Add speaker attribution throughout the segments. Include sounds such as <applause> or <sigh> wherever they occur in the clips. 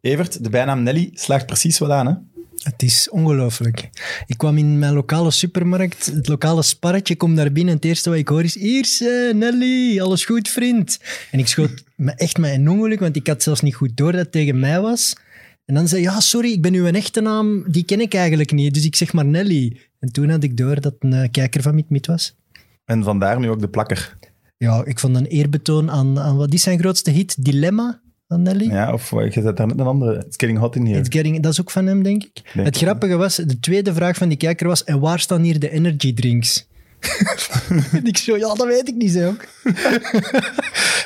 Speaker 1: Evert, de bijnaam Nelly slaagt precies wel aan, hè?
Speaker 2: Het is ongelooflijk. Ik kwam in mijn lokale supermarkt, het lokale sparretje, kom daar binnen en het eerste wat ik hoor is Ierse, Nelly, alles goed vriend. En ik schoot me echt met een ongeluk, want ik had zelfs niet goed door dat het tegen mij was. En dan zei ja, sorry, ik ben uw echte naam, die ken ik eigenlijk niet, dus ik zeg maar Nelly. En toen had ik door dat het een eh, kijker van Mitmit was.
Speaker 1: En vandaar nu ook de plakker.
Speaker 2: Ja, ik vond een eerbetoon aan, aan wat is zijn grootste hit? Dilemma van Nelly.
Speaker 1: Ja, of eh, je zet daar net een andere. It's getting hot in here.
Speaker 2: It's getting, dat is ook van hem, denk ik.
Speaker 1: Denk
Speaker 2: het
Speaker 1: ik,
Speaker 2: grappige was, de tweede vraag van die kijker was, en waar staan hier de energy drinks? <laughs> en ik zo, ja, dat weet ik niet, zei ook.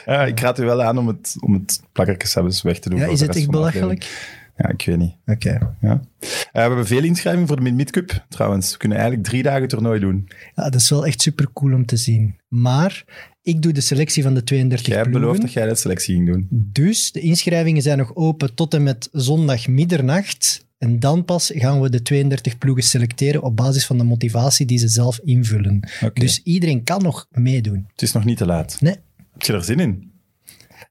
Speaker 1: Ja, ik raad u wel aan om het, om het plakkerkes weg te doen.
Speaker 2: Ja,
Speaker 1: voor
Speaker 2: is
Speaker 1: de
Speaker 2: het
Speaker 1: rest
Speaker 2: echt
Speaker 1: van de aflevering.
Speaker 2: belachelijk?
Speaker 1: Ja, ik weet niet.
Speaker 2: Oké.
Speaker 1: Ja. Eh, we hebben veel inschrijvingen voor de Mid-Mid Cup, trouwens. We kunnen eigenlijk drie dagen toernooi doen.
Speaker 2: Ja, dat is wel echt super cool om te zien. Maar ik doe de selectie van de 32
Speaker 1: Jij hebt
Speaker 2: ploegen.
Speaker 1: beloofd dat jij de selectie ging doen.
Speaker 2: Dus de inschrijvingen zijn nog open tot en met zondag middernacht. En dan pas gaan we de 32 ploegen selecteren op basis van de motivatie die ze zelf invullen.
Speaker 1: Oké.
Speaker 2: Dus iedereen kan nog meedoen.
Speaker 1: Het is nog niet te laat.
Speaker 2: Nee.
Speaker 1: Heb je er zin in?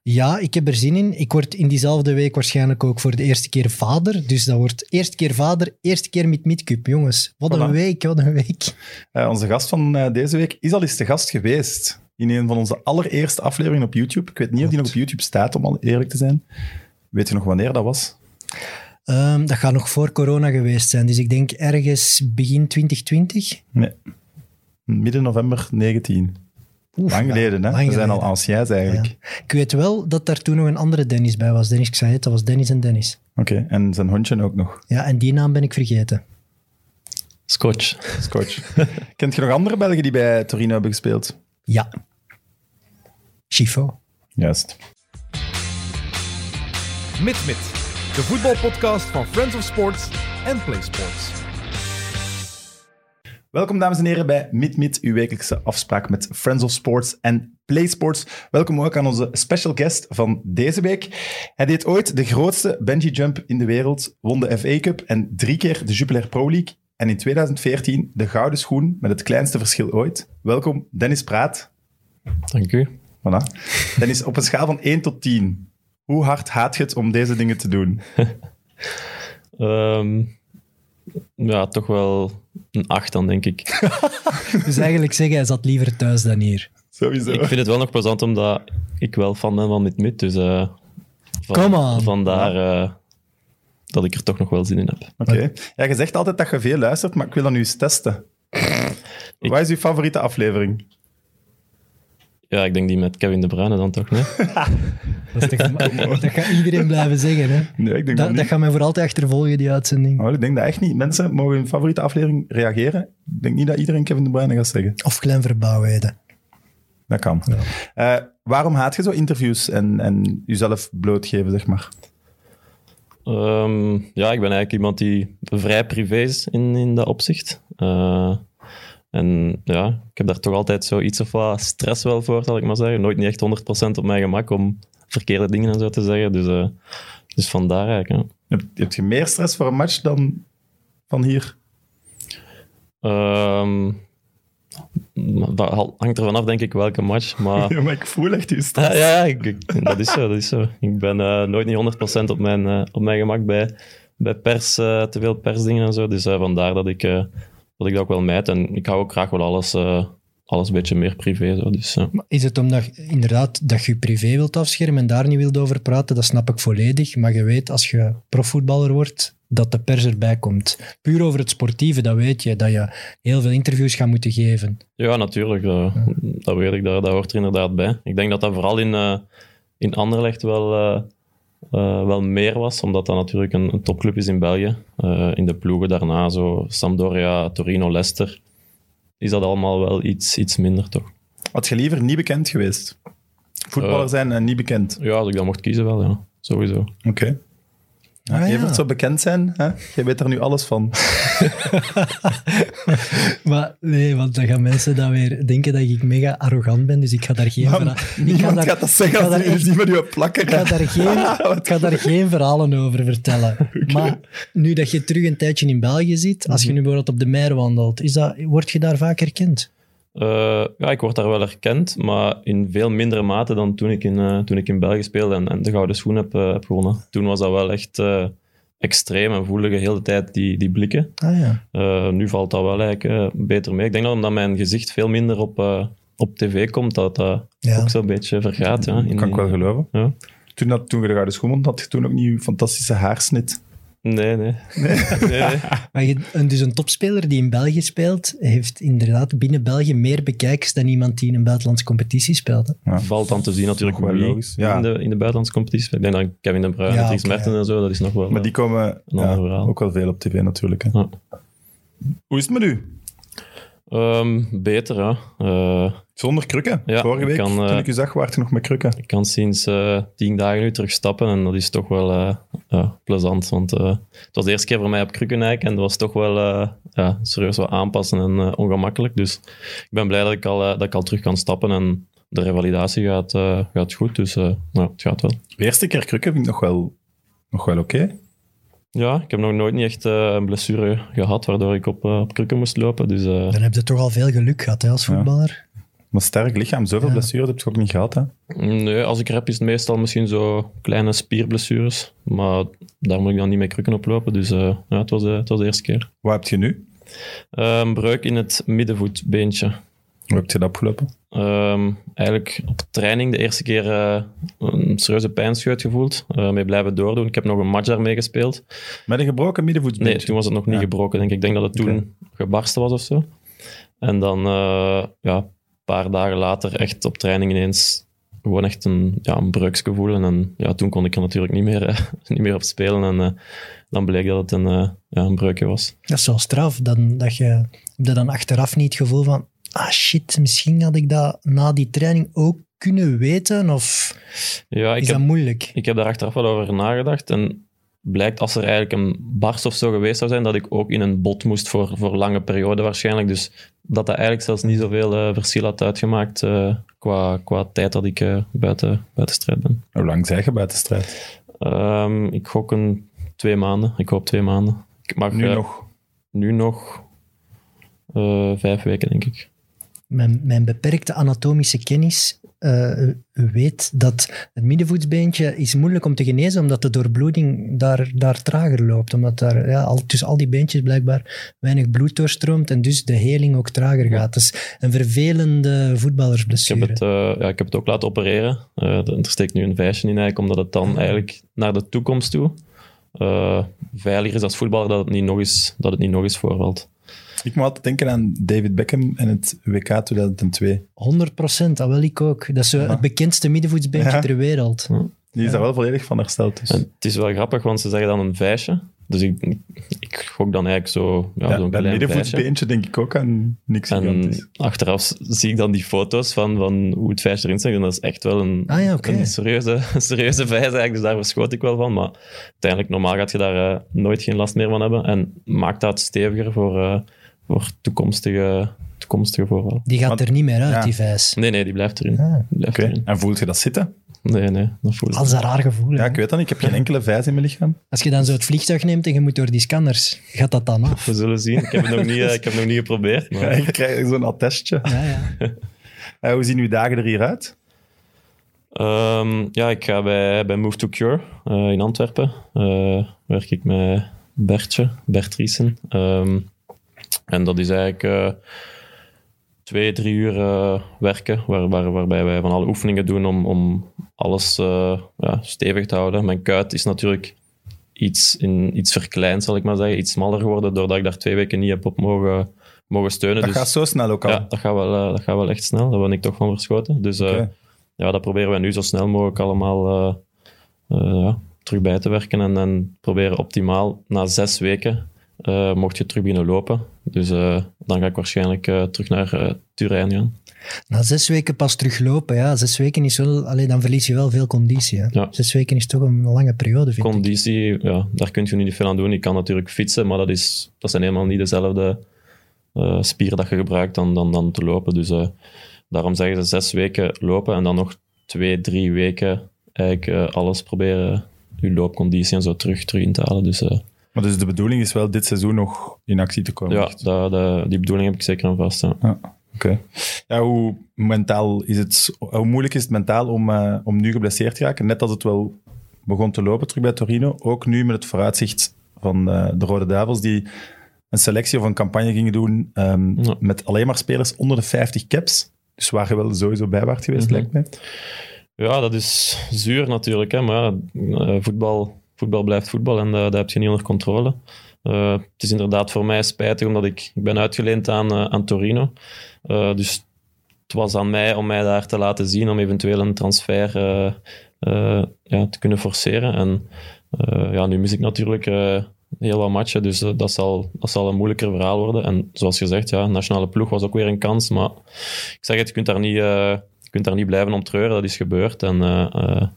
Speaker 2: Ja, ik heb er zin in. Ik word in diezelfde week waarschijnlijk ook voor de eerste keer vader. Dus dat wordt eerste keer vader, eerste keer met Midcup. Jongens, wat een
Speaker 1: Voilà.
Speaker 2: week, wat een week.
Speaker 1: Eh, onze gast van eh, deze week is al eens te gast geweest. In een van onze allereerste afleveringen op YouTube. Ik weet niet of die nog op YouTube staat, om al eerlijk te zijn. Weet je nog wanneer dat was?
Speaker 2: Ehm, dat gaat nog voor corona geweest zijn. Dus ik denk ergens begin 2020.
Speaker 1: Nee. Midden november 19.
Speaker 2: Oef,
Speaker 1: Lang geleden, hè?
Speaker 2: lang
Speaker 1: We zijn
Speaker 2: geleden.
Speaker 1: al anciens eigenlijk.
Speaker 2: Ja. Ik weet wel dat daar toen nog een andere Dennis bij was. Dennis, ik zei het, dat was Dennis en Dennis.
Speaker 1: Oké, en zijn hondje ook nog.
Speaker 2: Ja, en die naam ben ik vergeten.
Speaker 3: Scotch.
Speaker 2: <laughs>
Speaker 1: Scotch. Kent je nog andere Belgen die bij Torino hebben gespeeld?
Speaker 2: Ja. Chifo.
Speaker 1: Juist.
Speaker 4: MidMid, de voetbalpodcast van Friends of Sports en Play Sports.
Speaker 1: Welkom, dames en heren, bij MidMid, uw wekelijkse afspraak met Friends of Sports en Play Sports. Welkom ook aan onze special guest van deze week. Hij deed ooit de grootste bungee jump in de wereld, won de FA Cup en drie keer de Jupiler Pro League. En in 2014 de gouden schoen met het kleinste verschil ooit. Welkom, Dennis Praat.
Speaker 3: Dank u.
Speaker 1: Voilà. Dennis, op een schaal van 1 tot 10, hoe hard haat je het om deze dingen te doen?
Speaker 3: Ehm, ja, toch wel een 8 dan, denk ik.
Speaker 2: Dus eigenlijk zeggen, hij zat liever thuis dan hier.
Speaker 1: Sowieso.
Speaker 3: Ik vind het wel nog plezant, omdat ik wel fan ben van dit mid. Dus eh, van-
Speaker 2: Come on.
Speaker 3: vandaar eh, dat ik er toch nog wel zin in heb.
Speaker 1: Oké. Ja, je zegt altijd dat je veel luistert, maar ik wil dat nu eens testen.
Speaker 3: Ik-
Speaker 1: Wat is uw favoriete aflevering?
Speaker 3: Ja, ik denk die met Kevin De Bruyne dan toch, nee?
Speaker 2: Dat, is toch- <laughs> dat gaat iedereen blijven zeggen, hè.
Speaker 1: Nee, ik denk dat,
Speaker 2: Dat, dat
Speaker 1: niet.
Speaker 2: gaat mij voor altijd achtervolgen, die uitzending.
Speaker 1: Oh, ik denk dat echt niet. Mensen mogen hun favoriete aflevering reageren. Ik denk niet dat iedereen Kevin De Bruyne gaat zeggen.
Speaker 2: Of klein verbouwheden.
Speaker 1: Dat kan. Eh, waarom haat je zo interviews en, en jezelf blootgeven, zeg maar?
Speaker 3: Ehm, ja, ik ben eigenlijk iemand die vrij privé is in, in dat opzicht. Eh, en ja, ik heb daar toch altijd zo iets of wat stress wel voor, zal ik maar zeggen. Nooit niet echt 100% op mijn gemak om verkeerde dingen en zo te zeggen. Dus, eh, dus vandaar eigenlijk. Ja.
Speaker 1: Heb, heb je meer stress voor een match dan van hier?
Speaker 3: Ehm, maar dat hangt ervan af, denk ik, welke match.
Speaker 1: <laughs>
Speaker 3: Maar
Speaker 1: Ja, maar ik voel echt je stress.
Speaker 3: ja, ja ik- ik- dat, is zo, dat is zo. Ik ben eh, nooit niet 100% op mijn, eh, op mijn gemak bij, bij pers, eh, te veel persdingen en zo. Dus eh, vandaar dat ik, eh, dat ik dat ook wel mijd. En ik hou ook graag wel alles, eh, alles een beetje meer privé. Zo. Dus, eh,
Speaker 2: Maar Is het omdat je- inderdaad dat je je privé wilt afschermen en daar niet wilt over praten? Dat snap ik volledig. Maar je weet, als je profvoetballer wordt, dat de pers erbij komt. Puur over het sportieve, dat weet je. Dat je heel veel interviews gaat moeten
Speaker 1: Ah,
Speaker 2: geven.
Speaker 3: ja, natuurlijk. eh, Dat weet ik, dat, dat hoort er inderdaad bij. Ik denk dat dat vooral in, eh in Anderlecht wel, eh, eh, wel meer was, omdat dat natuurlijk een, een topclub is in België. Eh, in de ploegen daarna, zo Sampdoria, Torino, Leicester, is dat allemaal wel iets, iets minder toch.
Speaker 1: Had je liever niet bekend geweest? Voetballer
Speaker 3: Eh.
Speaker 1: zijn en niet bekend.
Speaker 3: Ja, als ik dat mocht kiezen wel, ja. Sowieso.
Speaker 1: Oké. Ja,
Speaker 2: Ah, ja.
Speaker 1: Evert zou bekend zijn, hè? Jij weet er nu alles van.
Speaker 2: Maar nee, want dan gaan mensen dan weer denken dat ik mega arrogant ben. Dus ik ga daar geen...
Speaker 1: Maar
Speaker 2: verha- ik
Speaker 1: Niemand
Speaker 2: daar-
Speaker 1: gaat dat
Speaker 2: ik
Speaker 1: zeggen
Speaker 2: ga
Speaker 1: als
Speaker 2: daar
Speaker 1: er
Speaker 2: echt-
Speaker 1: iemand met je plakker
Speaker 2: Ik ga daar <laughs> geen, ik ga daar geen verhalen over <laughs> vertellen. Maar nu dat Mhm. je terug een tijdje in België zit, als je nu bijvoorbeeld op de Meer wandelt, is dat, word je daar vaak herkend?
Speaker 3: Eh, ja, ik word daar wel erkend, maar in veel mindere mate dan toen ik in, eh, toen ik in België speelde en, en de gouden schoen heb, eh, heb gewonnen. Toen was dat wel echt eh, extreem en voelde je heel de tijd die, die blikken.
Speaker 2: Ah ja.
Speaker 3: Eh, nu valt dat wel eigenlijk eh, beter mee. Ik denk dat omdat mijn gezicht veel minder op, eh, op tv komt, dat dat
Speaker 2: ja.
Speaker 3: ook zo'n beetje vergaat. Ja, in
Speaker 1: kan ik
Speaker 3: die-
Speaker 1: wel geloven.
Speaker 3: Ja.
Speaker 1: Toen, dat, toen je de gouden schoen won, had je toen ook niet je fantastische haarsnit.
Speaker 3: Nee, nee. <laughs> nee. nee.
Speaker 2: Maar je, een- dus een topspeler die in België speelt, heeft inderdaad binnen België meer bekijkers dan iemand die in een buitenlandse competitie speelt. hè.
Speaker 3: Valt dan te zien natuurlijk
Speaker 1: Nog wel
Speaker 3: wie
Speaker 1: logisch, ja.
Speaker 3: in, de, in de buitenlandse competities. Ik denk dan Kevin De Bruyne,
Speaker 2: Ja,
Speaker 3: Dries
Speaker 2: oké,
Speaker 3: Mertens
Speaker 2: ja.
Speaker 3: en zo, dat is nog wel...
Speaker 1: Maar die komen
Speaker 3: Een ander
Speaker 1: ja,
Speaker 3: verhaal.
Speaker 1: ook wel veel op tv natuurlijk. Hè.
Speaker 3: Ja.
Speaker 1: Hoe is het met u?
Speaker 3: Ehm, beter, ja. Eh,
Speaker 1: Zonder krukken.
Speaker 3: Ja,
Speaker 1: Vorige
Speaker 3: ik
Speaker 1: week,
Speaker 3: kan, eh,
Speaker 1: toen ik u zag, waart je nog met krukken.
Speaker 3: ik kan sinds eh, tien dagen nu terug stappen en dat is toch wel eh, ja, plezant. Want eh, het was de eerste keer voor mij op Krukenijk en dat was toch wel eh, ja, serieus wat aanpassen en eh, ongemakkelijk. Dus ik ben blij dat ik al, eh, dat ik al terug kan stappen en de revalidatie gaat, eh, gaat goed. Dus eh, ja, het gaat wel.
Speaker 1: De eerste keer krukken vind ik nog wel, nog wel oké.
Speaker 3: Ja, ik heb nog nooit niet echt eh, een blessure gehad waardoor ik op, eh, op krukken moest lopen. Dus eh,
Speaker 2: Dan heb je toch al veel geluk gehad hè, als
Speaker 1: Ja.
Speaker 2: voetballer.
Speaker 1: Maar sterk lichaam, zoveel
Speaker 2: Ja.
Speaker 1: blessures heb je ook niet gehad. Hè?
Speaker 3: Nee, als ik rap is het meestal misschien zo kleine spierblessures. Maar daar moet ik dan niet mee krukken oplopen. Dus eh, ja, het, was, eh, het was de eerste keer.
Speaker 1: Wat heb je nu?
Speaker 3: Eh, Een breuk in het middenvoetbeentje.
Speaker 1: Hoe heb je dat opgelopen?
Speaker 3: Ehm, eigenlijk op training de eerste keer eh, een serieuze pijnscheut gevoeld. Eh, mee blijven doordoen. Ik heb nog een match daarmee gespeeld.
Speaker 1: Met een gebroken
Speaker 3: Nee,
Speaker 1: middenvoetsbeentje?
Speaker 3: toen was het nog niet
Speaker 1: Ja.
Speaker 3: gebroken. Denk ik. ik denk dat het toen gebarsten was of zo. En dan eh, ja, een paar dagen later echt op training ineens gewoon echt een, ja, een breuksgevoel. En, dan- ja, toen kon ik er natuurlijk niet meer, eh, <laughs> niet meer op spelen. En eh, dan bleek dat het een, eh, ja, een breukje was.
Speaker 2: Dat is wel straf. Dan, dat je, heb je dan achteraf niet het gevoel van, ah shit, misschien had ik dat na die training ook kunnen weten? Of
Speaker 3: Ja, ik
Speaker 2: is
Speaker 3: heb,
Speaker 2: dat moeilijk?
Speaker 3: ik heb daar achteraf wel over nagedacht. En blijkt als er eigenlijk een barst of zo geweest zou zijn, dat ik ook in een bot moest voor, voor lange perioden waarschijnlijk. Dus dat dat eigenlijk zelfs niet zoveel eh, verschil had uitgemaakt eh, qua, qua tijd dat ik eh, buiten, buiten strijd ben.
Speaker 1: Hoe lang zijn je buiten strijd?
Speaker 3: Ehm, ik gok een twee maanden. Ik hoop twee maanden. Ik mag
Speaker 1: Nu
Speaker 3: eh,
Speaker 1: nog.
Speaker 3: nu nog eh, vijf weken, denk ik.
Speaker 2: mijn, mijn beperkte anatomische kennis eh, weet dat het middenvoetsbeentje is moeilijk om te genezen, omdat de doorbloeding daar, daar trager loopt. Omdat daar ja, al, tussen al die beentjes blijkbaar weinig bloed doorstroomt en dus de heling ook trager gaat. Dat is een vervelende
Speaker 3: Ik heb,
Speaker 2: voetballersblessure.
Speaker 3: het, eh, ja, ik heb het ook laten opereren. Eh, er steekt nu een vijsje in eigenlijk, omdat het dan eigenlijk naar de toekomst toe eh, veiliger is als voetballer dat het niet nog eens, dat het niet nog eens voorvalt.
Speaker 1: Ik moet altijd denken aan David Beckham en het WK 2002.
Speaker 2: 100%, dat wil ah, ik ook. Dat is zo
Speaker 1: Ja.
Speaker 2: het bekendste middenvoetsbeentje
Speaker 1: Ja.
Speaker 2: ter wereld.
Speaker 1: Die is daar wel volledig van hersteld. Dus.
Speaker 3: En het is wel grappig, want ze zeggen dan een vijsje. Dus ik, ik gok dan eigenlijk zo, ja,
Speaker 1: Ja, bij het
Speaker 3: zo'n klein vijsje.
Speaker 1: middenvoetsbeentje denk ik ook aan niks
Speaker 3: En
Speaker 1: gigantisch.
Speaker 3: achteraf zie ik dan die foto's van, van hoe het vijs erin staat. En dat is echt wel een,
Speaker 2: Ah ja, oké.
Speaker 3: een serieuze, <laughs> een serieuze vijs eigenlijk. Dus daar verschoot ik wel van. Maar uiteindelijk, normaal gaat je daar eh, nooit geen last meer van hebben. En maakt dat steviger voor, eh, voor toekomstige, toekomstige voorvallen.
Speaker 2: Die gaat
Speaker 1: Want-
Speaker 2: er niet meer uit,
Speaker 1: ja.
Speaker 2: die vijs.
Speaker 3: Nee, nee, die blijft erin.
Speaker 2: Ah,
Speaker 3: Die blijft
Speaker 1: Oké,
Speaker 3: erin.
Speaker 1: en voelt je dat zitten?
Speaker 3: Nee, nee, dat voel ik.
Speaker 2: dat is een raar gevoel.
Speaker 1: Ja,
Speaker 2: hè.
Speaker 1: ik weet dat niet. Ik heb geen enkele vijs in mijn lichaam.
Speaker 2: Als je dan zo het vliegtuig neemt en je moet door die scanners, gaat dat dan af?
Speaker 3: We zullen zien. Ik heb het nog niet, eh, ik heb het nog niet
Speaker 2: <laughs>
Speaker 3: geprobeerd.
Speaker 1: Ja, <laughs>
Speaker 3: Maar,
Speaker 1: ik krijg zo'n attestje.
Speaker 2: Ja, ja.
Speaker 1: <laughs> Eh, hoe zien uw dagen er hier uit?
Speaker 3: Ehm, ja, ik ga bij, bij Move to Cure eh, in Antwerpen. Eh, werk ik met Bertje, Bert Riesen. Ehm, en dat is eigenlijk eh, twee, drie uur eh, werken, waar, waar, waarbij wij van alle oefeningen doen om, om alles eh, ja, stevig te houden. Mijn kuit is natuurlijk iets, in, iets verkleind, zal ik maar zeggen. Iets smaller geworden, doordat ik daar twee weken niet heb op mogen, mogen steunen.
Speaker 1: Dat
Speaker 3: Dus-
Speaker 1: gaat zo snel ook al.
Speaker 3: ja, dat gaat, wel, eh, dat gaat wel echt snel. Daar ben ik toch van verschoten. Dus eh,
Speaker 1: Oké.
Speaker 3: ja, dat proberen we nu zo snel mogelijk allemaal eh, eh, ja, terug bij te werken. En dan proberen optimaal na zes weken eh, mocht je terug binnen lopen. Dus eh, dan ga ik waarschijnlijk eh, terug naar eh Turijn gaan.
Speaker 2: Na zes weken pas teruglopen, ja. Zes weken is wel... Allee, dan verlies je wel veel conditie, hè.
Speaker 3: Ja.
Speaker 2: Zes weken is toch een lange periode, vind ik.
Speaker 3: Conditie, ja, daar kun je nu niet veel aan doen. Je kan natuurlijk fietsen, maar dat, is, dat zijn helemaal niet dezelfde eh spieren dat je gebruikt dan, dan, dan te lopen. Dus eh, daarom zeggen ze zes weken lopen en dan nog twee, drie weken eigenlijk eh, alles proberen, je loopconditie en zo terug, terug in te halen. Dus eh,
Speaker 1: Maar dus de bedoeling is wel dit seizoen nog in actie te komen.
Speaker 3: ja,
Speaker 1: echt.
Speaker 3: da- da- die bedoeling heb ik zeker aan vast. ja.
Speaker 1: Ja, hoe, mentaal is het, hoe moeilijk is het mentaal om, eh, om nu geblesseerd te raken? Net als het wel begon te lopen terug bij Torino. Ook nu met het vooruitzicht van eh, de Rode Duivels, die een selectie of een campagne gingen doen ehm,
Speaker 3: Ja.
Speaker 1: met alleen maar spelers onder de 50 caps. Dus waar je wel sowieso bij waard geweest,
Speaker 3: Mhm.
Speaker 1: lijkt mij.
Speaker 3: Ja, dat is zuur natuurlijk. Hè, maar ja, eh, voetbal, voetbal blijft voetbal en eh, dat heb je niet onder controle. Eh, het is inderdaad voor mij spijtig, omdat ik, ik ben uitgeleend aan, eh, aan Torino. Eh, dus het was aan mij om mij daar te laten zien, om eventueel een transfer eh, eh, ja, te kunnen forceren. En eh, ja, nu mis ik natuurlijk eh, heel wat matchen, dus eh, dat, zal, dat zal een moeilijker verhaal worden. En zoals gezegd, ja, nationale ploeg was ook weer een kans, maar ik zeg het, je kunt daar niet, eh, je kunt daar niet blijven om treuren. Dat is gebeurd. En eh, eh,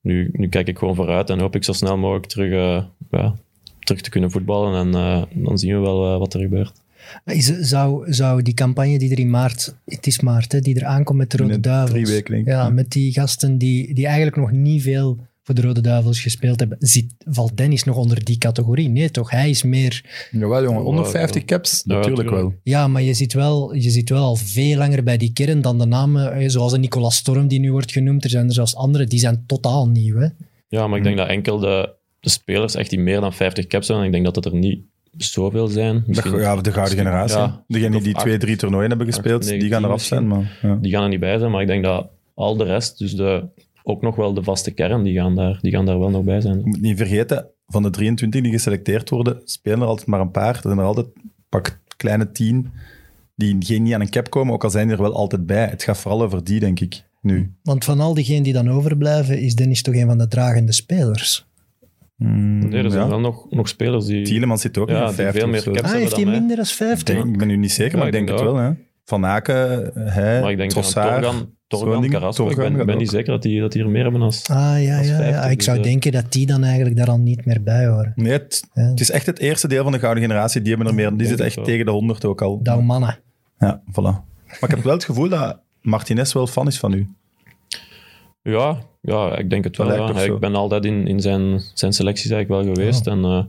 Speaker 3: nu, nu kijk ik gewoon vooruit en hoop ik zo snel mogelijk terug, eh, ja, terug te kunnen voetballen. En eh, dan zien we wel eh, wat er gebeurt.
Speaker 2: Is, zou, zou die campagne die er in maart, het is maart, hè, die er aankomt met de Rode
Speaker 1: Binnen
Speaker 2: Duivels.
Speaker 1: drie weken, denk ik.
Speaker 2: Ja,
Speaker 1: Ja.
Speaker 2: met die gasten die, die eigenlijk nog niet veel voor de Rode Duivels gespeeld hebben. Zit, valt Dennis nog onder die categorie? Nee, toch? Hij is meer...
Speaker 1: Jawel, jongen. Onder
Speaker 3: Ja,
Speaker 1: 50 caps?
Speaker 3: Ja,
Speaker 1: natuurlijk wel.
Speaker 3: tuurlijk.
Speaker 2: Ja, maar je zit, wel, je zit wel al veel langer bij die kern dan de namen, eh, zoals de Nicolas Storm die nu wordt genoemd. Er zijn er zelfs anderen, die zijn totaal nieuw. Hè?
Speaker 3: Ja, maar ik
Speaker 1: Mm.
Speaker 3: denk dat enkel de, de spelers echt die meer dan 50 caps zijn. En ik denk dat dat er niet zoveel zijn.
Speaker 1: De,
Speaker 3: Misschien-
Speaker 1: ja, de gouden generatie.
Speaker 3: Ja.
Speaker 1: Degenen
Speaker 3: Of
Speaker 1: die
Speaker 3: acht,
Speaker 1: twee, drie toernooien hebben gespeeld,
Speaker 3: negen,
Speaker 1: die gaan
Speaker 3: tien
Speaker 1: eraf zijn. Maar, ja.
Speaker 3: Die gaan er niet bij zijn, maar ik denk dat al de rest, dus de, ook nog wel de vaste kern, die gaan daar, die gaan daar wel nog bij zijn.
Speaker 1: Je moet niet vergeten, van de 23 die geselecteerd worden, spelen er altijd maar een paar. Er zijn er altijd pak kleine tien die geen niet aan een cap komen, ook al zijn die er wel altijd bij. Het gaat vooral over die, denk ik, nu.
Speaker 2: Want van al diegenen die dan overblijven, is Dennis toch een van de dragende spelers.
Speaker 1: Mm,
Speaker 3: Nee, er zijn
Speaker 1: ja.
Speaker 3: wel nog, nog spelers die...
Speaker 1: Tielemans zit ook
Speaker 3: Ja,
Speaker 1: in de
Speaker 3: die
Speaker 1: 50
Speaker 3: veel
Speaker 1: of
Speaker 3: meer
Speaker 1: zo.
Speaker 2: Ah,
Speaker 3: cap hebben
Speaker 2: heeft
Speaker 3: dan
Speaker 2: hij
Speaker 3: mij.
Speaker 2: minder dan
Speaker 1: Ik,
Speaker 2: 50?
Speaker 1: denk, ik ben nu niet zeker,
Speaker 3: Ja,
Speaker 1: maar ik
Speaker 3: ik
Speaker 1: denk
Speaker 3: denk
Speaker 1: het wel. Hè. Van Aken, hij,
Speaker 3: Maar ik denk
Speaker 1: Trossard,
Speaker 3: aan Torgan, Torgan
Speaker 1: Schoonling,
Speaker 3: Carrasco. Ik
Speaker 1: Torgan
Speaker 3: ben,
Speaker 1: gaat
Speaker 3: ben niet
Speaker 1: ook.
Speaker 3: zeker dat die, dat die er meer hebben als...
Speaker 2: Ah ja,
Speaker 3: Dat is
Speaker 2: ja,
Speaker 3: 50,
Speaker 2: ja. ik
Speaker 3: dus,
Speaker 2: zou
Speaker 3: eh.
Speaker 2: denken dat die dan eigenlijk daar al niet meer bij horen.
Speaker 1: Nee, het,
Speaker 2: Ja.
Speaker 1: het is echt het eerste deel van de gouden generatie. Die hebben er meer. Die
Speaker 3: Denk
Speaker 1: zit
Speaker 3: het
Speaker 1: echt
Speaker 3: wel.
Speaker 1: tegen de 100 ook al.
Speaker 2: Doumannen.
Speaker 1: Ja, voilà. Maar ik heb wel het gevoel dat Martinez wel fan is van u.
Speaker 3: Ja, ja, ik denk het wel.
Speaker 1: Dat
Speaker 3: Ja.
Speaker 1: lijkt of zo.
Speaker 3: Ik ben altijd in, in zijn, zijn selecties eigenlijk wel geweest. En eh,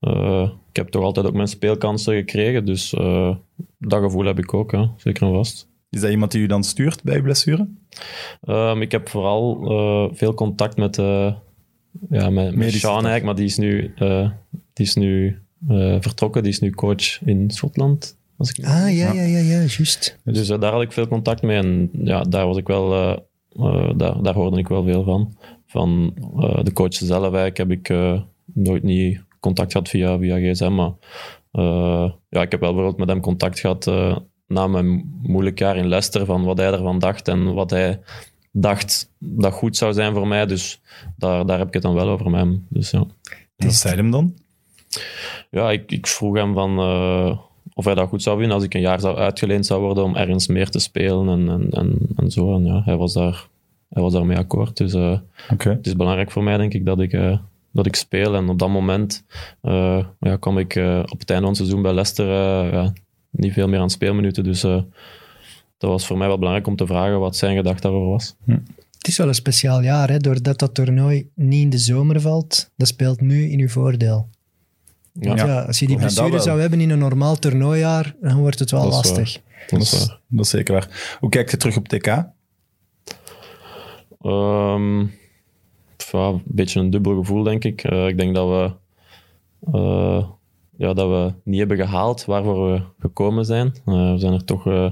Speaker 3: eh, ik heb toch altijd ook mijn speelkansen gekregen. Dus eh, dat gevoel heb ik ook, ja. zeker en vast.
Speaker 1: Is dat iemand die u dan stuurt bij uw blessure?
Speaker 3: Ehm, ik heb vooral eh, veel contact met, eh ja, met, met
Speaker 1: Medische
Speaker 3: Sean eigenlijk, maar die is nu, eh, die is nu eh, vertrokken. Die is nu coach in Schotland. Als ik me niet
Speaker 2: Ah, ja, ja, ja, ja, juist.
Speaker 3: Dus eh, daar had ik veel contact mee en ja, daar was ik wel, eh, eh, daar, daar hoorde ik wel veel van. Van eh, de coach zelf eigenlijk heb ik eh, nooit niet contact gehad via, via gsm, maar eh, ja, ik heb wel bijvoorbeeld met hem contact gehad eh, na mijn moeilijk jaar in Leicester, van wat hij ervan dacht en wat hij dacht dat goed zou zijn voor mij, dus daar, daar heb ik het dan wel over met hem. Dus, ja.
Speaker 1: En wat zei hem dan?
Speaker 3: Ja, ik, ik vroeg hem van, eh, of hij dat goed zou vinden als ik een jaar zou uitgeleend zou worden om ergens meer te spelen en, en, en, en zo. En ja, hij was, daar, hij was daarmee akkoord. Dus eh,
Speaker 1: Oké.
Speaker 3: het is belangrijk voor mij, denk ik, dat ik, eh, dat ik speel. En op dat moment eh, ja, kwam ik eh, op het einde van het seizoen bij Leicester eh, ja, niet veel meer aan speelminuten. Dus eh, dat was voor mij wel belangrijk om te vragen wat zijn gedachte daarover was.
Speaker 2: Het is wel een speciaal jaar, hè, doordat dat toernooi niet in de zomer valt. Dat speelt nu in uw voordeel.
Speaker 3: Ja,
Speaker 2: Want
Speaker 1: Ja.
Speaker 2: ja, als je die
Speaker 1: Ja, dat
Speaker 2: blessure
Speaker 1: wel.
Speaker 2: zou hebben in een normaal toernooijaar, dan wordt het wel
Speaker 3: Dat is waar.
Speaker 2: lastig.
Speaker 3: dat
Speaker 1: Dat
Speaker 3: is waar.
Speaker 1: is, dat is zeker waar. Hoe kijk je terug op TK?
Speaker 3: Ehm, pff, ja, een beetje een dubbel gevoel, denk ik. Eh, ik denk dat we, eh, ja, dat we niet hebben gehaald waarvoor we gekomen zijn. Eh, we zijn er toch eh,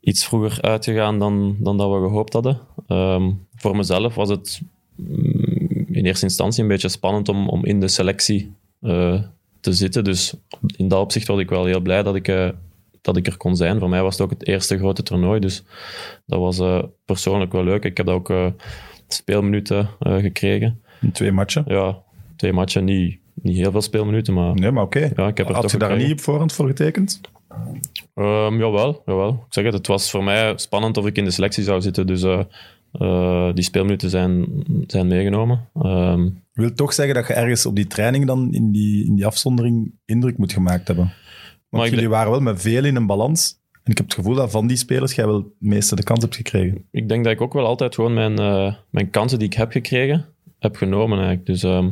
Speaker 3: iets vroeger uitgegaan dan, dan dat we gehoopt hadden. Ehm, voor mezelf was het mm, in eerste instantie een beetje spannend om, om in de selectie eh, te zitten. Dus in dat opzicht was ik wel heel blij dat ik, eh, dat ik er kon zijn. Voor mij was het ook het eerste grote toernooi. Dus dat was eh, persoonlijk wel leuk. Ik heb ook eh, speelminuten eh, gekregen.
Speaker 1: In twee matchen?
Speaker 3: Ja, twee matchen, niet, niet heel veel speelminuten, maar
Speaker 1: Nee, maar oké.
Speaker 3: ja, ik heb er
Speaker 1: Had
Speaker 3: toch
Speaker 1: je daar
Speaker 3: gekregen.
Speaker 1: niet op voorhand voor getekend?
Speaker 3: Ehm, jawel, jawel. Ik zeg het, het was voor mij spannend of ik in de selectie zou zitten. Dus eh, eh, die speelminuten zijn, zijn meegenomen. Ehm,
Speaker 1: Wil toch zeggen dat je ergens op die training dan in die, in die afzondering indruk moet gemaakt hebben? Want
Speaker 3: Maar ik
Speaker 1: jullie
Speaker 3: denk-
Speaker 1: waren wel met veel in een balans. En ik heb het gevoel dat van die spelers jij wel het meeste de kans hebt <laughs> gekregen.
Speaker 3: ik denk dat ik ook wel altijd gewoon mijn, eh, mijn kansen die ik heb gekregen, heb genomen eigenlijk. Dus ehm,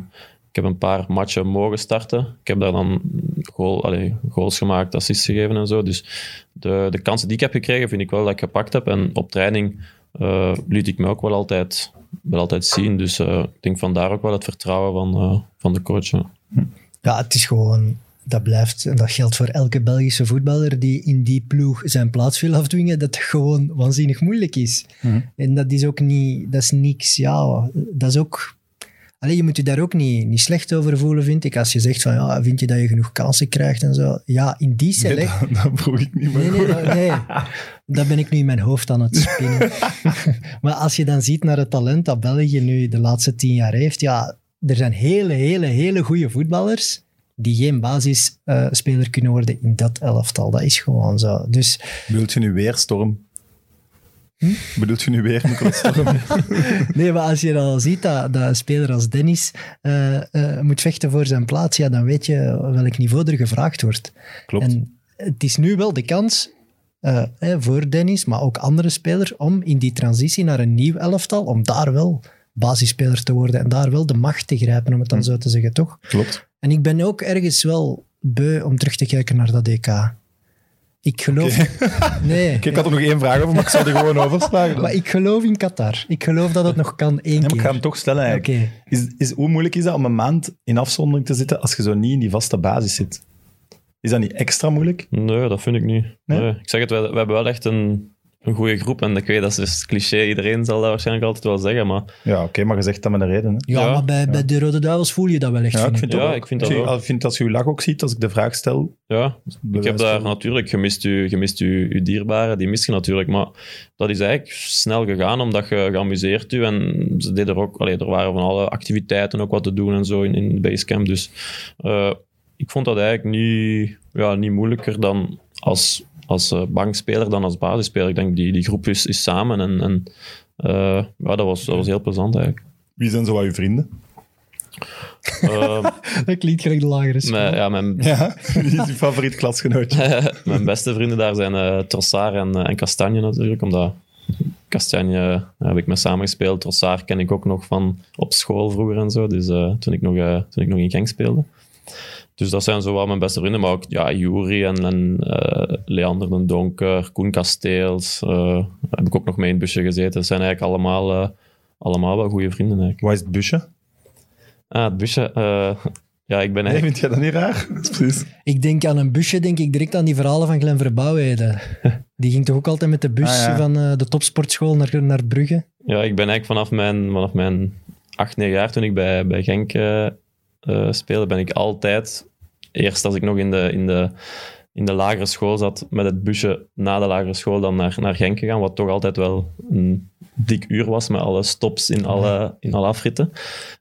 Speaker 3: ik heb een paar matchen mogen starten. Ik heb daar dan goal, allee, goals gemaakt, assists gegeven en zo. Dus de, de kansen die ik heb gekregen, vind ik wel dat ik gepakt heb. En op training eh, liet ik me ook wel altijd, wel altijd zien. Dus eh, ik denk vandaar ook wel het vertrouwen van, eh, van de coach. ja.
Speaker 2: Ja, het is gewoon... Dat blijft, en dat geldt voor elke Belgische voetballer die in die ploeg zijn plaats wil afdwingen, dat het gewoon waanzinnig moeilijk is. En dat is ook niet... Dat is niks, ja. Dat is ook... Allee, je moet je daar ook niet, niet slecht over voelen, vind ik. Als je zegt van, ja, vind je dat je genoeg kansen krijgt en zo. Ja, in die
Speaker 1: Nee,
Speaker 2: selectie...
Speaker 1: dat, dat vroeg ik niet, maar
Speaker 2: Nee, nee,
Speaker 1: goed.
Speaker 2: dat, nee. dat ben ik nu in mijn hoofd aan
Speaker 1: <laughs>
Speaker 2: het spinnen. maar als je dan ziet naar het talent dat België nu de laatste tien jaar heeft, ja, er zijn hele, hele, hele goede voetballers die geen basisspeler kunnen worden in dat elftal. Dat is gewoon zo. Dus
Speaker 1: Bedoelt je nu weer storm? Bedoelt je nu weer Nicolas Storm?
Speaker 2: nee, maar als je dan al ziet dat, dat een speler als Dennis eh, eh, moet vechten voor zijn plaats, ja, dan weet je welk niveau er gevraagd wordt.
Speaker 1: Klopt.
Speaker 2: En het is nu wel de kans eh, hè, voor Dennis, maar ook andere spelers, om in die transitie naar een nieuw elftal, om daar wel basisspeler te worden en daar wel de macht te grijpen, om het
Speaker 1: Mm.
Speaker 2: dan zo te zeggen, toch?
Speaker 1: Klopt.
Speaker 2: En ik ben ook ergens wel beu om terug te kijken naar dat DK. Ik geloof...
Speaker 1: <laughs>
Speaker 2: Nee.
Speaker 1: Ik had er nog één vraag over, maar ik zal die gewoon <laughs> overslagen.
Speaker 2: Maar
Speaker 1: dan.
Speaker 2: ik geloof in Qatar. Ik geloof dat het nog kan één
Speaker 1: Nee, maar
Speaker 2: keer.
Speaker 1: ik ga hem toch stellen
Speaker 2: Oké.
Speaker 1: eigenlijk. Is, is, hoe moeilijk is dat om een maand in afzondering te zitten als je zo niet in die vaste basis zit? Is dat niet extra moeilijk?
Speaker 3: Nee, dat vind ik niet.
Speaker 1: Nee?
Speaker 3: Nee? Ik zeg het, we, we hebben wel echt een, een goede groep. En ik weet, dat is dus cliché. Iedereen zal dat waarschijnlijk altijd wel zeggen. Maar
Speaker 1: Ja, oké, maar je zegt dat met een reden. Hè?
Speaker 2: Ja,
Speaker 3: Ja,
Speaker 2: maar bij, bij de Rode Duivels voel je dat wel echt.
Speaker 1: Ja, ik
Speaker 2: vind ik.
Speaker 1: vind, dat
Speaker 3: Ja,
Speaker 1: ook.
Speaker 3: ik vind dat
Speaker 1: Als je-
Speaker 3: ook.
Speaker 1: als- vind als je uw lach ook ziet, als ik de vraag stel.
Speaker 3: ja, ik heb daar natuurlijk gemist, je, gemist je, je dierbaren. Die mis je natuurlijk. Maar dat is eigenlijk snel gegaan, omdat je geamuseerd je. En ze deden er ook, allee, er waren van alle activiteiten ook wat te doen en zo in, in Basecamp. Dus eh, ik vond dat eigenlijk niet, ja, niet moeilijker dan als, als eh, bankspeler dan als basisspeler. Ik denk, die, die groep is, is samen. En, en eh, ja, dat was, dat was heel plezant eigenlijk.
Speaker 1: Wie zijn zo aan je vrienden?
Speaker 3: Ehm,
Speaker 2: Dat klinkt gelijk de lagere school.
Speaker 3: mijn, ja, mijn,
Speaker 1: Ja, <laughs> wie is je favoriet <laughs> klasgenootje?
Speaker 3: mijn beste vrienden daar zijn eh Trossard en, eh, en Castanje natuurlijk, omdat Castanje eh, heb ik mee samengespeeld. Trossard ken ik ook nog van op school vroeger en zo, dus eh, toen, ik nog, eh, toen ik nog in Genk speelde. Dus dat zijn zo wel mijn beste vrienden, maar ook ja, Jury en, en eh, Leander den Donker, Koen Kasteels, eh, heb ik ook nog mee in het busje gezeten. Dat zijn eigenlijk allemaal, eh, allemaal wel goede vrienden eigenlijk.
Speaker 1: Waar is het busje?
Speaker 3: Ah, het busje... eh, ja, ik ben
Speaker 1: Nee,
Speaker 3: eigenlijk...
Speaker 1: vind jij dat niet raar? Dat is Precies.
Speaker 2: Ik denk aan een busje, denk ik direct aan die verhalen van Glenn
Speaker 3: <laughs>
Speaker 2: Verbouwheden. Die ging toch ook altijd met de bus
Speaker 1: Ah, ja.
Speaker 2: van eh, de topsportschool naar, naar Brugge?
Speaker 3: Ja, ik ben eigenlijk vanaf mijn, vanaf mijn 8, 9 jaar, toen ik bij, bij Genk eh, eh, speelde, ben ik altijd, eerst als ik nog in de, in, de, in de lagere school zat, met het busje na de lagere school dan naar, naar Genk gegaan, wat toch altijd wel een dik uur was, met alle stops in alle, in alle afritten.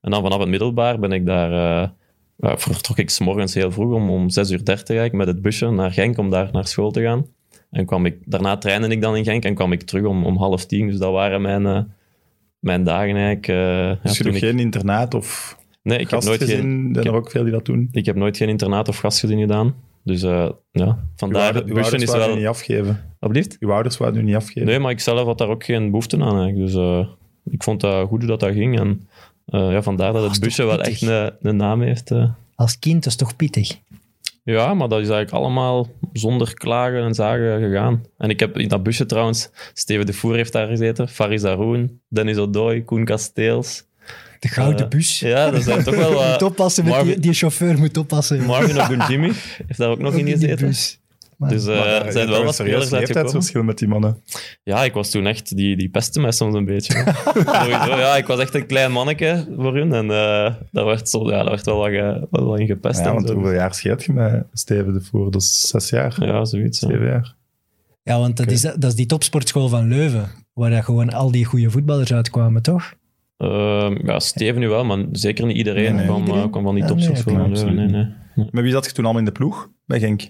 Speaker 3: En dan vanaf het middelbaar ben ik daar... eh, ja, vertrok ik 's morgens heel vroeg om, om 6 uur 30 eigenlijk met het busje naar Genk om daar naar school te gaan. En kwam ik, daarna trainde ik dan in Genk en kwam ik terug om, om half tien. Dus dat waren mijn, eh, mijn dagen eigenlijk. eh, ja,
Speaker 1: Dus je
Speaker 3: toen
Speaker 1: doet
Speaker 3: ik-
Speaker 1: geen internaat of
Speaker 3: nee, ik heb, nooit
Speaker 1: gastgezin?
Speaker 3: geen,
Speaker 1: Er zijn er ook veel die dat doen.
Speaker 3: ik heb nooit geen internaat of gastgezin gedaan. Dus eh, ja,
Speaker 1: Uw
Speaker 3: vandaar
Speaker 1: ouder-
Speaker 3: het
Speaker 1: uw
Speaker 3: busje
Speaker 1: ouders
Speaker 3: is
Speaker 1: wouden u
Speaker 3: wel...
Speaker 1: niet afgeven.
Speaker 3: Alblieft?
Speaker 1: Uw ouders wouden u niet afgeven.
Speaker 3: Nee, maar ik zelf had daar ook geen behoefte aan eigenlijk. Dus eh, ik vond dat goed hoe dat, dat ging. En eh, ja, vandaar dat
Speaker 2: Ah, is
Speaker 3: het
Speaker 2: toch
Speaker 3: busje wel
Speaker 2: pittig.
Speaker 3: echt een, een naam heeft. eh.
Speaker 2: Als kind, dat is toch pittig?
Speaker 3: Ja, maar dat is eigenlijk allemaal zonder klagen en zagen gegaan. En ik heb in dat busje trouwens, Steven de Voer heeft daar gezeten, Faris Haroun, Dennis Odoi, Koen Kasteels.
Speaker 2: De gouden
Speaker 3: Eh,
Speaker 2: bus. <laughs>
Speaker 3: Ja, dat zijn toch wel
Speaker 2: moet
Speaker 3: wat...
Speaker 2: oppassen, met die,
Speaker 3: Marvin-
Speaker 2: die chauffeur moet oppassen.
Speaker 3: Marvin Ogunjimi heeft daar ook nog
Speaker 2: Ook
Speaker 3: in
Speaker 2: in die
Speaker 3: gezeten.
Speaker 2: bus. Maar-
Speaker 3: Dus
Speaker 1: Maar
Speaker 3: eh,
Speaker 1: daar-
Speaker 3: er
Speaker 1: je hebt
Speaker 3: zijn wel
Speaker 1: een
Speaker 3: wat
Speaker 1: serieus
Speaker 3: spelers uitgekomen.
Speaker 1: leeftijdsverschil met die mannen.
Speaker 3: Ja, ik was toen echt... Die, die pestte mij soms een
Speaker 1: <laughs>
Speaker 3: beetje. Sowieso, ja, ik was echt een klein manneke voor hun. En eh, daar, werd zo, ja, daar werd wel wat, ge- wel wat in gepest.
Speaker 1: Ja,
Speaker 3: en
Speaker 1: want
Speaker 3: zo.
Speaker 1: hoeveel jaar scheelt je met Steven de Voer? Dat is zes jaar,
Speaker 3: ja zoiets. ja.
Speaker 1: zeven jaar.
Speaker 2: Ja, want dat, is, dat is die topsportschool van Leuven, waar dat gewoon al die goede voetballers uitkwamen, toch?
Speaker 3: Ehm, ja, Steven nu wel, maar zeker niet iedereen,
Speaker 1: Nee, nee.
Speaker 3: Kwam,
Speaker 2: Iedereen?
Speaker 3: eh, kwam van die
Speaker 2: Ah, nee,
Speaker 3: topsportschool.
Speaker 1: oké,
Speaker 3: Nee,
Speaker 1: absoluut
Speaker 3: nee,
Speaker 1: niet.
Speaker 3: nee.
Speaker 1: Met wie zat je toen allemaal in de ploeg? Bij Genk.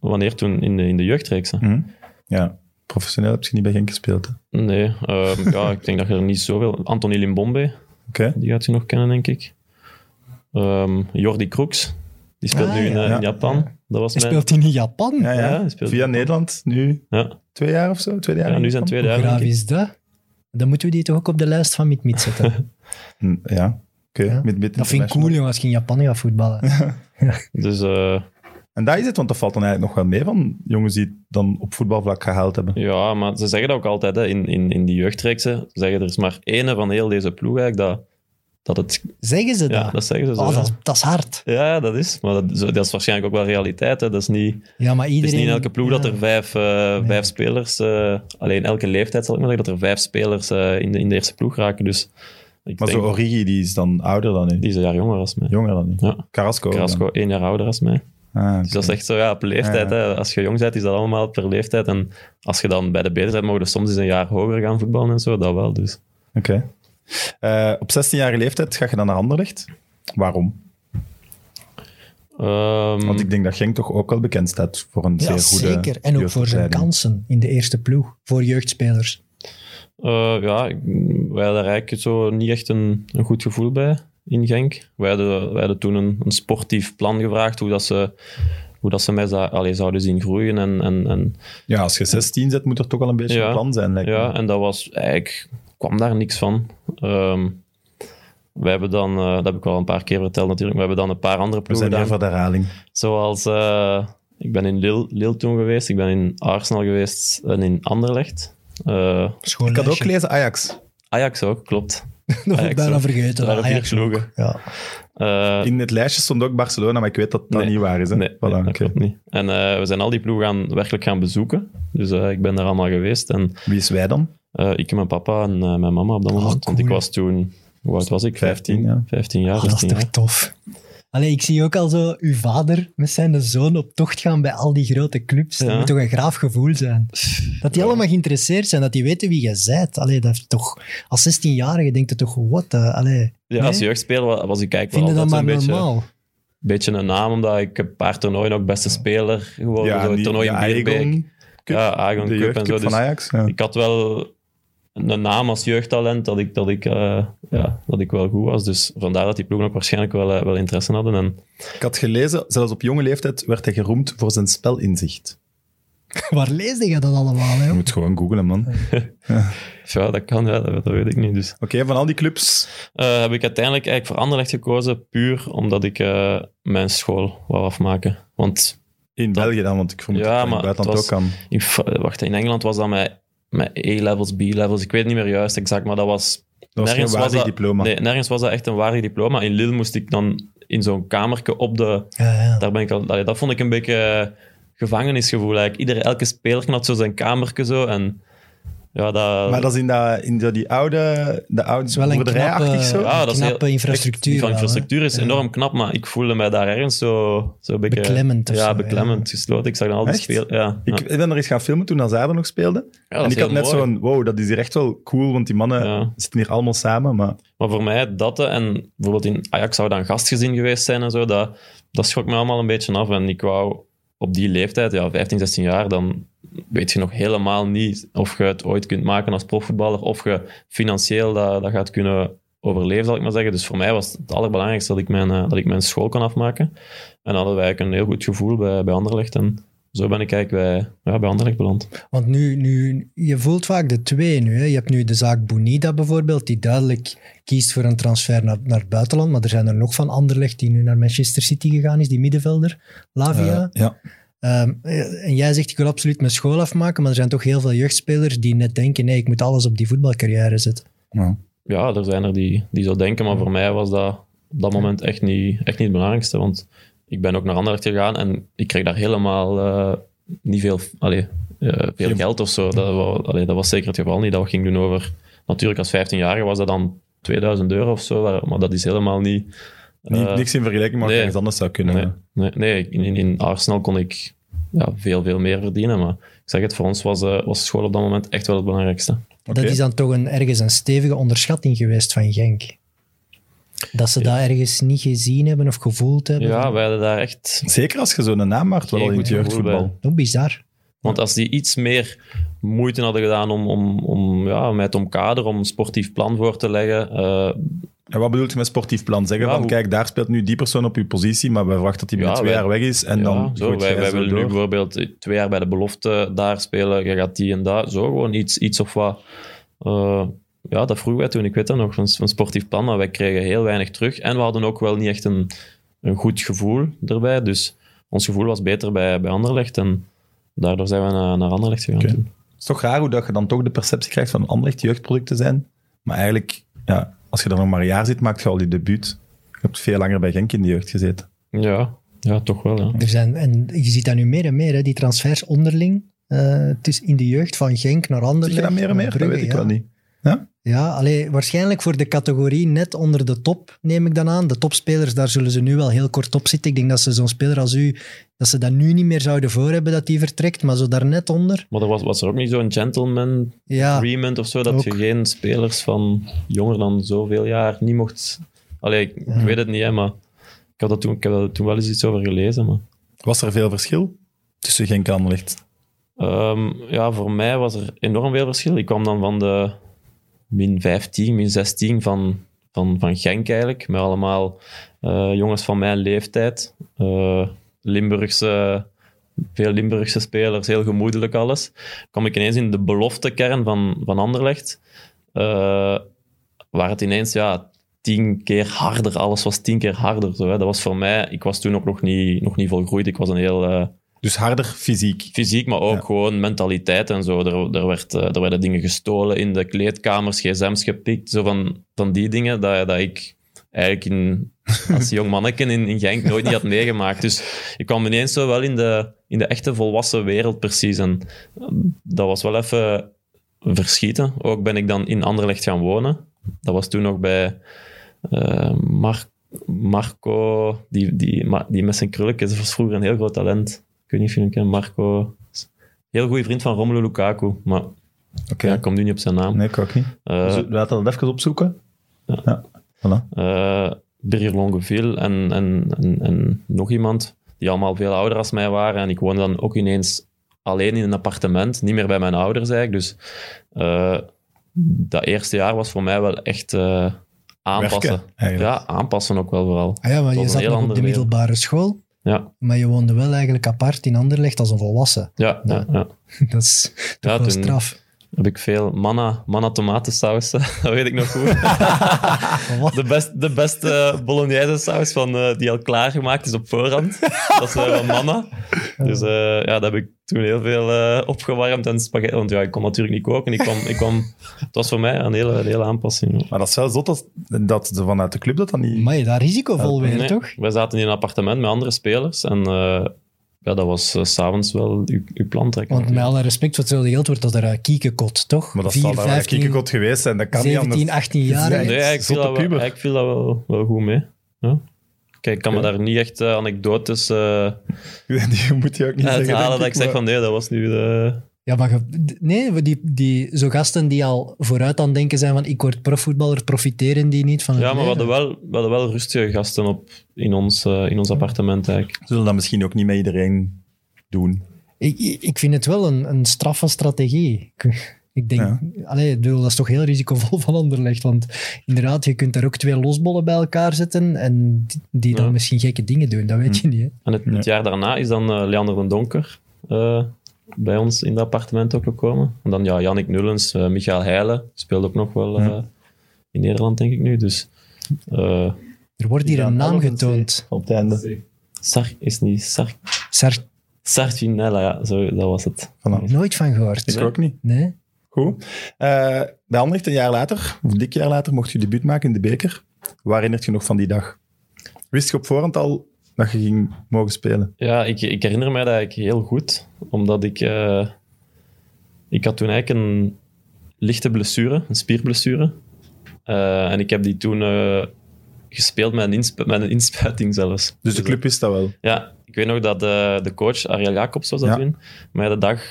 Speaker 3: Wanneer toen? In de, in de jeugdreeks? hè?
Speaker 1: Hm? Ja, professioneel heb je niet bij Genk gespeeld. hè? Oké.
Speaker 3: Nee, ehm,
Speaker 1: <laughs>
Speaker 3: ja, ik denk dat je er niet zoveel... Anthony Limbombe, die gaat je nog kennen, denk ik. Ehm, Jordi Kroeks, die speelt
Speaker 2: Ah,
Speaker 3: nu in,
Speaker 2: ja.
Speaker 3: eh, in
Speaker 1: Ja.
Speaker 3: Japan. Dat was
Speaker 2: Hij
Speaker 3: mijn...
Speaker 2: speelt in Japan.
Speaker 1: Ja, ja.
Speaker 3: Ja, hij speelt-
Speaker 1: Via Nederland, nu
Speaker 3: Ja,
Speaker 1: twee jaar of zo? Tweede jaar
Speaker 3: ja, nu zijn
Speaker 1: in
Speaker 3: twee
Speaker 2: Hoe
Speaker 3: jaar.
Speaker 2: graaf
Speaker 3: denk ik.
Speaker 2: is dat? Dan moeten we die toch ook op de lijst van Mit-Mit zetten.
Speaker 1: Hm, Ja,
Speaker 2: Ja.
Speaker 1: Mid -mid
Speaker 2: Dat vind ik cool, jongen, als je in Japan gaat voetballen.
Speaker 3: Dus eh,
Speaker 1: En daar is het, want dat valt dan eigenlijk nog wel mee van jongens die het dan op voetbalvlak gehaald hebben.
Speaker 3: ja, maar ze zeggen dat ook altijd hè, in, in, in die jeugdreeksen. Ze zeggen er is maar één van heel deze ploeg eigenlijk dat, dat het...
Speaker 2: Zeggen ze
Speaker 3: Ja,
Speaker 2: dat?
Speaker 3: dat zeggen ze zo.
Speaker 2: Oh,
Speaker 3: ja.
Speaker 2: dat, dat is hard.
Speaker 3: Ja, dat is. Maar dat, zo- dat is waarschijnlijk ook wel realiteit. Hè. Dat is niet,
Speaker 2: Ja, maar
Speaker 3: het
Speaker 2: iedereen...
Speaker 3: is niet in elke ploeg dat
Speaker 2: ja.
Speaker 3: er vijf, eh, vijf spelers, eh, alleen elke leeftijd zal ik maar zeggen, dat er vijf spelers eh, in, de, in de eerste ploeg raken. Dus ik
Speaker 1: Maar
Speaker 3: denk,
Speaker 1: zo Origi, die is dan ouder dan nu.
Speaker 3: die is een jaar jonger als mij.
Speaker 1: Jonger dan nu.
Speaker 3: Ja.
Speaker 1: Carrasco. ook
Speaker 3: Carrasco één jaar ouder als mij.
Speaker 1: dan. Ah, oké.
Speaker 3: Dus dat is echt zo, ja, op leeftijd.
Speaker 1: Ja,
Speaker 3: Hè. Als je jong bent, is dat allemaal per leeftijd. En als je dan bij de beter bent, mogen we soms eens een jaar hoger gaan voetballen en zo. Dat wel, dus.
Speaker 1: Oké. Eh, op 16-jarige leeftijd ga je dan naar Anderlecht. Waarom?
Speaker 3: Ehm,
Speaker 1: Want ik denk dat Genk toch ook wel bekend staat voor een
Speaker 2: Ja,
Speaker 1: zeer goede
Speaker 2: zeker. En ook voor zijn
Speaker 1: jeugdopleiding.
Speaker 2: kansen in de eerste ploeg. Voor jeugdspelers.
Speaker 3: Eh, ja, ik- wij hadden er eigenlijk zo niet echt een, een goed gevoel bij in Genk. Wij hadden, wij hadden toen een, een sportief plan gevraagd, hoe dat ze, hoe dat ze mij za- allee, zouden zien groeien. En, en, en,
Speaker 1: Ja, als je 16 zet, moet er toch al een beetje
Speaker 3: Ja.
Speaker 1: een plan zijn. Lijkt
Speaker 3: ja,
Speaker 1: me.
Speaker 3: en dat was eigenlijk, kwam daar niks van. Ehm we hebben dan, eh, dat heb ik wel een paar keer verteld natuurlijk, we hebben dan een paar andere
Speaker 1: We
Speaker 3: ploegen
Speaker 1: zijn hier
Speaker 3: gedaan.
Speaker 1: voor de herhaling.
Speaker 3: Zoals, eh, ik ben in Lille, Lille toen geweest, ik ben in Arsenal geweest en in Anderlecht. Eh,
Speaker 2: Schoon
Speaker 1: Ik had ook
Speaker 2: lijstje.
Speaker 1: lezen Ajax.
Speaker 3: Ajax ook, klopt.
Speaker 2: Dat had ik
Speaker 3: Ajax
Speaker 2: bijna
Speaker 3: ook.
Speaker 2: vergeten.
Speaker 3: Er waren vier
Speaker 2: Ajax ook.
Speaker 3: ploegen.
Speaker 2: Ja. Ah,
Speaker 3: Eh,
Speaker 1: In het lijstje stond ook Barcelona, maar ik weet dat dat
Speaker 3: Nee.
Speaker 1: niet waar is. Hè?
Speaker 3: Nee,
Speaker 1: Voilà,
Speaker 3: nee, dat
Speaker 1: oké.
Speaker 3: klopt niet. En eh, we zijn al die ploegen gaan, werkelijk gaan bezoeken. Dus eh, ik ben daar allemaal geweest. En
Speaker 1: Wie is wij dan?
Speaker 3: eh, ik en mijn papa en eh, mijn mama op dat
Speaker 2: Oh,
Speaker 3: moment. Want ik
Speaker 2: cool.
Speaker 3: was toen... Hoe oud was ik? 15,
Speaker 1: 15,
Speaker 3: 15,
Speaker 1: ja.
Speaker 3: jaar,
Speaker 2: Oh, dat
Speaker 3: 16
Speaker 2: is toch
Speaker 3: jaar.
Speaker 2: tof. Allee, ik zie ook al zo uw vader met zijn zoon op tocht gaan bij al die grote clubs. Dat
Speaker 3: Ja.
Speaker 2: moet toch een graaf gevoel zijn. Dat die allemaal geïnteresseerd zijn, dat die weten wie je bent. Allee, dat is toch, als 16-jarige denkt het toch, wat? Allee,
Speaker 3: Ja, als
Speaker 2: Nee?
Speaker 3: jeugdspeler wa- was ik eigenlijk
Speaker 2: vind je
Speaker 3: wel
Speaker 2: dat
Speaker 3: altijd
Speaker 2: maar
Speaker 3: zo'n beetje,
Speaker 2: normaal?
Speaker 3: beetje een naam, omdat ik een paar toernooien ook beste speler geworden. zo het
Speaker 1: die-
Speaker 3: toernooi
Speaker 1: de
Speaker 3: in Bierbeek.
Speaker 1: Aegon Cup,
Speaker 3: Ja, Agon
Speaker 1: de
Speaker 3: Cup en zo.
Speaker 1: jeugdcup van
Speaker 3: Dus
Speaker 1: Ajax. Ja.
Speaker 3: ik had wel een naam als jeugdtalent dat ik, dat ik, eh, ja, dat ik wel goed was. Dus vandaar dat die ploegen ook waarschijnlijk wel, eh, wel interesse hadden. En
Speaker 1: Ik had gelezen, zelfs op jonge leeftijd werd hij geroemd voor zijn spelinzicht.
Speaker 2: <laughs> Waar leesde je dat allemaal? Hè?
Speaker 1: Je moet gewoon googlen, man. Oké,
Speaker 3: ja, dat kan, ja, dat, dat weet ik niet. Dus.
Speaker 1: van al die clubs.
Speaker 3: Eh, heb ik uiteindelijk eigenlijk voor Anderlecht gekozen, puur omdat ik eh, mijn school wou afmaken. Want
Speaker 1: In België dan, want ik vermoed
Speaker 3: Ja,
Speaker 1: dat het in
Speaker 3: maar
Speaker 1: het buitenland
Speaker 3: het
Speaker 1: ook kan.
Speaker 3: in, fa- wacht, in Engeland was dat met, met E-levels, B-levels, ik weet niet meer juist exact, maar dat was...
Speaker 1: Dat was geen waardig diploma.
Speaker 3: Nee, nergens was dat echt een waardig diploma. In Lille moest ik dan in zo'n kamerke op de...
Speaker 2: Ja, ja.
Speaker 3: Daar ben ik al, allee, dat vond ik een beetje eh, gevangenisgevoel eigenlijk. Iedere, elke speler had zo zijn kamerke zo en... Ja, dat...
Speaker 1: Maar dat is in, dat, in dat, die oude, de
Speaker 2: is wel
Speaker 1: oude
Speaker 2: een
Speaker 1: boerderijachtig
Speaker 2: knappe-
Speaker 1: zo.
Speaker 2: Ja,
Speaker 3: is heel-
Speaker 2: knappe infrastructuur
Speaker 3: Die
Speaker 2: wel,
Speaker 3: van
Speaker 2: hè?
Speaker 3: infrastructuur is
Speaker 2: Ja.
Speaker 3: enorm knap, maar ik voelde mij daar ergens zo, zo een beetje...
Speaker 2: Beklemmend of
Speaker 3: Ja,
Speaker 2: zo,
Speaker 3: beklemmend gesloten. Ik zag dan al die
Speaker 1: Echt?
Speaker 3: spelen. Ja,
Speaker 1: Ik,
Speaker 3: ja.
Speaker 1: ik ben er eens gaan filmen toen Azar nog speelde.
Speaker 3: Ja, dat
Speaker 1: en
Speaker 3: is
Speaker 1: ik had
Speaker 3: heel
Speaker 1: net
Speaker 3: mooi.
Speaker 1: zo'n, wow, dat is hier echt wel cool, want die mannen
Speaker 3: Ja.
Speaker 1: zitten hier allemaal samen. Maar
Speaker 3: Maar voor mij dat eh, en bijvoorbeeld in Ajax zou dan gastgezin geweest zijn en zo, dat, dat schrok me allemaal een beetje af. En ik wou op die leeftijd, ja, 15, 16 jaar, dan weet je nog helemaal niet of je het ooit kunt maken als profvoetballer of je financieel dat, dat gaat kunnen overleven, zal ik maar zeggen. Dus voor mij was het allerbelangrijkste dat ik mijn, eh, dat ik mijn school kon afmaken. En hadden wij eigenlijk een heel goed gevoel bij, bij Anderlecht. En zo ben ik eigenlijk bij, ja, bij Anderlecht beland.
Speaker 2: Want nu, nu, je voelt vaak de twee nu. Hè. Je hebt nu de zaak Bonida bijvoorbeeld, die duidelijk kiest voor een transfer naar, naar het buitenland. Maar er zijn er nog van Anderlecht die nu naar Manchester City gegaan is, die middenvelder, Lavia.
Speaker 1: Eh, ja.
Speaker 2: Ehm, eh, en jij zegt, ik wil absoluut mijn school afmaken, maar er zijn toch heel veel jeugdspelers die net denken, nee, ik moet alles op die voetbalcarrière zetten.
Speaker 1: ja.
Speaker 3: ja, er zijn er die, die zo denken, maar voor mij was dat op dat moment echt niet, echt niet het belangrijkste. Want ik ben ook naar Anderlecht gegaan en ik kreeg daar helemaal eh, niet veel, allee, eh, veel
Speaker 1: Geen-
Speaker 3: geld of zo. Dat, wa- allee, dat was zeker het geval niet. Dat ging doen over, natuurlijk als 15-jarige was dat dan 2000 euro of zo, maar- maar dat is helemaal niet...
Speaker 1: Niet,
Speaker 3: eh,
Speaker 1: niks in vergelijking, maar wat
Speaker 3: nee.
Speaker 1: ergens anders zou kunnen.
Speaker 3: Nee, nee, nee in, in- in Arsenal kon ik ja, veel, veel meer verdienen, maar ik zeg het, voor ons was, eh, was school op dat moment echt wel het belangrijkste.
Speaker 1: Oké.
Speaker 2: Dat is dan toch een, ergens een stevige onderschatting geweest van Genk. Dat ze dat ergens niet gezien hebben of gevoeld hebben.
Speaker 3: Ja, wij hadden daar echt
Speaker 1: Zeker als je zo'n naam maakt, wel
Speaker 3: Geen
Speaker 1: al in het
Speaker 3: goed gevoel bij.
Speaker 1: jeugdvoetbal.
Speaker 2: Toch bizar.
Speaker 3: Want als die iets meer moeite hadden gedaan om, om, om ja, mij te omkaderen, om een sportief plan voor te leggen. eh,
Speaker 1: En wat bedoelt je met sportief plan? Zeggen
Speaker 3: Ja,
Speaker 1: van,
Speaker 3: hoe-
Speaker 1: kijk, daar speelt nu die persoon op je positie, maar we verwachten dat hij binnen
Speaker 3: Ja,
Speaker 1: twee
Speaker 3: wij-
Speaker 1: jaar weg is. En
Speaker 3: ja,
Speaker 1: dan
Speaker 3: zo,
Speaker 1: gooit
Speaker 3: wij,
Speaker 1: jij
Speaker 3: wij
Speaker 1: zo
Speaker 3: willen nu
Speaker 1: door.
Speaker 3: bijvoorbeeld twee jaar bij de belofte daar spelen. Je gaat die en daar. Zo gewoon iets, iets of wat. eh, ja, dat vroegen wij toen, ik weet dat nog, van, van sportief plan, maar wij kregen heel weinig terug. En we hadden ook wel niet echt een, een goed gevoel erbij. Dus ons gevoel was beter bij, bij Anderlecht. En daardoor zijn we naar, naar Anderlecht gegaan.
Speaker 1: Oké.
Speaker 3: toen.
Speaker 1: Het is toch raar hoe dat je dan toch de perceptie krijgt van Anderlecht jeugdproduct te zijn. Maar eigenlijk, ja, als je dan nog maar een jaar zit, maakt je al die debuut. Je hebt veel langer bij Genk in de jeugd gezeten.
Speaker 3: Ja, ja, toch wel. Ja.
Speaker 2: Er zijn, en je ziet dat nu meer en meer, hè, die transfers onderling. eh, tussen in de jeugd van Genk naar
Speaker 1: Zeg
Speaker 2: Anderlecht.
Speaker 1: je dat meer en
Speaker 2: naar
Speaker 1: meer? Dat
Speaker 2: Brugge,
Speaker 1: weet ik
Speaker 2: ja.
Speaker 1: wel niet.
Speaker 2: Ja, allee, waarschijnlijk voor de categorie net onder de top, neem ik dan aan. De topspelers, daar zullen ze nu wel heel kort op zitten. Ik denk dat ze zo'n speler als u, dat ze dat nu niet meer zouden voor hebben dat die vertrekt, maar zo daar net onder.
Speaker 3: Maar er was, was er ook niet zo'n gentleman
Speaker 2: Ja,
Speaker 3: agreement of zo, dat je
Speaker 2: ook.
Speaker 3: geen spelers van jonger dan zoveel jaar niet mocht... Allee, ik, ik
Speaker 2: Ja.
Speaker 3: weet het niet, hè, maar ik, had dat toen, ik heb daar toen wel eens iets over gelezen. Maar,
Speaker 1: Was er veel verschil tussen Genk en Anderlecht?
Speaker 3: Ehm, ja, voor mij was er enorm veel verschil. Ik kwam dan van de min 15, min 16 van, van, van Genk eigenlijk, met allemaal eh, jongens van mijn leeftijd. Eh, Limburgse, veel Limburgse spelers, heel gemoedelijk alles. kwam ik ineens in de beloftekern van, van Anderlecht. eh, waar het ineens ja, tien keer harder, alles was tien keer harder. Zo, hè. Dat was voor mij, ik was toen ook nog niet, nog niet volgroeid. Ik was een heel eh,
Speaker 1: Dus harder fysiek.
Speaker 3: fysiek, maar ook
Speaker 1: Ja.
Speaker 3: gewoon mentaliteit en zo. Er, er, werd, eh, er werden dingen gestolen in de kleedkamers, gsm's gepikt. Zo van, van die dingen dat, dat ik eigenlijk in, als jong manneken in, in Genk nooit niet had meegemaakt. Dus ik kwam ineens zo wel in de, in de echte volwassen wereld precies. En eh, dat was wel even verschieten. Ook ben ik dan in Anderlecht gaan wonen. Dat was toen nog bij eh, Mar- Marco, die, die, ma- die met zijn krulletjes was vroeger een heel groot talent. Ik weet niet of je hem kent, Marco. Heel goede vriend van Romelu Lukaku, maar
Speaker 1: Oké.
Speaker 3: ja, ik kom nu niet op zijn naam.
Speaker 1: Nee, ik ook niet. Dus
Speaker 3: Eh,
Speaker 1: laten we dat even opzoeken.
Speaker 3: Ja.
Speaker 1: Ja. Voilà.
Speaker 3: eh Birger Longeville en, en, en, en nog iemand die allemaal veel ouder als mij waren. En ik woonde dan ook ineens alleen in een appartement, niet meer bij mijn ouders eigenlijk. Dus eh, dat eerste jaar was voor mij wel echt eh, aanpassen.
Speaker 1: Werken, eigenlijk.
Speaker 3: ja, aanpassen ook wel vooral.
Speaker 2: ah ja maar
Speaker 3: was
Speaker 2: je
Speaker 3: een
Speaker 2: zat
Speaker 3: heel
Speaker 2: nog op de
Speaker 3: andere wereld.
Speaker 2: middelbare school,
Speaker 3: Ja,
Speaker 2: maar je woonde wel eigenlijk apart in Anderlecht als een volwassen. <laughs>
Speaker 3: ja, ja. ja.
Speaker 2: Dat is toch
Speaker 3: Ja,
Speaker 2: wel
Speaker 3: toen-
Speaker 2: straf.
Speaker 3: Heb ik veel manna, manna tomatensaus, <laughs> dat weet ik nog
Speaker 2: <laughs>
Speaker 3: goed.
Speaker 2: Wat?
Speaker 3: De, best, de beste bolognese saus van, eh, die al klaargemaakt is op voorhand. Dat is eh, van mama. Dus eh, ja, dat heb ik toen heel veel eh, opgewarmd en spaghetti. Want ja, ik kon natuurlijk niet koken. Ik kwam, ik kwam, het was voor mij een hele, een hele aanpassing.
Speaker 1: Maar dat is wel zot als, dat ze vanuit de club dat dan niet...
Speaker 2: Maar je daar risicovol weer,
Speaker 3: Nee,
Speaker 2: toch?
Speaker 3: Wij zaten in een appartement met andere spelers. En eh, ja, dat was eh, s s'avonds wel uw, uw plan trekken.
Speaker 2: Want met alle respect voor hetzelfde geld wordt dat er een kiekekot, toch?
Speaker 1: Maar dat
Speaker 2: Vier,
Speaker 1: zal daar wel
Speaker 2: 15,
Speaker 1: kiekekot geweest zijn. Dat kan niet
Speaker 2: 17,
Speaker 1: anders.
Speaker 2: 18 jaar.
Speaker 1: Nee,
Speaker 3: Nee, eigenlijk viel,
Speaker 1: zotte
Speaker 3: dat wel,
Speaker 1: puber.
Speaker 3: eigenlijk viel dat wel, wel goed mee. Ja. Kijk, ik kan me
Speaker 1: Oké.
Speaker 3: daar niet echt eh, anekdotes eh
Speaker 1: <laughs> Die moet je ook niet zeggen,
Speaker 3: uithalen
Speaker 1: denk
Speaker 3: dat ik zeg
Speaker 1: maar-
Speaker 3: van nee, dat was nu de...
Speaker 2: Ja, maar ge- nee, die, die, zo gasten die al vooruit aan het denken zijn van ik word profvoetballer, profiteren die niet van het
Speaker 3: Ja, maar we hadden
Speaker 2: leven?
Speaker 3: wel, we hadden wel rustige gasten op in ons, eh, in ons appartement eigenlijk.
Speaker 1: zullen dat misschien ook niet met iedereen doen.
Speaker 2: Ik, ik- ik vind het wel een, een straffe strategie. Ik- Ik denk,
Speaker 1: Ja.
Speaker 2: allee, ik bedoel, dat is toch heel risicovol <laughs> van Anderlecht. Want inderdaad, je kunt daar ook twee losbollen bij elkaar zetten en die, die dan
Speaker 3: Ja.
Speaker 2: misschien gekke dingen doen, dat weet je
Speaker 1: Hm.
Speaker 2: niet. Hè?
Speaker 3: En het, het jaar daarna is dan eh, Leander den Donker eh, bij ons in dat appartement ook gekomen. En dan ja, Jannik Nullens, eh, Michael Heijlen, speelde ook nog wel eh,
Speaker 1: Ja.
Speaker 3: in Nederland, denk ik nu. Dus eh,
Speaker 2: Er wordt hier een naam getoond.
Speaker 1: Op het einde.
Speaker 3: Sar is niet Sar,
Speaker 2: Sar,
Speaker 3: Sarginella, ja, zo, dat was het.
Speaker 1: Voilà.
Speaker 2: nooit van
Speaker 1: Ik
Speaker 2: gehoord.
Speaker 1: ook niet.
Speaker 2: Nee?
Speaker 1: Goed. Eh bij Anderlecht een jaar later, of dik jaar later, mocht je debuut maken in de beker. Waar herinnert je nog van die dag? Wist je op voorhand al dat je ging mogen spelen?
Speaker 3: Ja, ik, ik herinner mij dat eigenlijk heel goed. Omdat ik... eh, ik had toen eigenlijk een lichte blessure, een spierblessure. Eh, en ik heb die toen eh, gespeeld met een, insp- met een inspuiting zelfs.
Speaker 1: Dus de club wist dat wel.
Speaker 3: Ja, ik weet nog dat eh, de coach, Ariel Jacobs was dat
Speaker 1: Ja.
Speaker 3: toen, mij de dag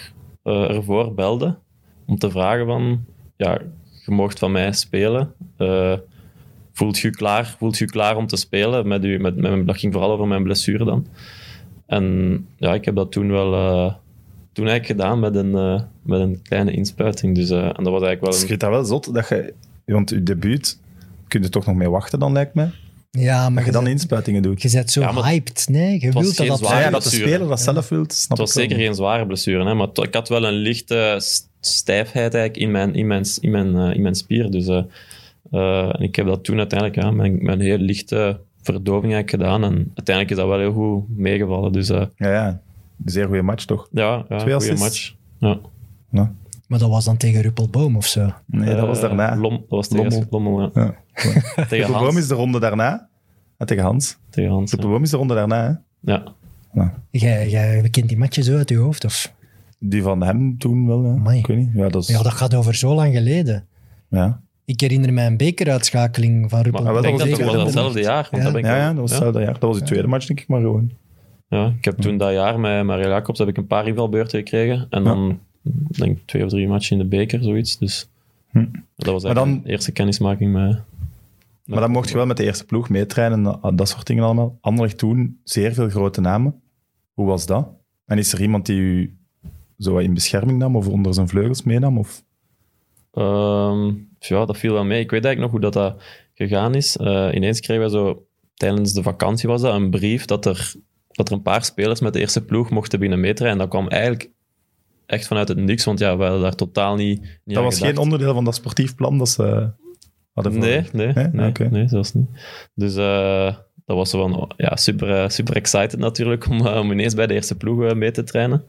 Speaker 3: eh, ervoor belde om te vragen van, ja, je moogt van mij spelen. Eh, voelt je klaar? Voelt je klaar om te spelen? Met u, met, met, mijn- dat ging vooral over mijn blessure dan. En ja, ik heb dat toen wel... eh, toen eigenlijk gedaan met een, eh, met een kleine inspuiting. Dus, eh, en dat was eigenlijk wel
Speaker 1: Dus
Speaker 3: een
Speaker 1: je vindt dat wel zot dat je... Want je debuut, kun je toch nog mee wachten dan, lijkt mij.
Speaker 2: Ja, maar
Speaker 1: Dat je
Speaker 2: je,
Speaker 1: dan
Speaker 2: bent-
Speaker 1: inspuitingen doet.
Speaker 2: je bent zo
Speaker 3: Ja, maar-
Speaker 2: hyped. Nee, je
Speaker 3: was
Speaker 2: wilt dat
Speaker 3: geen
Speaker 2: dat
Speaker 1: Ja,
Speaker 3: zware
Speaker 1: ja, dat de
Speaker 3: blessure.
Speaker 1: speler dat zelf wil, snap
Speaker 3: Het was
Speaker 1: ik wel.
Speaker 3: zeker geen zware blessure, hè, maar to- ik had wel een lichte s- stijfheid eigenlijk in mijn, in mijn, in mijn, eh, in mijn spier. Dus eh, eh, en ik heb dat toen uiteindelijk aan mijn, mijn heel lichte verdoving eigenlijk gedaan. En uiteindelijk is dat wel heel goed meegevallen. Dus eh,
Speaker 1: Ja, ja. Zeer goede match, toch?
Speaker 3: ja, ja
Speaker 1: Twee
Speaker 3: goede
Speaker 1: assists.
Speaker 3: match. Ja.
Speaker 1: Ja.
Speaker 2: Maar dat was dan tegen Ruppelboom of zo.
Speaker 1: Nee, dat was
Speaker 3: Eh,
Speaker 1: daarna.
Speaker 3: Lom, dat was tegen
Speaker 1: Lommel.
Speaker 3: Lommel. ja.
Speaker 1: <laughs> Ja.
Speaker 3: Tegen
Speaker 1: Topelboom is
Speaker 3: Hans.
Speaker 1: de ronde daarna. Ah, tegen Hans.
Speaker 3: Tegen Hans, ja.
Speaker 1: Topelboom is de ronde daarna, hè? Nou,
Speaker 3: ja.
Speaker 2: Jij, jij kent die matchen zo uit je hoofd, of?
Speaker 1: Die van hem toen wel, ja.
Speaker 2: Amai.
Speaker 1: Ik weet niet. Ja, dat is...
Speaker 2: Ja, dat gaat over zo lang geleden.
Speaker 1: ja.
Speaker 2: Ik herinner mij een bekeruitschakeling van
Speaker 3: Maar
Speaker 2: Ruppelboom.
Speaker 3: ik
Speaker 1: wel,
Speaker 3: denk dat
Speaker 1: was
Speaker 3: het
Speaker 1: het
Speaker 3: was
Speaker 1: tweede
Speaker 3: hetzelfde jaar.
Speaker 2: Ja.
Speaker 3: Want dat ben ik
Speaker 1: Ja,
Speaker 3: ook-
Speaker 1: ja, dat was
Speaker 3: ja.
Speaker 1: hetzelfde jaar. Dat was die tweede match, denk ik, maar gewoon.
Speaker 3: Ja, ik heb toen dat jaar met Mario Jacobs heb ik een paar invalbeurten gekregen. En dan denk ik twee of drie matchen in de beker, zoiets. Dus
Speaker 1: Hm.
Speaker 3: dat was
Speaker 1: Maar
Speaker 3: eigenlijk
Speaker 1: dan-
Speaker 3: mijn eerste kennismaking met...
Speaker 1: Maar dan mocht je wel met de eerste ploeg meetrainen en dat- dat soort dingen allemaal. Anderlecht toen, zeer veel grote namen. Hoe was dat? En is er iemand die u zo wat in bescherming nam of onder zijn vleugels meenam? Of...
Speaker 3: Ehm, ja, dat viel wel mee. Ik weet eigenlijk nog hoe dat, dat gegaan is. Eh, ineens kregen wij zo, tijdens de vakantie was dat, een brief dat er, dat er een paar spelers met de eerste ploeg mochten binnen meetrainen. En dat kwam eigenlijk echt vanuit het niks, want ja, we hadden daar totaal niet, niet
Speaker 1: dat
Speaker 3: aan
Speaker 1: was
Speaker 3: gedacht.
Speaker 1: geen onderdeel van dat sportief plan dat ze eh, hadden voor-
Speaker 3: Nee, nee,
Speaker 1: Nee?
Speaker 3: nee, nee,
Speaker 1: Oké.
Speaker 3: zelfs niet. Dus eh, dat was zo van, oh, ja, super, eh, super excited natuurlijk om, eh, om ineens bij de eerste ploeg eh, mee te trainen.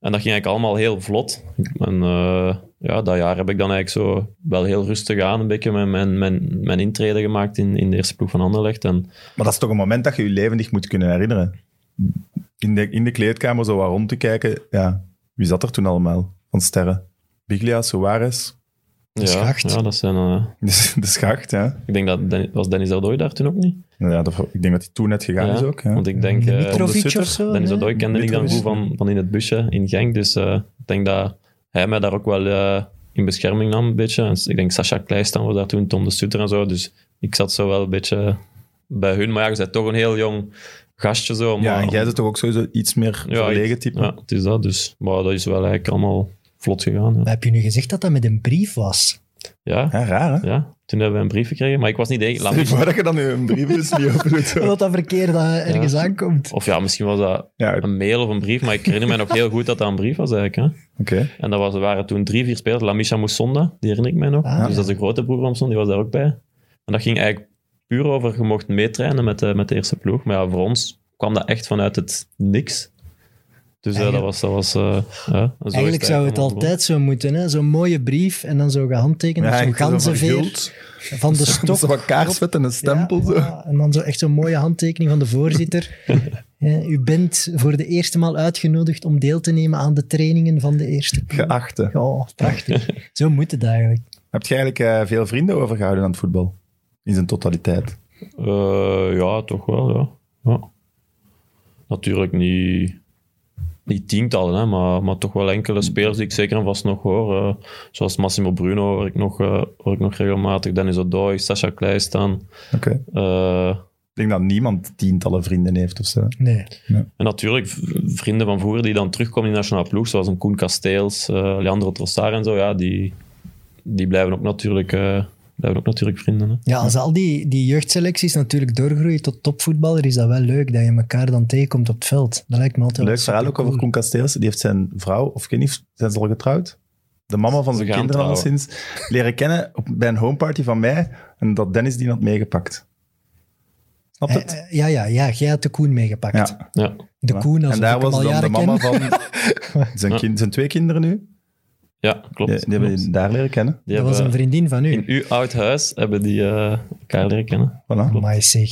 Speaker 3: En dat ging eigenlijk allemaal heel vlot. En eh, ja, dat jaar heb ik dan eigenlijk zo wel heel rustig aan een beetje mijn, mijn, mijn, mijn intrede gemaakt in, in de eerste ploeg van Anderlecht. En
Speaker 1: Maar dat is toch een moment dat je je levendig moet kunnen herinneren. In de, in de kleedkamer zo wat rond te kijken. Ja, wie zat er toen allemaal van sterren? Biglia, Soares,
Speaker 3: ja,
Speaker 2: schacht.
Speaker 3: ja, dat zijn, eh,
Speaker 1: de, <laughs> de schacht, ja.
Speaker 3: ik denk dat, Den- was Dennis Ardoi daar toen ook niet?
Speaker 1: Nou ja dat, ik denk dat hij toen net gegaan is ook. Ja.
Speaker 3: Want ik denk... eh,
Speaker 2: Mitrovic
Speaker 1: Sutter,
Speaker 2: of zo?
Speaker 3: Dan is
Speaker 2: nee?
Speaker 3: dat ook, kende ik dan
Speaker 1: Mitrovic.
Speaker 3: goed van, van in het busje in Genk. Dus eh, ik denk dat hij mij daar ook wel eh, in bescherming nam, een beetje. En ik denk Sascha Kleistan was daar toen, Tom de Sutter en zo. Dus ik zat zo wel een beetje bij hun. Maar ja, je bent toch een heel jong gastje. Zo, maar,
Speaker 1: ja, en jij zit toch ook sowieso iets meer
Speaker 3: Ja,
Speaker 1: verlegen type?
Speaker 3: Ja, het is dat. Dus, maar dat is wel eigenlijk allemaal vlot gegaan. Ja,
Speaker 2: Maar heb je nu gezegd dat dat met een brief was?
Speaker 3: ja,
Speaker 1: Ja, raar, hè?
Speaker 3: ja. toen hebben we een brief gekregen. Maar ik was niet... de-
Speaker 1: Stel je <laughs>
Speaker 3: Laat-
Speaker 1: voor dat je dan nu een brief is niet open doet, zo.
Speaker 2: Dat dat verkeer dat ergens aankomt.
Speaker 3: Of ja, misschien was dat
Speaker 1: Ja, oké.
Speaker 3: een mail of een brief. Maar ik herinner mij nog heel goed dat dat een brief was eigenlijk. Hè. En dat was, waren toen drie, vier spelers. Lamisha Moussonda, die herinner ik mij nog.
Speaker 2: Ah,
Speaker 3: dus
Speaker 2: ja.
Speaker 3: dat is de grote broer van Moussonda, die was daar ook bij. En dat ging eigenlijk puur over, je mocht meetrainen met de, met de eerste ploeg. Maar ja, voor ons kwam dat echt vanuit het niks. Dus ja, dat
Speaker 2: Eigenlijk-
Speaker 3: was... Dat was eh, ja, en zo is
Speaker 2: Eigenlijk zou het
Speaker 3: allemaal begonnen.
Speaker 2: altijd zo moeten, hè? Zo'n mooie brief en dan zo gehandtekend met
Speaker 1: Ja,
Speaker 2: zo'n
Speaker 1: ik doe zo van
Speaker 2: ganzenveer
Speaker 1: guld.
Speaker 2: van
Speaker 3: <laughs>
Speaker 2: de
Speaker 1: <laughs> Dat is
Speaker 2: stok.
Speaker 1: wat kaarsvet en een stempel.
Speaker 2: Ja,
Speaker 1: zo.
Speaker 2: ja, en dan zo echt zo'n mooie handtekening van de voorzitter.
Speaker 1: <laughs>
Speaker 2: Ja, u bent voor de eerste maal uitgenodigd om deel te nemen aan de trainingen van de eerste ploeg.
Speaker 1: Geachte.
Speaker 2: Ja, prachtig.
Speaker 1: <laughs>
Speaker 2: Zo moet het eigenlijk.
Speaker 1: Heb je eigenlijk eh, veel vrienden overgehouden aan het voetbal? In zijn totaliteit.
Speaker 3: Eh, ja, toch wel, ja. ja. Natuurlijk niet, niet tientallen, hè, maar, maar toch wel enkele spelers die ik zeker en vast nog hoor. Eh, zoals Massimo Bruno hoor ik nog, eh, hoor ik nog regelmatig. Dennis Odoi, Sascha Kleistan.
Speaker 1: Oké.
Speaker 3: Eh,
Speaker 1: Ik denk dat niemand tientallen vrienden heeft of zo.
Speaker 2: Nee.
Speaker 3: en natuurlijk v- vrienden van vroeger die dan terugkomen in de nationale ploeg, zoals een Koen Kasteels, eh, Leandro Trossard en zo, ja, die, die blijven, ook natuurlijk, eh, blijven ook natuurlijk vrienden. Hè.
Speaker 2: Ja, als al die, die jeugdselecties natuurlijk doorgroeien tot topvoetballer, is dat wel leuk dat je elkaar dan tegenkomt op het veld. Dat lijkt me altijd
Speaker 1: Leuk
Speaker 2: wel
Speaker 1: verhaal ook
Speaker 2: supercool.
Speaker 1: over Koen Kasteels. Die heeft zijn vrouw, of ik weet niet, zijn ze al getrouwd? De mama van zijn
Speaker 3: gaan
Speaker 1: kinderen al
Speaker 3: trouwen.
Speaker 1: sinds leren kennen op, bij een homeparty van mij. En dat Dennis die had meegepakt. Snap
Speaker 2: Eh,
Speaker 1: het?
Speaker 2: eh, Ja, ja, ja, jij had de Koen meegepakt.
Speaker 1: Ja.
Speaker 3: Ja.
Speaker 2: De Eh, Koen, als
Speaker 1: en
Speaker 2: ik
Speaker 1: daar
Speaker 2: hem
Speaker 1: was
Speaker 2: al
Speaker 1: dan de
Speaker 2: jaren
Speaker 1: mama
Speaker 2: ken.
Speaker 1: van
Speaker 2: <laughs>
Speaker 1: zijn, kind, zijn twee kinderen nu. Die-
Speaker 3: ja, klopt.
Speaker 1: Die, hebben
Speaker 3: klopt.
Speaker 1: die daar leren kennen.
Speaker 3: Die
Speaker 2: dat
Speaker 3: hebben-
Speaker 2: was een vriendin van
Speaker 3: In
Speaker 2: u.
Speaker 3: uw oud huis hebben die eh, elkaar leren kennen.
Speaker 1: Voilà.
Speaker 2: Maar zeg,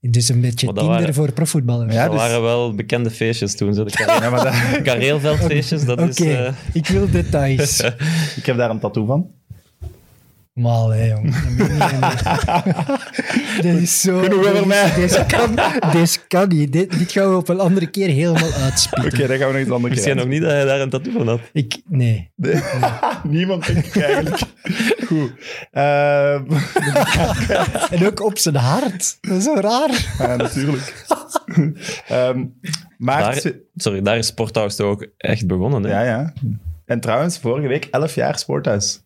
Speaker 2: dus een beetje
Speaker 3: Maar dat
Speaker 2: Tinder
Speaker 3: waren-
Speaker 2: voor profvoetballers.
Speaker 1: Ja,
Speaker 3: dat
Speaker 1: dus-
Speaker 3: waren wel bekende feestjes toen. Zo. De
Speaker 2: <laughs>
Speaker 3: Kare-
Speaker 1: Ja, maar daar-
Speaker 3: Kareelveldfeestjes, dat
Speaker 2: Oké,
Speaker 1: Dus,
Speaker 3: is... eh,
Speaker 2: ik wil
Speaker 1: <laughs>
Speaker 2: details.
Speaker 1: ik heb daar een tattoo van.
Speaker 2: Maar hè, jong. Dat meen je niet,
Speaker 1: <laughs>
Speaker 2: hè. Dit is zo...
Speaker 1: Genoeg over
Speaker 2: dit is-
Speaker 1: mij.
Speaker 2: Deze kan, deze kan niet. Dit, dit gaan we op een andere keer helemaal uitspelen.
Speaker 1: Oké, daar gaan we nog iets anders
Speaker 3: Ik zie nog niet dat hij daar een tattoo van had.
Speaker 2: Ik, nee.
Speaker 1: Nee. Niemand denk ik <laughs> eigenlijk. Goed. Eh,
Speaker 2: En ook op zijn hart. Dat is zo raar.
Speaker 1: ja, natuurlijk. <laughs> Ehm, maar...
Speaker 3: Daar, sorry, daar is Sporthuis toch ook echt begonnen. Hè?
Speaker 1: Ja, ja. En trouwens, vorige week 11 jaar Sporthuis.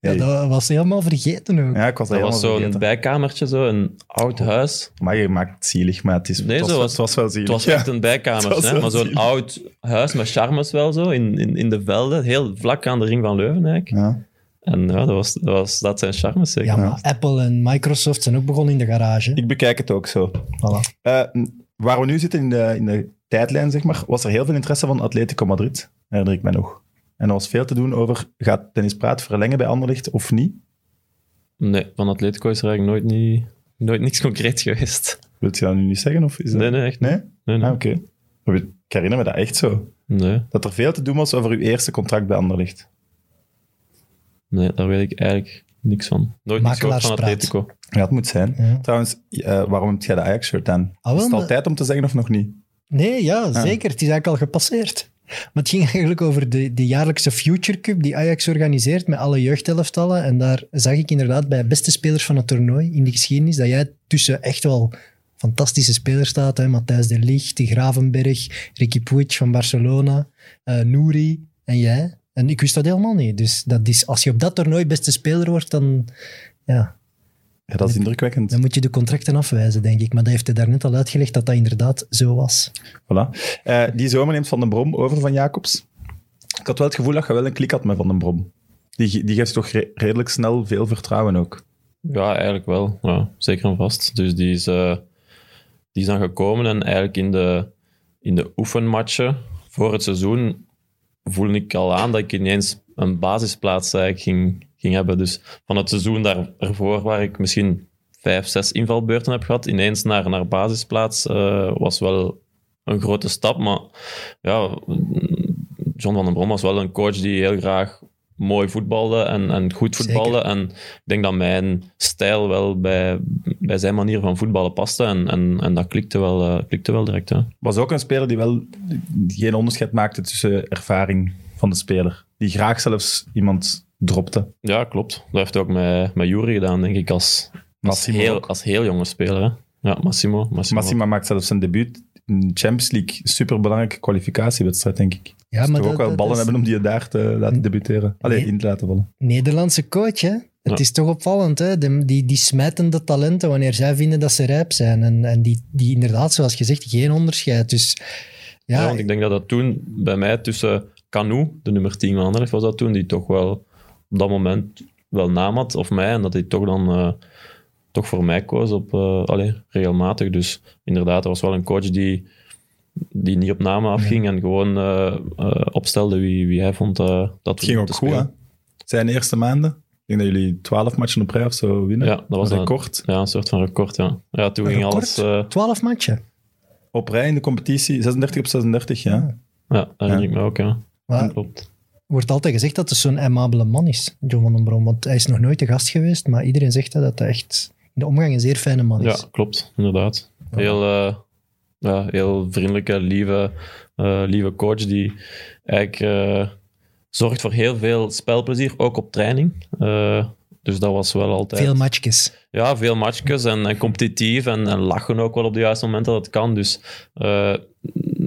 Speaker 1: Hey.
Speaker 2: Ja, dat was helemaal vergeten ook.
Speaker 1: Ja, ik was dat,
Speaker 3: Dat was
Speaker 1: helemaal
Speaker 3: zo'n
Speaker 1: vergeten.
Speaker 3: bijkamertje, zo, een oud huis.
Speaker 1: Maar je maakt het zielig, maar het, is,
Speaker 3: Nee,
Speaker 1: het, was,
Speaker 3: zo was-
Speaker 1: het was wel zielig.
Speaker 3: Het was
Speaker 1: ja.
Speaker 3: echt
Speaker 1: <laughs>
Speaker 3: een
Speaker 1: Het was
Speaker 3: bijkamer, hè?
Speaker 1: wel
Speaker 3: maar zo'n
Speaker 1: zielig.
Speaker 3: oud huis met charmes wel zo, in, in, in de velden, heel vlak aan de ring van Leuven eigenlijk.
Speaker 1: Ja.
Speaker 3: En ja, dat, was, dat, was, dat zijn charmes zeker.
Speaker 2: Ja, maar Apple en Microsoft zijn ook begonnen in de garage.
Speaker 1: Ik bekijk het ook zo.
Speaker 2: Voilà.
Speaker 1: Eh, waar we nu zitten in de, in de tijdlijn, zeg maar, was er heel veel interesse van Atletico Madrid, herinner ik mij nog. En er was veel te doen over, gaat Dennis Praat verlengen bij Anderlecht of niet?
Speaker 3: Nee, van Atletico is er eigenlijk nooit, niet, nooit niks <laughs> concreet geweest.
Speaker 1: Wilt je dat nu niet zeggen? Of is dat...
Speaker 3: Nee, nee, echt niet.
Speaker 1: Nee?
Speaker 3: Nee, nee.
Speaker 1: Ah, oké. Ik herinner me dat echt zo.
Speaker 3: nee,
Speaker 1: Dat er veel te doen was over uw eerste contract bij Anderlecht.
Speaker 3: nee, daar weet ik eigenlijk niks van. Nooit niks gehoord van
Speaker 2: Makelaarspraat.
Speaker 3: Atletico.
Speaker 1: Ja, het moet zijn.
Speaker 2: Ja.
Speaker 1: Trouwens, eh, waarom heb jij de Ajax-shirt aan?
Speaker 2: Ah, wel,
Speaker 1: is het al
Speaker 2: maar-
Speaker 1: tijd om te zeggen of nog niet?
Speaker 2: Nee, ja,
Speaker 1: Ah.
Speaker 2: zeker. Het is eigenlijk al gepasseerd. Maar het ging eigenlijk over de, de jaarlijkse Future Cup die Ajax organiseert met alle jeugdelftallen. En daar zag ik inderdaad bij beste spelers van het toernooi in de geschiedenis dat jij tussen echt wel fantastische spelers staat. Hè? Matthijs de Ligt, de Gravenberg, Ricky Puig van Barcelona, eh Nouri en jij. En ik wist dat helemaal niet. Dus dat is, als je op dat toernooi beste speler wordt, dan, ja,
Speaker 1: Ja, dat is indrukwekkend.
Speaker 2: dan moet je de contracten afwijzen, denk ik. Maar dat heeft hij daarnet al uitgelegd dat dat inderdaad zo was.
Speaker 1: Voilà. Eh, die zomer neemt Van den Brom over van Jacobs. Ik had wel het gevoel dat je wel een klik had met Van den Brom. Die, ge- die geeft toch re- redelijk snel veel vertrouwen ook.
Speaker 3: Ja, eigenlijk wel. Ja, zeker en vast. Dus die is, eh, die is dan gekomen en eigenlijk in de, in de oefenmatchen voor het seizoen voelde ik al aan dat ik ineens een basisplaats eigenlijk ging, ging hebben. Dus van het seizoen daar, ervoor, waar ik misschien vijf, zes invalbeurten heb gehad, ineens naar, naar basisplaats eh, was wel een grote stap. Maar ja, John van den Brom was wel een coach die heel graag mooi voetbalde en, en goed voetbalde. En ik denk dat mijn stijl wel bij, bij zijn manier van voetballen paste. En, en, en dat klikte wel, eh, klikte wel direct. Hè.
Speaker 1: Was ook een speler die wel geen onderscheid maakte tussen ervaring van de speler. Die graag zelfs iemand dropte.
Speaker 3: Ja, klopt. Dat heeft hij ook met, met Jury gedaan, denk ik, als, als,
Speaker 1: Massimo
Speaker 3: heel,
Speaker 1: ook.
Speaker 3: als heel jonge speler. Hè. Ja, Massimo. Massimo.
Speaker 1: Massima maakt zelfs zijn debuut in de Champions League. Superbelangrijke kwalificatiewedstrijd, denk ik.
Speaker 2: Ja,
Speaker 1: Ja,
Speaker 2: maar
Speaker 1: maar toch ook
Speaker 2: dat-
Speaker 1: wel
Speaker 2: dat
Speaker 1: ballen
Speaker 2: is-
Speaker 1: hebben om die daar te laten debuteren. Allee,
Speaker 2: Nee.
Speaker 1: in te laten vallen.
Speaker 2: Nederlandse coach, hè? Het
Speaker 3: Ja.
Speaker 2: is toch opvallend, hè? De- die, die smijten de talenten wanneer zij vinden dat ze rijp zijn. En, en die, die inderdaad, zoals gezegd, geen onderscheid. Dus
Speaker 3: Ja,
Speaker 2: ja,
Speaker 3: want ik denk dat dat toen bij mij tussen Canu, de nummer 10 van Anderlecht, was dat toen, die toch wel op dat moment wel naam had, of mij, en dat hij toch dan eh, toch voor mij koos op, eh, allee, regelmatig. Dus inderdaad, er was wel een coach die, die niet op namen afging en gewoon eh, eh, opstelde wie, wie hij vond eh, dat
Speaker 1: Het ging ook
Speaker 3: te
Speaker 1: goed, hè?
Speaker 3: spelen.
Speaker 1: Zijn eerste maanden. Ik denk dat jullie twaalf matchen op rij of zo winnen.
Speaker 3: Ja, dat was
Speaker 1: een
Speaker 3: een-
Speaker 1: record.
Speaker 3: Ja, een soort van record, ja. Ja, toen
Speaker 2: een
Speaker 3: ging
Speaker 2: record.
Speaker 3: alles... eh,
Speaker 2: 12 matchen.
Speaker 1: Op rij in de competitie, 36 op 36, ja.
Speaker 3: ja, herinner
Speaker 1: Ja.
Speaker 3: ik me ook, ja.
Speaker 2: Maar
Speaker 3: Klopt.
Speaker 2: wordt altijd gezegd dat het zo'n aimabele man is, John van den Brom. Want hij is nog nooit de gast geweest, maar iedereen zegt dat, dat hij echt in de omgang een zeer fijne man
Speaker 3: Ja,
Speaker 2: is.
Speaker 3: klopt, inderdaad. Heel, eh, ja, heel vriendelijke, lieve, eh, lieve coach die eigenlijk eh, zorgt voor heel veel spelplezier, ook op training. Eh, dus dat was wel altijd...
Speaker 2: Veel matchjes.
Speaker 3: Ja, veel matchjes en, en competitief en, en lachen ook wel op de juiste momenten dat het kan. Dus eh,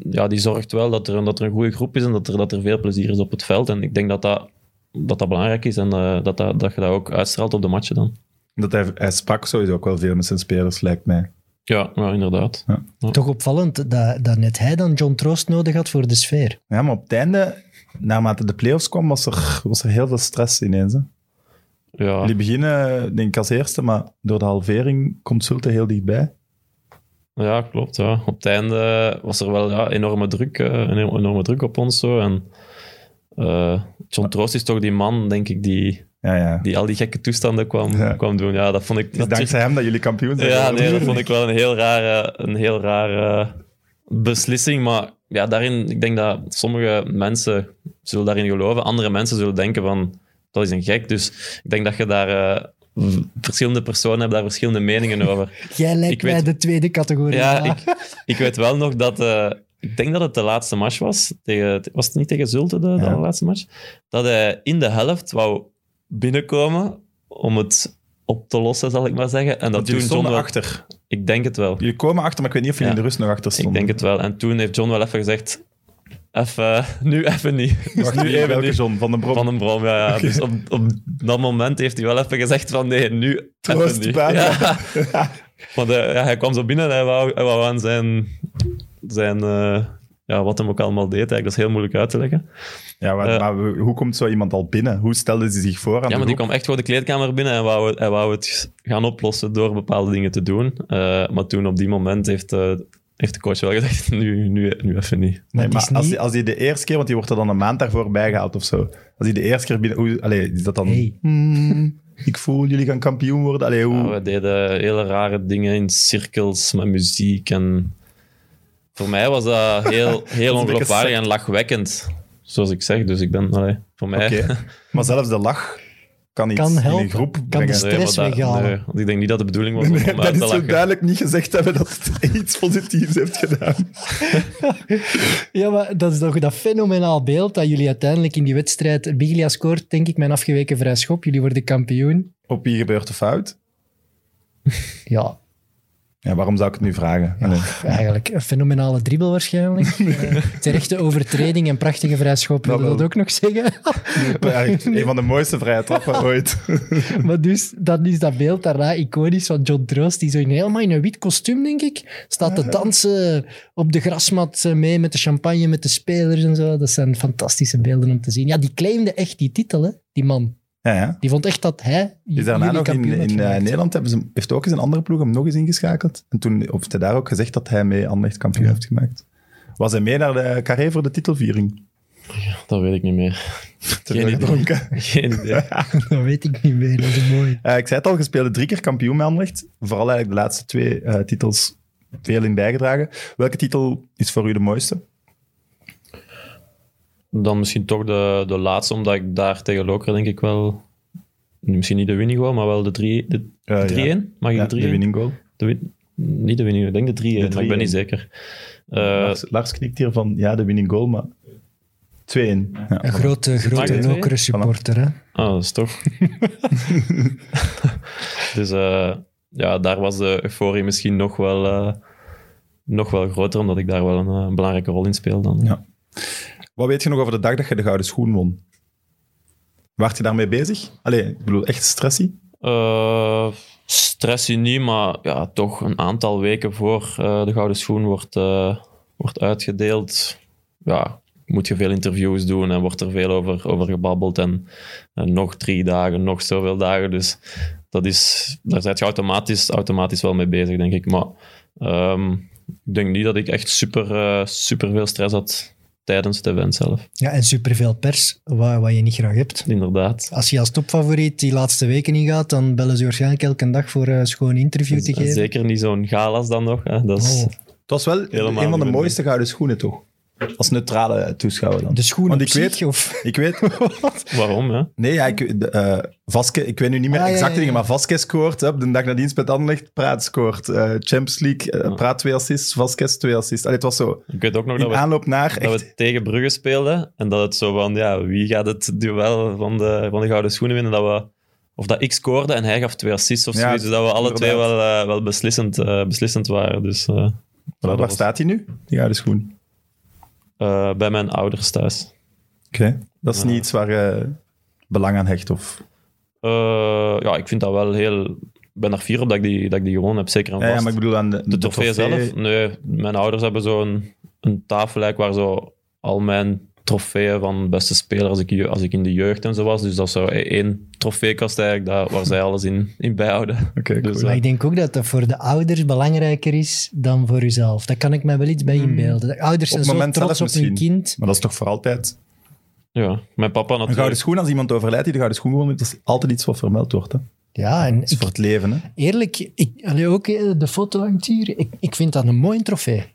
Speaker 3: ja, die zorgt wel dat er, dat er een goede groep is en dat er, dat er veel plezier is op het veld. En ik denk dat dat, dat, dat belangrijk is en eh, dat, dat, dat je dat ook uitstraalt op de matchen dan.
Speaker 1: Dat hij, hij sprak sowieso ook wel veel met zijn spelers, lijkt mij.
Speaker 3: Ja, ja inderdaad.
Speaker 2: Toch opvallend dat, dat net hij dan John Troost nodig had voor de sfeer.
Speaker 1: Ja, maar op het einde, naarmate de play-offs kwam, was er, was er heel veel stress ineens. Hè?
Speaker 3: Ah. Ja.
Speaker 1: Jullie beginnen, denk ik, als eerste, maar door de halvering komt Zulte heel dichtbij.
Speaker 3: Ja, klopt. Ja. Op het einde was er wel ja, enorme, druk, eh, een enorme druk op ons. Zo. En, eh, John Troost is toch die man, denk ik, die,
Speaker 1: Ja, ja.
Speaker 3: die al die gekke toestanden kwam,
Speaker 1: Ja.
Speaker 3: kwam doen. Ja, dat vond ik...
Speaker 1: Het is
Speaker 3: dat-
Speaker 1: dankzij hem dat jullie kampioen zijn.
Speaker 3: ja, nee, dat
Speaker 1: Natuurlijk.
Speaker 3: vond ik wel een heel rare, een heel rare beslissing. Maar ja, daarin, ik denk dat sommige mensen zullen daarin geloven. Andere mensen zullen denken van, dat is een gek. Dus ik denk dat je daar... eh, v- verschillende personen hebben daar verschillende meningen over.
Speaker 1: <laughs>
Speaker 2: Jij lijkt
Speaker 3: Ik
Speaker 2: mij
Speaker 3: weet-
Speaker 2: de tweede categorie.
Speaker 3: Ja,
Speaker 2: A.
Speaker 3: ik, ik weet wel nog dat... eh, ik denk dat het de laatste match was. Tegen, was het niet tegen Zulte, de,
Speaker 1: Ja.
Speaker 3: de laatste match? Dat hij in de helft wou binnenkomen om het op te lossen, zal ik maar zeggen. En dat
Speaker 1: Want jullie
Speaker 3: toen John
Speaker 1: stonden
Speaker 3: wel-
Speaker 1: achter.
Speaker 3: Ik denk het wel.
Speaker 1: Jullie komen achter, maar ik weet niet of jullie
Speaker 3: Ja.
Speaker 1: in de rust nog achter
Speaker 3: Ik
Speaker 1: stonden.
Speaker 3: denk het wel. En toen heeft John wel even gezegd... Even, nu even niet. Dus
Speaker 1: Wacht,
Speaker 3: nu
Speaker 1: wie-
Speaker 3: even
Speaker 1: welke
Speaker 3: niet.
Speaker 1: John? Van den Brom.
Speaker 3: Van een brom, ja. ja. Dus op, op dat moment heeft hij wel even gezegd van nee, nu
Speaker 1: Troost,
Speaker 3: even niet.
Speaker 1: Baan.
Speaker 3: Ja. <laughs> Want eh, ja, hij kwam zo binnen en hij wou, hij wou aan zijn... zijn eh, ja, wat hem ook allemaal deed, eigenlijk. dat is heel moeilijk uit te leggen.
Speaker 1: Ja, maar,
Speaker 3: Eh.
Speaker 1: maar we- hoe komt zo iemand al binnen? Hoe stelde ze zich voor aan
Speaker 3: Ja,
Speaker 1: de
Speaker 3: maar die
Speaker 1: groep?
Speaker 3: kwam echt gewoon de kleedkamer binnen en wou, hij wou het gaan oplossen door bepaalde dingen te doen. Eh, maar toen, op die moment, heeft, eh, heeft de coach wel gezegd, <laughs> nu, nu, nu even niet.
Speaker 1: Nee,
Speaker 2: het
Speaker 1: maar
Speaker 2: is niet-
Speaker 1: als, die, als die de eerste keer, want die wordt er dan een maand daarvoor bijgehaald of zo. Als die de eerste keer binnen... Hoe, allee, is dat dan...
Speaker 2: Hey.
Speaker 1: Hmm, ik voel, jullie gaan kampioen worden. Allee, hoe...
Speaker 3: Ja, we deden hele rare dingen in cirkels met muziek. En voor mij was
Speaker 1: <laughs>
Speaker 3: dat heel, heel
Speaker 1: een
Speaker 3: ongeloofwaardig
Speaker 1: beetje
Speaker 3: en lachwekkend. Zoals ik zeg, dus ik ben... allee, voor mij... <laughs>
Speaker 1: Oké. maar zelfs de lach kan dus- iets
Speaker 2: Kan
Speaker 1: in
Speaker 2: helpen.
Speaker 1: een groep
Speaker 2: Kan
Speaker 1: brengen.
Speaker 2: de
Speaker 3: Nee, maar
Speaker 2: stress
Speaker 3: dat-
Speaker 2: weghalen.
Speaker 3: nee, want ik denk niet dat de bedoeling was om,
Speaker 1: Nee,
Speaker 3: om
Speaker 1: dat
Speaker 3: uit
Speaker 1: is
Speaker 3: te
Speaker 1: zo
Speaker 3: lachen.
Speaker 1: duidelijk niet gezegd hebben dat het <laughs> iets positiefs heeft gedaan.
Speaker 2: Ja, maar dat is toch dat fenomenaal beeld dat jullie uiteindelijk in die wedstrijd... Biglia scoort, denk ik, mijn afgeweken vrij schop. Jullie worden kampioen.
Speaker 1: Op wie gebeurt de fout?
Speaker 2: Ja,
Speaker 1: Ja, waarom zou ik het nu vragen? Allee.
Speaker 2: eigenlijk een fenomenale dribbel
Speaker 1: <laughs>
Speaker 2: waarschijnlijk. Eh, Terechte overtreding en prachtige vrij schop, wil
Speaker 1: Nou,
Speaker 2: je dat
Speaker 1: wel.
Speaker 2: ook nog zeggen? <laughs>
Speaker 1: Echt een van de mooiste vrije trappen ooit.
Speaker 2: maar dus, dat is dat beeld daarna iconisch van John Droost, die zo in helemaal in een wit kostuum, denk ik, staat te dansen op de grasmat eh, mee met de champagne, met de spelers en zo. Dat zijn fantastische beelden om te zien. Ja, die claimde echt die titel, hè, die man.
Speaker 1: Ja, ja.
Speaker 2: Die vond echt dat hij
Speaker 1: Is daarna
Speaker 2: jullie
Speaker 1: nog in,
Speaker 2: kampioen had
Speaker 1: in eh,
Speaker 2: gemaakt.
Speaker 1: Nederland hebben ze, hem- heeft ook eens een andere ploeg hem nog eens ingeschakeld. En toen heeft hij daar ook gezegd dat hij mee Anderlecht kampioen heeft gemaakt. Was hij mee naar de carré voor de titelviering?
Speaker 3: Dat weet ik niet meer. <laughs>
Speaker 1: Terwijl
Speaker 3: idee.
Speaker 1: gedronken.
Speaker 3: <laughs> Geen idee.
Speaker 2: Dat weet ik niet meer, dat is mooi.
Speaker 1: <laughs> Eh, ik zei het al, gespeelde drie keer kampioen met Anderlecht. Vooral eigenlijk de laatste twee eh, titels veel in bijgedragen. Welke titel is voor u de mooiste?
Speaker 3: Dan misschien toch de, de laatste, omdat ik daar tegen Loker denk ik wel... Misschien niet de winning wou, maar wel de 3-1. De,
Speaker 1: Eh, ja.
Speaker 3: 3-1? Mag ik
Speaker 1: Ja,
Speaker 3: de 3-1?
Speaker 1: de winning goal.
Speaker 3: De win- niet de winning, ik denk de 3
Speaker 1: De
Speaker 3: maar ik ben niet zeker. Eh,
Speaker 1: Lars, Lars knikt hier van, ja, de winning goal, maar 2-1. Ja.
Speaker 2: Een grote, grote
Speaker 3: twee?
Speaker 2: lokere supporter, hè.
Speaker 3: ah, dat is toch. <laughs> dus eh, ja, daar was de euforie misschien nog wel, eh, nog wel groter, omdat ik daar wel een eh, belangrijke rol in speel dan.
Speaker 1: Ja. Wat weet je nog over de dag dat je de gouden schoen won? Waart je daarmee bezig? Allee, ik bedoel, echt stressie?
Speaker 3: Eh, stressie niet, maar ja, toch een aantal weken voor eh, de Gouden Schoen wordt, eh, wordt uitgedeeld. Ja, moet je veel interviews doen en wordt er veel over, over gebabbeld. En, en nog drie dagen, nog zoveel dagen. Dus dat is, daar ben je automatisch, automatisch wel mee bezig, denk ik. Maar ehm, ik denk niet dat ik echt super, eh, super veel stress had tijdens het event zelf.
Speaker 2: Ja, en superveel pers, wat, wat je niet graag hebt.
Speaker 3: Inderdaad.
Speaker 2: Als je als topfavoriet die laatste weken ingaat, dan bellen ze waarschijnlijk elke dag voor eh, een schoon interview te geven.
Speaker 3: Zeker niet zo'n galas dan nog. Hè. Dat is,
Speaker 2: Oh.
Speaker 1: Het was wel
Speaker 3: Helemaal
Speaker 1: een van de
Speaker 3: niet.
Speaker 1: mooiste gouden schoenen, toch? Als neutrale toeschouwer dan.
Speaker 2: De schoenen
Speaker 1: Want
Speaker 2: op
Speaker 1: ik weet-
Speaker 2: zich, of...
Speaker 1: Ik
Speaker 2: <laughs>
Speaker 1: weet...
Speaker 3: Waarom, hè?
Speaker 1: Nee, ja, ik, de, eh, Vaske, ik weet nu niet meer
Speaker 2: Ah, ja,
Speaker 1: exacte
Speaker 2: ja, ja.
Speaker 1: dingen, maar Vasquez scoort. Hè, op de dag nadien met Anderlecht, Praat scoort. eh, Champions League, eh,
Speaker 3: Ja.
Speaker 1: Praat twee assists, Vasquez twee assists. Allee, het was zo,
Speaker 3: Ik weet ook nog dat
Speaker 1: in
Speaker 3: we
Speaker 1: aanloop naar
Speaker 3: dat
Speaker 1: echt...
Speaker 3: we tegen Brugge speelden en dat het zo van, ja, wie gaat het duel van de, van de gouden schoenen winnen? Dat we, of dat ik scoorde en hij gaf twee assists of
Speaker 1: Ja,
Speaker 3: zoiets, dus dat we alle
Speaker 1: inderdaad.
Speaker 3: twee wel, eh, wel beslissend, eh, beslissend waren. Dus eh,
Speaker 1: Waar
Speaker 3: dat was-
Speaker 1: staat hij nu, die gouden schoen?
Speaker 3: eh, bij mijn ouders thuis.
Speaker 1: Oké. Dat is niet iets waar je belang aan hecht, of...
Speaker 3: Eh, ja, ik vind dat wel heel... Ik ben er fier op dat ik die, dat ik die gewonnen heb, zeker en
Speaker 1: Ja,
Speaker 3: vast.
Speaker 1: ja, maar ik bedoel aan de,
Speaker 3: de, trofee, zelf? Nee, mijn ouders hebben zo'n een tafel eigenlijk waar zo al mijn trofeeën van beste speler als ik, je- als ik in de jeugd en zo was. Dus dat is zo e- één trofeekast eigenlijk daar, waar zij alles in, in bijhouden.
Speaker 1: Oké, cool.
Speaker 3: Dus, eh,
Speaker 2: Maar ik denk ook dat dat voor de ouders belangrijker is dan voor uzelf. Daar kan ik mij wel iets bij inbeelden. De ouders
Speaker 1: Hmm. Op
Speaker 2: zijn
Speaker 1: het
Speaker 2: zo
Speaker 1: moment
Speaker 2: trots op
Speaker 1: zelf
Speaker 2: hun
Speaker 1: misschien.
Speaker 2: kind.
Speaker 1: Maar dat is toch voor altijd?
Speaker 3: Ja, mijn papa
Speaker 1: Een gouden
Speaker 3: natuurlijk.
Speaker 1: schoen, als iemand overlijdt die de gouden schoen gewonnen heeft, dat is altijd iets wat vermeld wordt. Hè?
Speaker 2: Ja, en
Speaker 1: Dat is voor het leven. Hè?
Speaker 2: Eerlijk, ik, allee, ook eh, de foto hangt hier. Ik, ik vind dat een mooi trofee.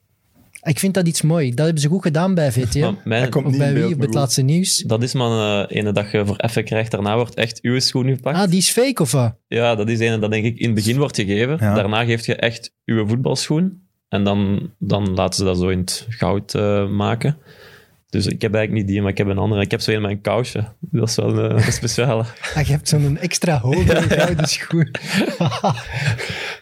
Speaker 2: Ik vind dat iets mooi. Dat hebben ze goed gedaan bij VTM.
Speaker 3: Maar mijn-
Speaker 1: Dat komt
Speaker 2: Of
Speaker 1: niet
Speaker 2: bij
Speaker 1: in
Speaker 2: wie,
Speaker 1: beeld, <laughs>
Speaker 2: op
Speaker 1: maar
Speaker 2: het
Speaker 1: goed.
Speaker 2: laatste nieuws.
Speaker 3: dat is maar eh ene dat je voor effen krijgt. Daarna wordt echt uw schoen gepakt.
Speaker 2: Ah, die is fake of wat?
Speaker 3: Ja, dat is ene dat denk ik in het begin wordt gegeven.
Speaker 1: Ja.
Speaker 3: Daarna geef je echt uw voetbalschoen. En dan, dan laten ze dat zo in het goud eh, maken. Dus ik heb eigenlijk niet die, maar ik heb een andere. Ik heb zo een mijn kousje. Dat is wel eh, een speciale. <laughs>
Speaker 2: Ah, je hebt zo'n extra
Speaker 1: <laughs>
Speaker 2: hoge gouden schoen.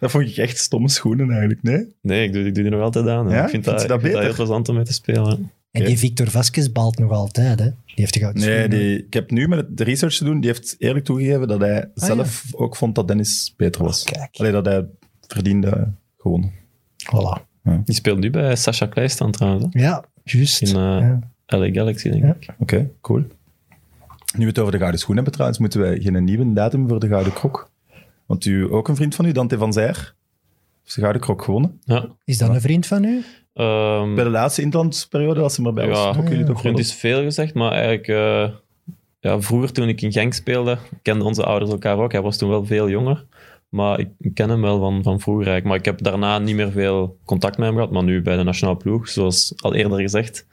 Speaker 1: Dat vond ik echt stomme schoenen eigenlijk, nee?
Speaker 3: Nee, ik doe, ik doe die nog altijd aan. hè.
Speaker 1: Ja?
Speaker 3: Ik vind
Speaker 1: Vind
Speaker 3: dat,
Speaker 1: je dat
Speaker 3: ik vind
Speaker 1: beter?
Speaker 3: dat heel plezant om mee te spelen.
Speaker 2: En die Victor Vasquez baalt nog altijd, hè? Die heeft de gouden
Speaker 1: Nee,
Speaker 2: schoen.
Speaker 1: die, ik heb nu met het- de research te doen, die heeft eerlijk toegegeven dat hij zelf ook vond dat Dennis beter was.
Speaker 2: Ah, kijk.
Speaker 1: Alleen dat hij verdiende gewoon.
Speaker 2: Voilà.
Speaker 3: Die speelt nu bij Sasha Kleistan trouwens, hè.
Speaker 2: Ja, juist.
Speaker 3: in eh,
Speaker 2: Ja.
Speaker 3: LA Galaxy, denk
Speaker 2: Ja.
Speaker 3: ik.
Speaker 1: Oké, cool. Nu we het over de gouden schoen hebben trouwens, moeten wij geen nieuwe datum voor de gouden krok. Want u, ook een vriend van u, Dante van Zijer, heeft de gouden krok gewonnen.
Speaker 3: Ja.
Speaker 2: Is dat een vriend van u?
Speaker 3: Ehm,
Speaker 1: Bij de laatste interlandperiode was hij maar bij
Speaker 3: Ja.
Speaker 1: ons. Ook jullie toch
Speaker 3: Vriend
Speaker 1: wel?
Speaker 3: is veel gezegd, maar eigenlijk... eh, ja, vroeger, toen ik in Genk speelde, kenden onze ouders elkaar ook. Hij was toen wel veel jonger. Maar ik ik ken hem wel van, van vroeger eigenlijk. Maar ik heb daarna niet meer veel contact met hem gehad. Maar nu bij de nationale ploeg, zoals al eerder gezegd,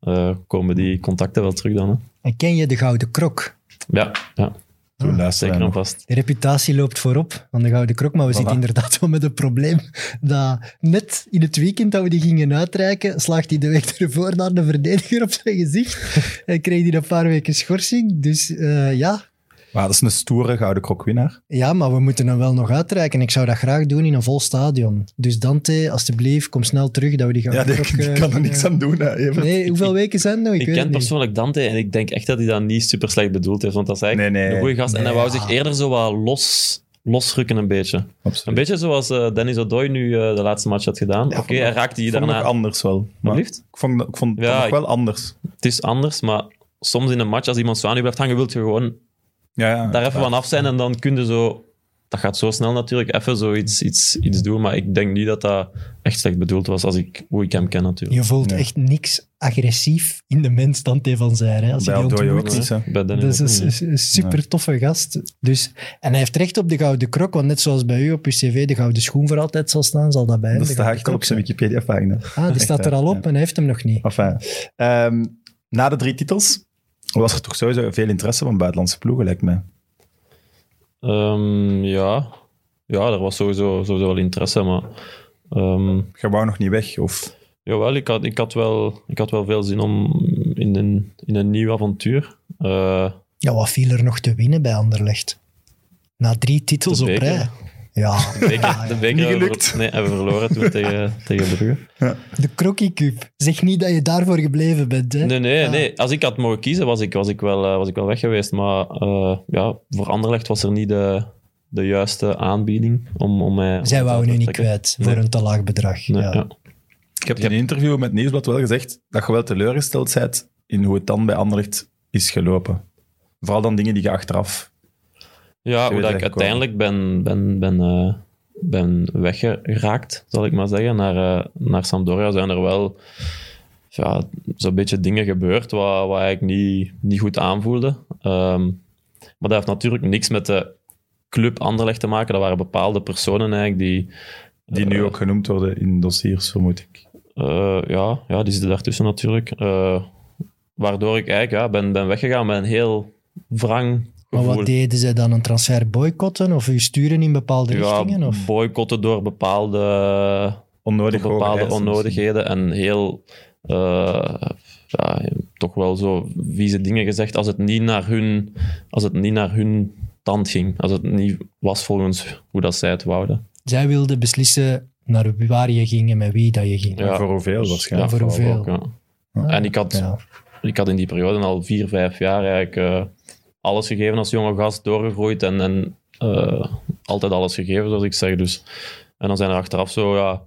Speaker 3: eh, komen die contacten wel terug dan. Hè.
Speaker 2: En ken je de Gouden Krok?
Speaker 3: Ja, ja,
Speaker 1: Toen laatste
Speaker 3: zeker
Speaker 1: wij
Speaker 3: en
Speaker 1: nog.
Speaker 3: vast.
Speaker 2: De reputatie loopt voorop van de Gouden Krok, maar we zitten inderdaad wel met het probleem dat net in het weekend dat we die gingen uitreiken, slaagt hij de weg ervoor naar de verdediger op zijn gezicht
Speaker 1: <laughs>
Speaker 2: en kreeg hij een paar weken schorsing. Dus eh, ja.
Speaker 1: Maar dat is een stoere gouden krokwinnaar.
Speaker 2: ja, maar we moeten hem wel nog uitreiken. Ik zou dat graag doen in een vol stadion. Dus Dante, alstublieft, kom snel terug dat we die
Speaker 1: Ja, <laughs>
Speaker 2: Gouden
Speaker 1: die,
Speaker 2: Krok...
Speaker 1: die
Speaker 2: eh,
Speaker 1: kan er niks
Speaker 2: eh,
Speaker 1: aan doen. Hè, Evert.
Speaker 2: Nee, hoeveel weken zijn het nog? Ik,
Speaker 3: Ik
Speaker 2: weet
Speaker 3: ken
Speaker 2: het niet.
Speaker 3: persoonlijk Dante en ik denk echt dat hij dat niet super slecht bedoeld heeft. Want dat is eigenlijk
Speaker 1: Nee, nee.
Speaker 3: een goede gast. en
Speaker 2: Nee,
Speaker 3: hij wou
Speaker 2: ja.
Speaker 3: zich eerder zo wat los, losrukken een beetje. Een
Speaker 1: Absoluut.
Speaker 3: beetje zoals eh, Dennis O'Doy nu eh, de laatste match had gedaan.
Speaker 1: Ja,
Speaker 3: Oké,
Speaker 1: vond
Speaker 3: hij
Speaker 1: dat-
Speaker 3: raakte hier
Speaker 1: vond
Speaker 3: daarna...
Speaker 1: nog anders wel. Maar ik
Speaker 3: Alsjeblieft.
Speaker 1: vond, ik vond
Speaker 3: Ja,
Speaker 1: het nog
Speaker 3: ik-
Speaker 1: wel anders.
Speaker 3: Het is anders, maar soms in een match, als iemand zo aan je blijft hangen, wil je gewoon
Speaker 1: Ja, ja,
Speaker 3: daar even van af zijn. En dan kun je zo... Dat gaat zo snel natuurlijk, even zoiets iets, iets doen. Maar ik denk niet dat dat echt slecht bedoeld was, als ik, hoe ik hem ken natuurlijk.
Speaker 2: Je voelt
Speaker 1: Nee.
Speaker 2: echt niks agressief in de mens Dante van Zijre. hè, Als je
Speaker 1: Bij
Speaker 2: die
Speaker 1: Aldooi ook
Speaker 2: ontmoet.
Speaker 1: niet, hè.
Speaker 3: Bij Dennis
Speaker 2: Dat
Speaker 3: ook
Speaker 2: is
Speaker 3: niet.
Speaker 2: een, een- een super toffe gast. Dus, en hij heeft recht op de gouden krok, want net zoals bij u op uw cv de gouden schoen voor altijd zal staan, zal dat bij hem
Speaker 1: Dat
Speaker 2: de
Speaker 1: staat
Speaker 2: gouden
Speaker 1: echt al op
Speaker 2: krok
Speaker 1: zijn
Speaker 2: zijn.
Speaker 1: Wikipedia-pagina.
Speaker 2: Ah, die staat er al op
Speaker 1: Ja.
Speaker 2: en hij heeft hem nog niet.
Speaker 1: Enfin, ehm, na de drie titels was er toch sowieso veel interesse van buitenlandse ploegen, lijkt mij.
Speaker 3: Ehm, ja. ja, er was sowieso, sowieso wel interesse, maar... ehm,
Speaker 1: Je wou nog niet weg, of...
Speaker 3: jawel, ik had, ik, had wel, ik had wel veel zin om in een, in een nieuw avontuur. Eh,
Speaker 2: Ja, wat viel er nog te winnen bij Anderlecht? Na drie titels
Speaker 3: De
Speaker 2: op
Speaker 3: beker.
Speaker 2: rij. Ja,
Speaker 3: de beker, de beker
Speaker 1: Niet
Speaker 3: hebben we-
Speaker 1: gelukt.
Speaker 3: nee, hebben we verloren toen
Speaker 2: <laughs>
Speaker 3: tegen, tegen Brugge.
Speaker 2: de Crocky Cup. Zeg niet dat je daarvoor gebleven bent. Hè?
Speaker 3: Nee, nee,
Speaker 2: Ja.
Speaker 3: nee. Als ik had mogen kiezen, was ik, was ik, wel, eh, was ik wel weg geweest. Maar eh, ja, voor Anderlecht was er niet de, de juiste aanbieding om, om mij... om
Speaker 2: Zij
Speaker 3: het
Speaker 2: wou
Speaker 3: uit
Speaker 2: nu
Speaker 3: te
Speaker 2: niet
Speaker 3: trekken.
Speaker 2: kwijt voor
Speaker 3: Nee.
Speaker 2: een te laag bedrag.
Speaker 3: Nee,
Speaker 2: ja.
Speaker 3: ja.
Speaker 1: Ik heb in een interview met Nieuwsblad wel gezegd dat je wel teleurgesteld bent in hoe het dan bij Anderlecht is gelopen. Vooral dan dingen die je achteraf...
Speaker 3: Ja, hoe
Speaker 1: weet
Speaker 3: dat ik
Speaker 1: eigenlijk wel.
Speaker 3: uiteindelijk ben, ben, ben, eh, ben weggeraakt, zal ik maar zeggen, naar, eh, naar Sampdoria zijn er wel ja, zo'n beetje dingen gebeurd wat, wat eigenlijk niet, niet goed aanvoelde. Ehm, maar dat heeft natuurlijk niks met de club Anderlecht te maken. Dat waren bepaalde personen eigenlijk die...
Speaker 1: Die nu
Speaker 3: eh,
Speaker 1: ook genoemd worden in dossiers, vermoed ik.
Speaker 3: eh, ja, ja, die zitten daartussen natuurlijk. Eh, waardoor ik eigenlijk ja, ben, ben weggegaan met een heel wrang
Speaker 2: Maar
Speaker 3: gevoel.
Speaker 2: wat deden ze dan? Een transfer boycotten of u sturen in bepaalde richtingen?
Speaker 3: ja,
Speaker 2: Of?
Speaker 3: boycotten door bepaalde, door
Speaker 1: Onnodig hoge
Speaker 3: bepaalde
Speaker 1: eisen
Speaker 3: onnodigheden en heel eh, ja, toch wel zo vieze dingen gezegd als het niet naar hun, als het niet naar hun tand ging. Als het niet was volgens hoe dat zij het wouden.
Speaker 2: Zij wilden beslissen naar waar je ging en met wie dat je ging.
Speaker 1: misschien.
Speaker 3: Ja. eh,
Speaker 1: Voor hoeveel waarschijnlijk.
Speaker 2: voor
Speaker 3: vooral
Speaker 2: hoeveel?
Speaker 3: ja.
Speaker 2: Ah,
Speaker 3: En ik had
Speaker 2: ja.
Speaker 3: ik had in die periode al vier, vijf jaar eigenlijk eh, alles gegeven als jonge gast, doorgegroeid en, en eh, altijd alles gegeven, zoals ik zeg. Dus. En dan zijn er achteraf zo ja,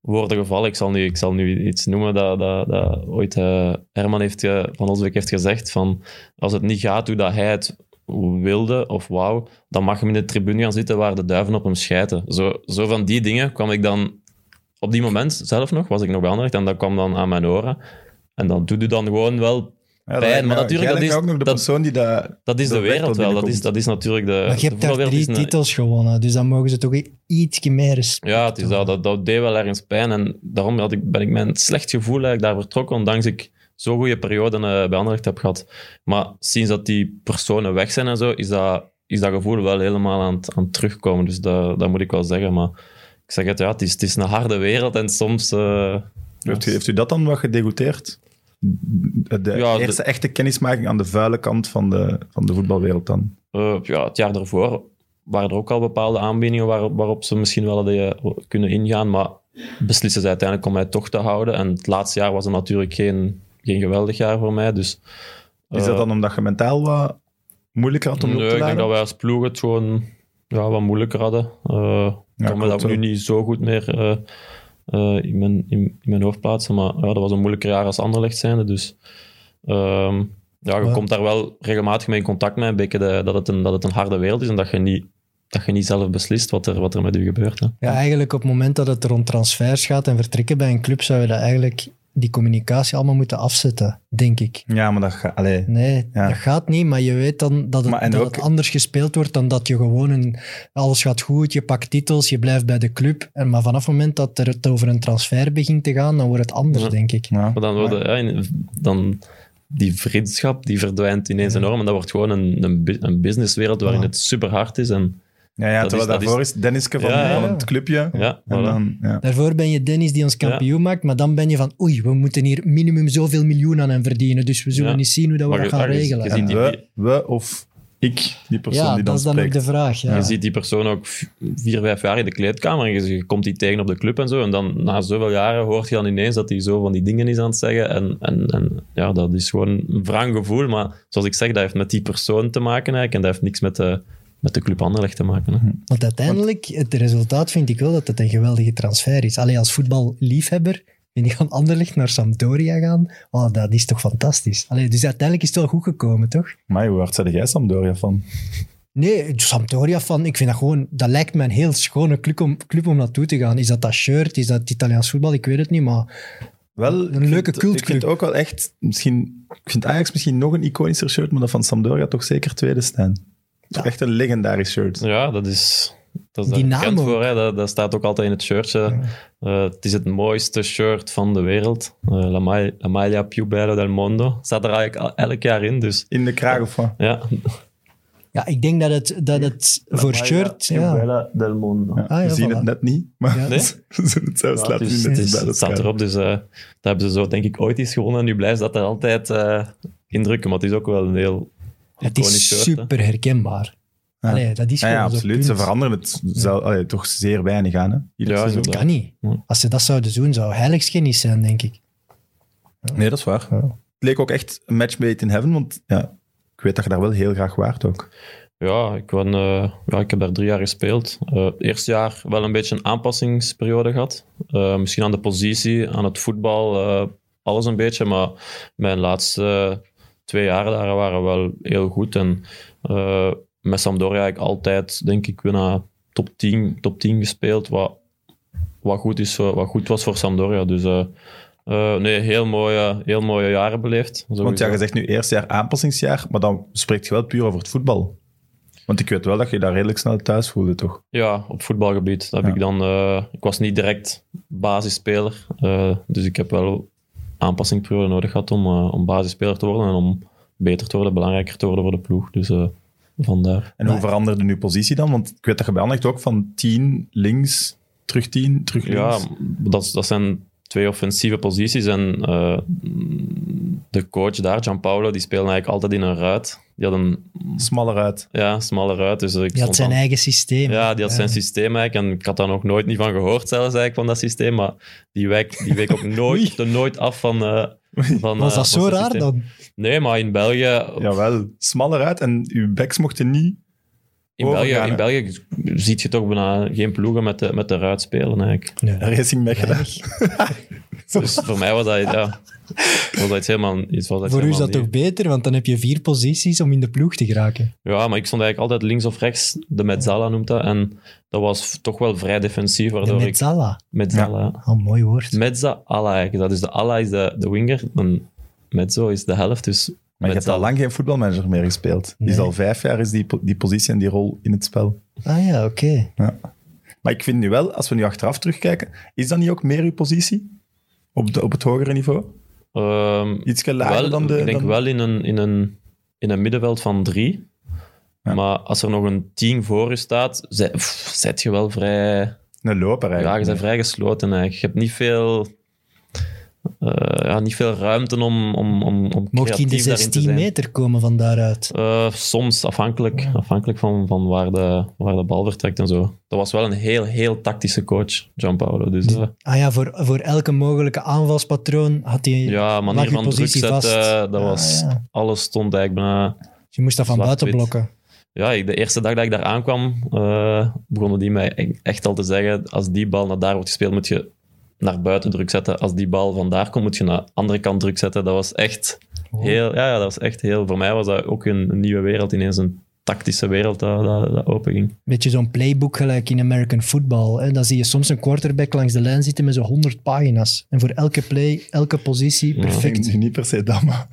Speaker 3: woorden gevallen. Ik zal nu, ik zal nu iets noemen dat, dat, dat ooit eh, Herman heeft, ge- van Osbeek heeft gezegd van als het niet gaat hoe dat hij het wilde of wou, dan mag hem in de tribune gaan zitten waar de duiven op hem schijten. Zo, zo van die dingen kwam ik dan... Op die moment zelf nog, was ik nog bij Anderlecht, en dat kwam dan aan mijn oren. En dat doet u dan gewoon wel.
Speaker 1: Ja, dat
Speaker 3: Pijn,
Speaker 1: lijkt
Speaker 3: maar
Speaker 1: mij-
Speaker 3: natuurlijk,
Speaker 1: jij
Speaker 3: dat
Speaker 1: lijkt mij
Speaker 3: is-
Speaker 1: ook nog de
Speaker 3: dat-
Speaker 1: persoon die dat...
Speaker 3: Dat is
Speaker 1: Dat
Speaker 3: de
Speaker 1: werkt
Speaker 3: wereld
Speaker 1: wel
Speaker 3: wel. Dat
Speaker 1: binnenkomt.
Speaker 3: is, dat is natuurlijk de.
Speaker 2: Maar je
Speaker 3: de
Speaker 2: hebt daar
Speaker 3: voetbalwereld
Speaker 2: drie
Speaker 3: is een-
Speaker 2: titels gewonnen, dus dan mogen ze toch iets meer respect
Speaker 3: Ja, het is dat, dat, dat deed wel ergens pijn. En daarom had ik, ben ik met een slecht gevoel eigenlijk daar vertrokken, ondanks ik zo'n goede periode eh, bij Anderlecht heb gehad. Maar sinds dat die personen weg zijn en zo, is dat, is dat gevoel wel helemaal aan het, aan het terugkomen. Dus dat, dat moet ik wel zeggen. Maar ik zeg het, ja, het is, het is een harde wereld en soms. eh,
Speaker 1: Heeft u, heeft u dat dan wat gedegoûteerd? De
Speaker 3: Ja, de-
Speaker 1: eerste echte kennismaking aan de vuile kant van de, van de voetbalwereld dan.
Speaker 3: Eh, ja, het jaar daarvoor waren er ook al bepaalde aanbiedingen waar, waarop ze misschien wel hadden eh, kunnen ingaan, maar beslissen ze uiteindelijk om mij toch te houden. En het laatste jaar was er natuurlijk geen geen geweldig jaar voor mij. Dus,
Speaker 1: Is dat
Speaker 3: eh,
Speaker 1: dan omdat je mentaal wat moeilijker had om je
Speaker 3: nee,
Speaker 1: op te
Speaker 3: ik denk
Speaker 1: laden?
Speaker 3: dat wij als ploeg het gewoon ja, wat moeilijker hadden. Eh ik kan me
Speaker 1: klopt
Speaker 3: dat ook nu
Speaker 1: wel.
Speaker 3: niet zo goed meer eh, eh, in, mijn, in, in mijn hoofd plaatsen. Maar ja, dat was een moeilijker jaar als Anderlecht zijnde. Dus ehm, ja, je
Speaker 2: Maar-
Speaker 3: komt daar wel regelmatig mee in contact mee. Een beetje de- dat, het een, dat het een harde wereld is en dat je niet, dat je niet zelf beslist wat er, wat er met je gebeurt. Hè.
Speaker 2: Ja, eigenlijk op het moment dat het rond transfers gaat en vertrekken bij een club, zou je dat eigenlijk die communicatie allemaal moeten afzetten, denk ik.
Speaker 1: Ja, maar dat ga, allee.
Speaker 2: Nee,
Speaker 1: Ja.
Speaker 2: dat gaat niet, maar je weet dan dat, het,
Speaker 1: Maar en
Speaker 2: dat
Speaker 1: ook-
Speaker 2: het anders gespeeld wordt dan dat je gewoon een, alles gaat goed, je pakt titels, je blijft bij de club. En, maar vanaf het moment dat er het over een transfer begint te gaan, dan wordt het anders,
Speaker 3: Ja.
Speaker 2: denk ik.
Speaker 1: Ja.
Speaker 3: Maar dan, worden, ja, in- dan die vriendschap die verdwijnt ineens enorm. En dat wordt gewoon een, een, bu- een businesswereld waarin
Speaker 2: Ja.
Speaker 3: het super hard is. En,
Speaker 1: Ja, ja
Speaker 3: Dat
Speaker 1: terwijl
Speaker 3: is- dat
Speaker 1: daarvoor is, Denniske van,
Speaker 3: Ja, ja.
Speaker 1: van het clubje.
Speaker 3: ja,
Speaker 1: En
Speaker 3: voilà.
Speaker 1: dan, ja.
Speaker 2: Daarvoor ben je Dennis die ons
Speaker 3: Ja.
Speaker 2: kampioen maakt, maar dan ben je van oei, we moeten hier minimum zoveel miljoen aan hem verdienen, dus we zullen
Speaker 3: Ja.
Speaker 2: niet zien hoe dat we
Speaker 3: Maar
Speaker 2: dat
Speaker 3: je-
Speaker 2: gaan
Speaker 3: ja, je- je
Speaker 2: regelen.
Speaker 3: ziet-
Speaker 1: En
Speaker 3: die-
Speaker 1: we, we of ik, die persoon
Speaker 2: ja,
Speaker 1: die dan
Speaker 2: dat is dan ook
Speaker 1: spreekt.
Speaker 2: de vraag. Ja.
Speaker 3: Je ziet die persoon ook v- vier, vijf jaar in de kleedkamer. en Je, je komt die tegen op de club en zo. En dan na zoveel jaren hoort je dan ineens dat hij zo van die dingen is aan het zeggen. En, en, en ja, dat is gewoon een wrang gevoel. Maar zoals ik zeg, dat heeft met die persoon te maken eigenlijk. En dat heeft niks met de, met de club Anderlecht te maken. Hè.
Speaker 2: Want uiteindelijk, het resultaat vind ik wel dat het een geweldige transfer is. Alleen als voetballiefhebber vind ik van Anderlecht naar Sampdoria gaan. Oh, dat is toch fantastisch. Allee, dus uiteindelijk is het wel goed gekomen, toch?
Speaker 1: Maar hoe hard zei jij Sampdoria van?
Speaker 2: Nee, Sampdoria van, ik vind dat gewoon, dat lijkt me een heel schone club om, club om naartoe te gaan. Is dat dat shirt, is dat het Italiaans voetbal, ik weet het niet, maar
Speaker 1: Wel,
Speaker 2: Een
Speaker 1: ik vind-
Speaker 2: leuke cultclub.
Speaker 1: Ik vind ook wel echt, misschien, ik vind Ajax misschien nog een iconischer shirt, maar dat van Sampdoria toch zeker tweede staan. Toch echt een legendarisch shirt.
Speaker 3: Ja, dat is... Dat is daar
Speaker 2: Die naam
Speaker 3: bekend
Speaker 2: ook.
Speaker 3: voor, hè. Dat, dat staat ook altijd in het shirtje. Eh, het is het mooiste shirt van de wereld. Eh, La, Ma- La Maglia Più Bella del Mondo. Staat er eigenlijk al- elk jaar in, dus...
Speaker 1: In de kraag of wat?
Speaker 3: Ja,
Speaker 2: ja, ik denk dat het, dat het voor shirt... Ja.
Speaker 3: Bella del Mondo.
Speaker 1: Ja,
Speaker 2: Ah, ja,
Speaker 1: we zien
Speaker 2: voilà.
Speaker 1: het net niet, maar
Speaker 2: Ja.
Speaker 3: Nee?
Speaker 1: <laughs> ze zullen het zelfs
Speaker 3: Ja,
Speaker 1: laten
Speaker 3: het is-
Speaker 1: zien.
Speaker 3: dus
Speaker 1: dat
Speaker 3: het, is-
Speaker 1: bij Ah de
Speaker 3: het staat
Speaker 1: kraag.
Speaker 3: erop, dus eh daar hebben ze zo denk ik ooit iets gewonnen. Nu blijft dat er altijd eh indrukken, maar het is ook wel een heel
Speaker 2: Het is
Speaker 3: iconisch shirt, hè.
Speaker 2: super herkenbaar.
Speaker 1: Ja.
Speaker 2: Allee, dat is
Speaker 1: Ja, ja,
Speaker 2: gewoon zo'n
Speaker 1: absoluut.
Speaker 2: punt.
Speaker 1: Ze veranderen het zelf, allee, toch zeer weinig aan. Hè? Ieder
Speaker 3: Ja,
Speaker 1: seizoen.
Speaker 2: Dat
Speaker 3: inderdaad.
Speaker 2: kan niet.
Speaker 3: Ja.
Speaker 2: Als ze dat zouden doen, zou heiligschennis zijn, denk ik.
Speaker 1: Nee, dat is waar.
Speaker 2: Ja.
Speaker 1: Het leek ook echt een match made in heaven, want ja, ik weet dat je daar wel heel graag waart ook.
Speaker 3: Ja, ik, ben, eh, ja, ik heb daar drie jaar gespeeld. Eh eerste jaar wel een beetje een aanpassingsperiode gehad. Eh, misschien aan de positie, aan het voetbal, eh, alles een beetje. Maar mijn laatste twee jaar daar waren wel heel goed. En eh, met Sampdoria heb ik altijd, denk ik, bijna top 10, top 10 gespeeld. Wat, wat, goed is, voor- wat goed was voor Sampdoria. Dus eh, eh, nee, heel mooie, heel mooie jaren beleefd.
Speaker 1: Want ja,
Speaker 3: sowieso.
Speaker 1: je zegt nu eerste jaar aanpassingsjaar, maar dan spreekt je wel puur over het voetbal. Want ik weet wel dat je je daar redelijk snel thuis voelde, toch?
Speaker 3: Ja, op voetbalgebied. Dat heb
Speaker 1: Ja.
Speaker 3: ik dan, eh, ik was niet direct basisspeler. eh, dus ik heb wel aanpassingsperiode nodig gehad om, eh, om basisspeler te worden en om beter te worden, belangrijker te worden voor de ploeg. Dus eh, vandaar.
Speaker 1: En hoe
Speaker 2: Maar-
Speaker 1: veranderde nu positie dan? Want ik weet dat je bij Anderlecht ook van 10 links, terug 10, terug
Speaker 3: Ja,
Speaker 1: links.
Speaker 3: dat, dat zijn twee offensieve posities. En eh, de coach daar, Gianpaolo, die speelde eigenlijk altijd in een ruit. Die had een
Speaker 1: Smaller uit.
Speaker 3: ja, smalle ruit. Dus ik
Speaker 2: Die had
Speaker 3: stond
Speaker 2: zijn
Speaker 3: dan-
Speaker 2: eigen systeem.
Speaker 3: Ja, die had zijn systeem eigenlijk. En ik had daar nog nooit niet van gehoord, zelfs eigenlijk, van dat systeem. Maar die week, die
Speaker 2: <laughs>
Speaker 3: week ook nooit, er nooit af van. eh, van
Speaker 2: Was
Speaker 3: eh,
Speaker 2: dat zo
Speaker 3: van
Speaker 2: raar
Speaker 3: systeem.
Speaker 2: dan?
Speaker 3: Nee, maar in België.
Speaker 1: Jawel, smaller uit en uw backs mochten niet.
Speaker 3: In België,
Speaker 1: overgaan,
Speaker 3: in België ziet je toch bijna geen ploegen met de, met de ruit spelen eigenlijk.
Speaker 2: Nee.
Speaker 1: Racing meegedaan.
Speaker 3: Dus voor mij was dat, ja, was dat iets helemaal. Iets, was dat iets
Speaker 2: Voor u is
Speaker 3: helemaal
Speaker 2: dat toch
Speaker 3: nieuw.
Speaker 2: beter, want dan heb je vier posities om in de ploeg te geraken.
Speaker 3: Ja, maar ik stond eigenlijk altijd links of rechts. De Metzala noemt dat. En dat was f- toch wel vrij defensief,
Speaker 2: De
Speaker 3: waardoor ik.
Speaker 2: Metzala.
Speaker 3: Metzala. ja.
Speaker 2: Oh, mooi woord.
Speaker 3: Mezza ala eigenlijk. Dat is de ala is de, de winger. En mezzo is de helft. Dus
Speaker 1: Maar je hebt al
Speaker 3: mezzala.
Speaker 1: lang geen voetbalmanager meer gespeeld. Die is
Speaker 2: Nee.
Speaker 1: al vijf jaar is die, po- die positie en die rol in het spel.
Speaker 2: Ah ja, oké.
Speaker 1: Maar ik vind nu wel, als we nu achteraf terugkijken, is dat niet ook meer uw positie? Op, de, op het hogere niveau?
Speaker 3: Ehm,
Speaker 1: Iets lager
Speaker 3: wel,
Speaker 1: dan de...
Speaker 3: ik denk
Speaker 1: dan-
Speaker 3: wel in een, in, een, in een middenveld van drie.
Speaker 1: Ja.
Speaker 3: Maar als er nog een tien voor je staat, zij- pff, zet je wel vrij...
Speaker 1: Een loper
Speaker 3: Ja,
Speaker 1: eigenlijk.
Speaker 3: je bent vrij gesloten eigenlijk. Je hebt niet veel... eh, eh, ja, niet veel ruimte om, om, om, om
Speaker 2: Mocht hij in de
Speaker 3: creatief daarin te
Speaker 2: 16
Speaker 3: zijn.
Speaker 2: meter komen van daaruit?
Speaker 3: Eh, soms, afhankelijk, afhankelijk van, van waar, de, waar de bal vertrekt en zo. Dat was wel een heel, heel tactische coach, Gianpaolo. Dus eh,
Speaker 2: Ah ja, voor, voor elke mogelijke aanvalspatroon had hij
Speaker 3: ja,
Speaker 2: lag
Speaker 3: manier
Speaker 2: die
Speaker 3: van druk
Speaker 2: positie
Speaker 3: zetten,
Speaker 2: vast.
Speaker 3: eh, dat
Speaker 2: Ah,
Speaker 3: was...
Speaker 2: ja.
Speaker 3: Alles stond eigenlijk bijna...
Speaker 2: Dus je moest dat van buiten
Speaker 3: zwart-wit.
Speaker 2: blokken.
Speaker 3: Ja, ik- de eerste dag dat ik daar aankwam, eh, begonnen die mij e- echt al te zeggen, als die bal naar daar wordt gespeeld, moet je naar buiten druk zetten. Als die bal vandaar komt, moet je naar de andere kant druk zetten. Dat was echt
Speaker 2: Oh.
Speaker 3: heel... Ja, ja, dat was echt heel... Voor mij was dat ook een, een nieuwe wereld, ineens een tactische wereld dat, dat, dat openging.
Speaker 2: Beetje zo'n playbook gelijk in American football. Hè? Dan zie je soms een quarterback langs de lijn zitten met zo'n 100 pagina's. En voor elke play, elke positie, perfect.
Speaker 1: Nu niet per se dat, maar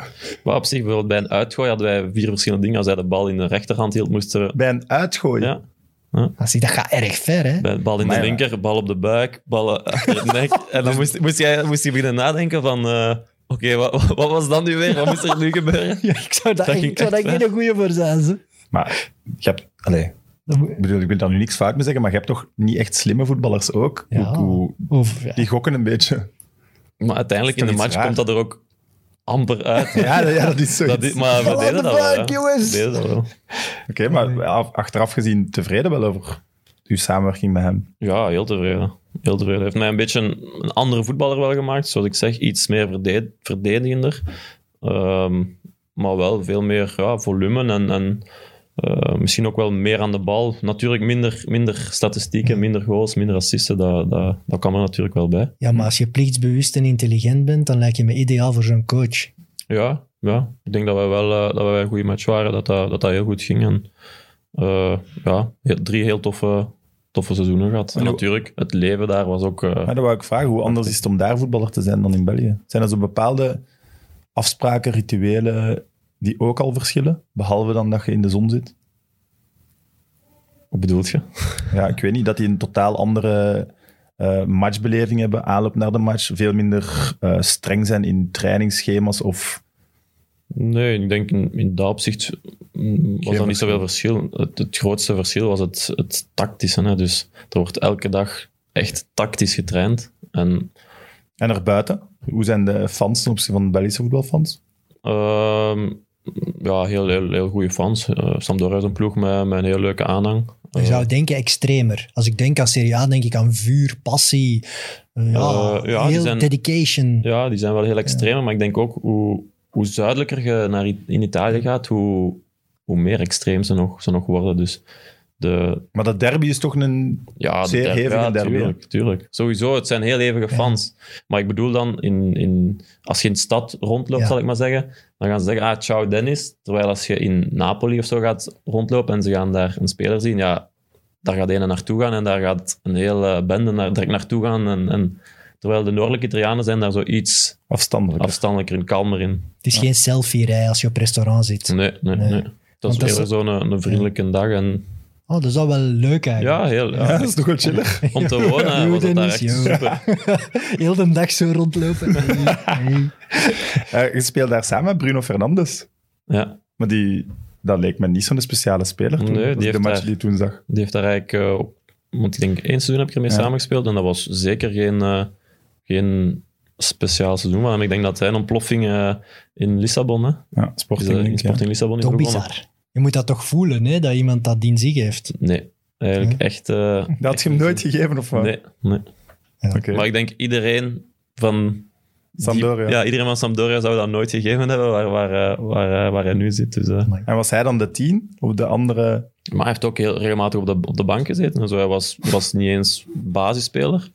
Speaker 3: Maar op zich, bijvoorbeeld bij een uitgooi hadden wij vier verschillende dingen. Als hij de bal in de rechterhand hield, moesten we...
Speaker 1: bij een uitgooien.
Speaker 3: Ja,
Speaker 2: Als ik, dat gaat erg ver, hè?
Speaker 3: bij- bal in
Speaker 1: Maar
Speaker 3: de
Speaker 1: ja.
Speaker 3: linker, bal op de buik, bal eh, achter het
Speaker 1: <laughs>
Speaker 3: nek. En dan moest, moest, jij, moest je beginnen nadenken van... eh, Oké, wat, wat was dat nu weer? Wat moest er nu
Speaker 1: <laughs>
Speaker 3: gebeuren?
Speaker 2: Ja, ik zou daar
Speaker 3: Dat
Speaker 2: ik
Speaker 3: ging
Speaker 2: zou daar
Speaker 3: echt
Speaker 2: niet een goede voor zijn. ze.
Speaker 1: Maar je hebt, allee,
Speaker 2: Dat moet-
Speaker 1: ik bedoel, ik wil daar nu niks fout mee zeggen, maar je hebt toch niet echt slimme voetballers ook?
Speaker 2: Ja.
Speaker 1: Hoe- hoe-
Speaker 2: Of, ja.
Speaker 1: die gokken een beetje.
Speaker 3: Maar uiteindelijk in
Speaker 1: Dat
Speaker 3: de
Speaker 1: is toch
Speaker 3: match
Speaker 1: iets raar?
Speaker 3: komt dat er ook amper uit.
Speaker 1: Ja, dat- ja dat is zo.
Speaker 3: Dat is- maar we
Speaker 2: Bal aan
Speaker 3: deden
Speaker 2: de
Speaker 3: dat wel.
Speaker 2: buik,
Speaker 3: ja.
Speaker 2: jongens.
Speaker 3: We deden dat wel.
Speaker 1: Oké, maar af- achteraf gezien tevreden wel over uw samenwerking met hem.
Speaker 3: Ja, heel tevreden. Heel tevreden. Heeft mij een beetje een, een andere voetballer wel gemaakt. Zoals ik zeg, iets meer verde- verdedigender. Ehm, maar wel veel meer ja, volume en, en eh, misschien ook wel meer aan de bal. Natuurlijk minder, minder statistieken, minder goals, minder assisten. Dat, dat, dat kan er natuurlijk wel bij.
Speaker 2: ja, maar als je plichtsbewust en intelligent bent, dan lijk je me ideaal voor zo'n coach.
Speaker 3: Ja, ja. ik denk dat wij wel eh, dat wij een goede match waren, dat dat, dat, dat heel goed ging. En, eh, ja, heel- drie heel toffe, toffe seizoenen gehad. En
Speaker 1: hoe-
Speaker 3: natuurlijk, het leven daar was ook... eh,
Speaker 1: Maar dan wou ik vragen, hoe anders is het om daar voetballer te zijn dan in België? Zijn er zo bepaalde afspraken, rituelen die ook al verschillen? Behalve dan dat je in de zon zit?
Speaker 3: wat bedoelt je?
Speaker 1: Ja, ik weet niet, dat die een totaal andere eh, matchbeleving hebben, aanloop naar de match, veel minder eh, streng zijn in trainingsschema's of...
Speaker 3: Nee, ik denk in, in dat opzicht mm, was er
Speaker 1: verschil.
Speaker 3: niet zoveel verschil. Het, het grootste verschil was het, het tactische. Hè? Dus er wordt elke dag echt tactisch getraind. En
Speaker 1: En daarbuiten, hoe zijn de fans ten opzichte van de Belgische voetbalfans?
Speaker 3: ehm, ja, heel, heel, heel goede fans. Eh Sampdoria is een ploeg met, met een heel leuke aanhang.
Speaker 2: Je zou denken extremer. Als ik denk aan Serie A, denk ik aan vuur, passie, eh, ja,
Speaker 3: Eh, ja, die
Speaker 2: heel
Speaker 3: zijn-
Speaker 2: dedication.
Speaker 3: Eh, Ja, die zijn wel heel extreem, maar ik denk ook hoe, hoe zuidelijker je naar I- in Italië gaat, hoe, hoe meer extreem ze nog, ze nog worden. Dus de,
Speaker 1: Maar dat derby is toch een...
Speaker 3: ja, de
Speaker 1: Zeer
Speaker 3: derby-
Speaker 1: hevige
Speaker 3: ja,
Speaker 1: derby,
Speaker 3: Tuurlijk, tuurlijk. Sowieso, het zijn heel hevige fans. Maar ik bedoel dan, in, in, als je in de stad rondloopt,
Speaker 2: Ja.
Speaker 3: zal ik maar zeggen, dan gaan ze zeggen, ah, ciao Dennis. Terwijl als je in Napoli of zo gaat rondlopen en ze gaan daar een speler zien, ja, daar gaat een naartoe gaan en daar gaat een hele bende naar, direct naartoe gaan. En, en, terwijl de noordelijke Italianen zijn daar zoiets
Speaker 1: Afstandelijk.
Speaker 3: afstandelijker en kalmer in.
Speaker 2: Het is geen selfie-rij als je op restaurant zit.
Speaker 3: Nee,
Speaker 2: Nee.
Speaker 3: nee, nee.
Speaker 2: Want
Speaker 3: Dat
Speaker 2: dat
Speaker 3: is
Speaker 2: is-
Speaker 3: eerder zo'n een vriendelijke dag. En,
Speaker 2: Oh, dat is al wel leuk eigenlijk.
Speaker 3: ja, heel, ja,
Speaker 1: Ja, <laughs> dat is toch wel
Speaker 3: <laughs>
Speaker 1: chiller?
Speaker 3: om te wonen
Speaker 2: Yo,
Speaker 3: was het daar echt
Speaker 2: Dennis, yo.
Speaker 3: super.
Speaker 2: Heel de dag zo
Speaker 3: <laughs>
Speaker 2: rondlopen. Nee, nee.
Speaker 1: Eh, je speelt daar samen met Bruno Fernandes.
Speaker 3: Ja,
Speaker 1: Maar die, dat leek me niet zo'n speciale speler toen.
Speaker 3: Nee, die
Speaker 1: als ik de
Speaker 3: heeft
Speaker 1: match
Speaker 3: daar-
Speaker 1: die ik toen zag.
Speaker 3: die heeft daar eigenlijk... eh, op- want ik denk één seizoen heb ik ermee
Speaker 1: Ja.
Speaker 3: samengespeeld en dat was zeker geen, eh, geen speciaal seizoen. Maar ik denk dat zijn ontploffing eh, in Lissabon, hè.
Speaker 1: Ja,
Speaker 3: Is
Speaker 1: Sporting
Speaker 3: dat in
Speaker 1: Link, ja.
Speaker 3: Sporting Lissabon is
Speaker 2: Toch
Speaker 3: begonnen.
Speaker 2: bizar. Je moet dat toch voelen, hè, dat iemand dat in zich heeft.
Speaker 3: Nee, eigenlijk echt... eh,
Speaker 1: Dat had je hem nooit gegeven, of wat?
Speaker 3: Nee, nee.
Speaker 1: Oké.
Speaker 3: Maar ik denk iedereen van... die-
Speaker 1: Sampdoria.
Speaker 3: ja, iedereen van Sampdoria zou dat nooit gegeven hebben waar, waar, eh, waar, eh, waar hij nu zit. Dus, eh.
Speaker 1: En was hij dan de tien? Of de andere...
Speaker 3: Maar hij heeft ook heel regelmatig op de, op de bank gezeten. en zo. hij was, was niet eens basisspeler.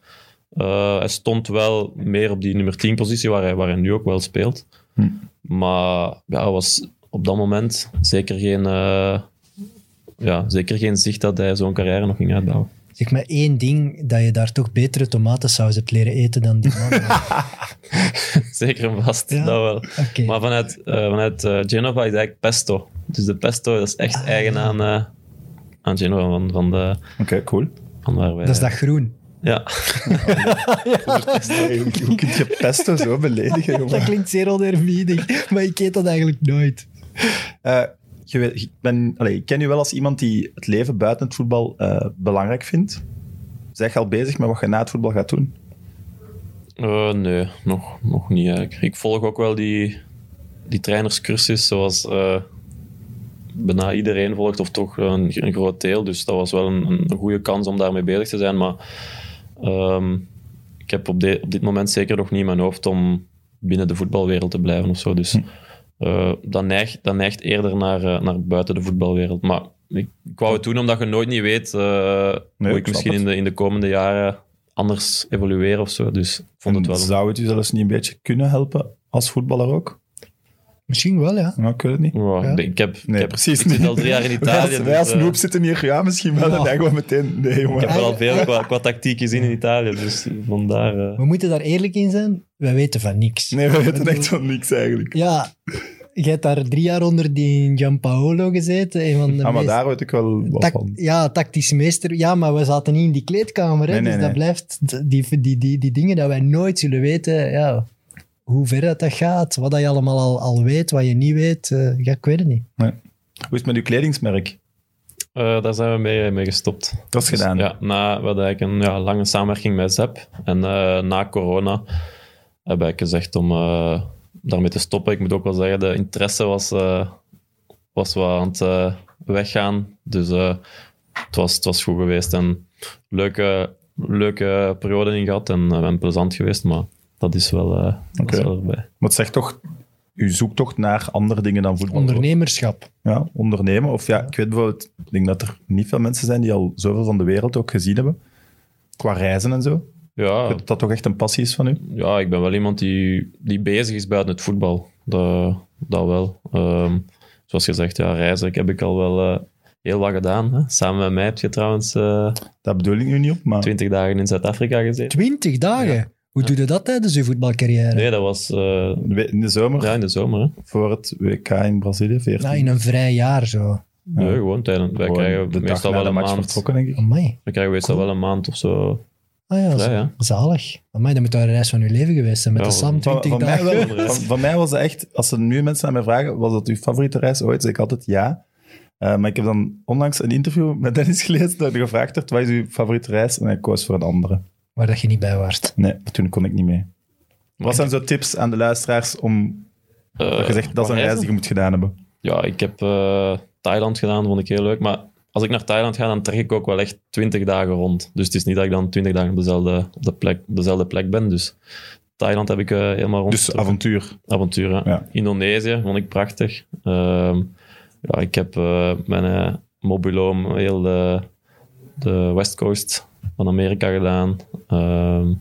Speaker 3: Eh, hij stond wel meer op die nummer 10 positie waar hij, waar hij nu ook wel speelt.
Speaker 1: Hm.
Speaker 3: Maar ja, hij was op dat moment zeker geen, eh, ja, zeker geen zicht dat hij zo'n carrière nog ging uitbouwen. <laughs>
Speaker 2: Zeg maar één ding, dat je daar toch betere tomatensaus hebt leren eten dan die
Speaker 3: <laughs>
Speaker 2: man. Oké.
Speaker 3: Zeker en vast,
Speaker 2: Ja.
Speaker 3: dat wel. Maar vanuit, eh, vanuit eh, Genova is eigenlijk pesto. Dus de pesto dat is echt
Speaker 2: Ah.
Speaker 3: eigen aan, eh, aan Genova, van, van, de,
Speaker 1: Oké,
Speaker 3: <laughs>
Speaker 1: cool.
Speaker 3: van waar wij...
Speaker 2: Dat is dat groen.
Speaker 3: Ja.
Speaker 1: Hey, hoe, hoe kun je pesto zo beledigen, jongen?
Speaker 2: Dat klinkt zeer onerbiedig, <laughs> maar ik eet dat eigenlijk nooit.
Speaker 1: Eh, je weet- ik, ben, allee, ik ken je wel als iemand die het leven buiten het voetbal eh, belangrijk vindt. Zeg al bezig met wat je na het voetbal gaat doen.
Speaker 3: Eh, nee, nog, nog niet eigenlijk. Ik volg ook wel die, die trainerscursus zoals eh, bijna iedereen volgt, of toch een, een groot deel. Dus dat was wel een, een goede kans om daarmee bezig te zijn. Maar ehm, ik heb op, de- op dit moment zeker nog niet in mijn hoofd om binnen de voetbalwereld te blijven of zo. Dus
Speaker 1: Hm.
Speaker 3: eh, dat, neigt, dat neigt eerder naar, eh, naar buiten de voetbalwereld. Maar ik, ik wou het doen omdat je nooit niet weet eh,
Speaker 1: ik
Speaker 3: hoe
Speaker 1: snap
Speaker 3: ik misschien
Speaker 1: het.
Speaker 3: in de, in de komende jaren anders evolueer of zo. Dus ik vond het wel een-
Speaker 1: Zou het u zelfs niet een beetje kunnen helpen als voetballer ook?
Speaker 2: Misschien wel, ja.
Speaker 1: Nou, ik weet het niet.
Speaker 3: Ja,
Speaker 2: Ja.
Speaker 3: ik- Ik heb,
Speaker 1: Nee,
Speaker 3: ik heb
Speaker 1: precies
Speaker 3: Ik zit
Speaker 1: niet.
Speaker 3: al drie jaar
Speaker 1: <laughs>
Speaker 3: in
Speaker 1: Wij
Speaker 3: Italië.
Speaker 1: als, wij als
Speaker 3: dus, eh,
Speaker 1: noob zitten hier, ja, misschien wel.
Speaker 2: Ja.
Speaker 1: En dan gewoon meteen, nee jongen.
Speaker 3: ik heb wel al veel qua, qua tactiek gezien in Italië, dus vandaar. eh.
Speaker 2: We moeten daar eerlijk in zijn. Wij weten van niks.
Speaker 1: Nee, we weten echt van niks eigenlijk.
Speaker 2: Ja, jij hebt daar drie jaar onder die Gianpaolo gezeten. Een van
Speaker 1: Ah,
Speaker 2: de
Speaker 1: maar
Speaker 2: meest
Speaker 1: daar weet ik wel wat
Speaker 2: tac-
Speaker 1: van.
Speaker 2: ja, tactisch meester. Ja, maar we zaten niet in die kleedkamer. hè,
Speaker 1: Nee, nee,
Speaker 2: dus
Speaker 1: nee.
Speaker 2: dat blijft die, die, die, die dingen dat wij nooit zullen weten. Ja, hoe ver dat, dat gaat, wat dat je allemaal al, al weet, wat je niet weet. eh, ja, ik weet het niet.
Speaker 1: Hoe is het met uw kledingsmerk?
Speaker 3: Eh, daar zijn we mee, mee gestopt.
Speaker 1: Dat is
Speaker 3: Dus,
Speaker 1: gedaan.
Speaker 3: ja, na, we hadden eigenlijk een ja, lange samenwerking met ZEP. En eh, na corona heb ik gezegd om eh, daarmee te stoppen. Ik moet ook wel zeggen, de interesse was, eh was wel aan het eh, weggaan. Dus eh, het, was, het was goed geweest. En leuke, leuke periode in gehad en, eh, en plezant geweest. Maar dat is wel, eh dat is
Speaker 1: Oké.
Speaker 3: wel erbij.
Speaker 1: Maar het zegt toch, u zoekt toch naar andere dingen dan voetbal.
Speaker 2: Ondernemerschap.
Speaker 1: Ja, ondernemen. Of ja, ik weet bijvoorbeeld, ik denk dat er niet veel mensen zijn die al zoveel van de wereld ook gezien hebben. Qua reizen en zo. Ik
Speaker 3: Ja,
Speaker 1: weet Dat dat toch echt een passie is van u?
Speaker 3: ja, ik ben wel iemand die, die bezig is buiten het voetbal. Dat, dat wel. Ehm, zoals gezegd, ja, reizen ik heb ik al wel eh, heel wat gedaan. Hè. Samen met mij heb je trouwens eh
Speaker 1: Dat bedoel ik nu niet op, maar...
Speaker 3: 20 dagen in Zuid-Afrika gezeten.
Speaker 2: Twintig dagen. Hoe doe je dat tijdens je voetbalcarrière?
Speaker 3: Nee, dat was eh,
Speaker 1: we- In de zomer,
Speaker 3: ja, in de zomer. Hè.
Speaker 1: voor het WK in Brazilië, 14.
Speaker 2: Nou, in een vrij jaar zo.
Speaker 3: Nee, gewoon tijdens. Wij
Speaker 1: Gewoon
Speaker 3: krijgen
Speaker 1: de dag
Speaker 3: meestal
Speaker 1: na
Speaker 3: wel
Speaker 1: de
Speaker 3: een
Speaker 1: match
Speaker 3: maand.
Speaker 1: vertrokken, denk ik.
Speaker 2: Amai.
Speaker 3: We krijgen meestal wel een maand of zo.
Speaker 2: Ah ja,
Speaker 3: Ja, ja.
Speaker 2: zalig. Amai, dat moet wel de reis van je leven geweest zijn. Met
Speaker 3: Ja,
Speaker 2: de Sam
Speaker 1: Van,
Speaker 2: 20
Speaker 1: van mij
Speaker 2: dagen. dus.
Speaker 1: wel,
Speaker 3: Andere
Speaker 1: van,
Speaker 3: reis.
Speaker 1: van mij was dat echt, als er nu mensen aan mij vragen, was dat uw favoriete reis ooit? Zeg ik altijd ja. Eh, maar ik heb dan onlangs een interview met Dennis gelezen dat er gevraagd werd, wat is uw favoriete reis? En hij koos voor een andere.
Speaker 2: Waar dat je niet bij waart.
Speaker 1: Nee, toen kon ik niet mee. Wat zijn zo tips aan de luisteraars om,
Speaker 3: Eh,
Speaker 1: dat je zegt, dat is een reis die je moet gedaan hebben?
Speaker 3: Ja, ik heb eh, Thailand gedaan, vond ik heel leuk. Maar als ik naar Thailand ga, dan trek ik ook wel echt 20 dagen rond. Dus het is niet dat ik dan 20 dagen op dezelfde, op de plek, op dezelfde plek ben. Dus Thailand heb ik eh, helemaal rond.
Speaker 1: Dus avontuur.
Speaker 3: avonturen.
Speaker 1: Ja.
Speaker 3: Indonesië vond ik prachtig. Ehm, ja, ik heb eh, mijn eh, mobiloom heel de, de West Coast van Amerika gedaan. Ehm,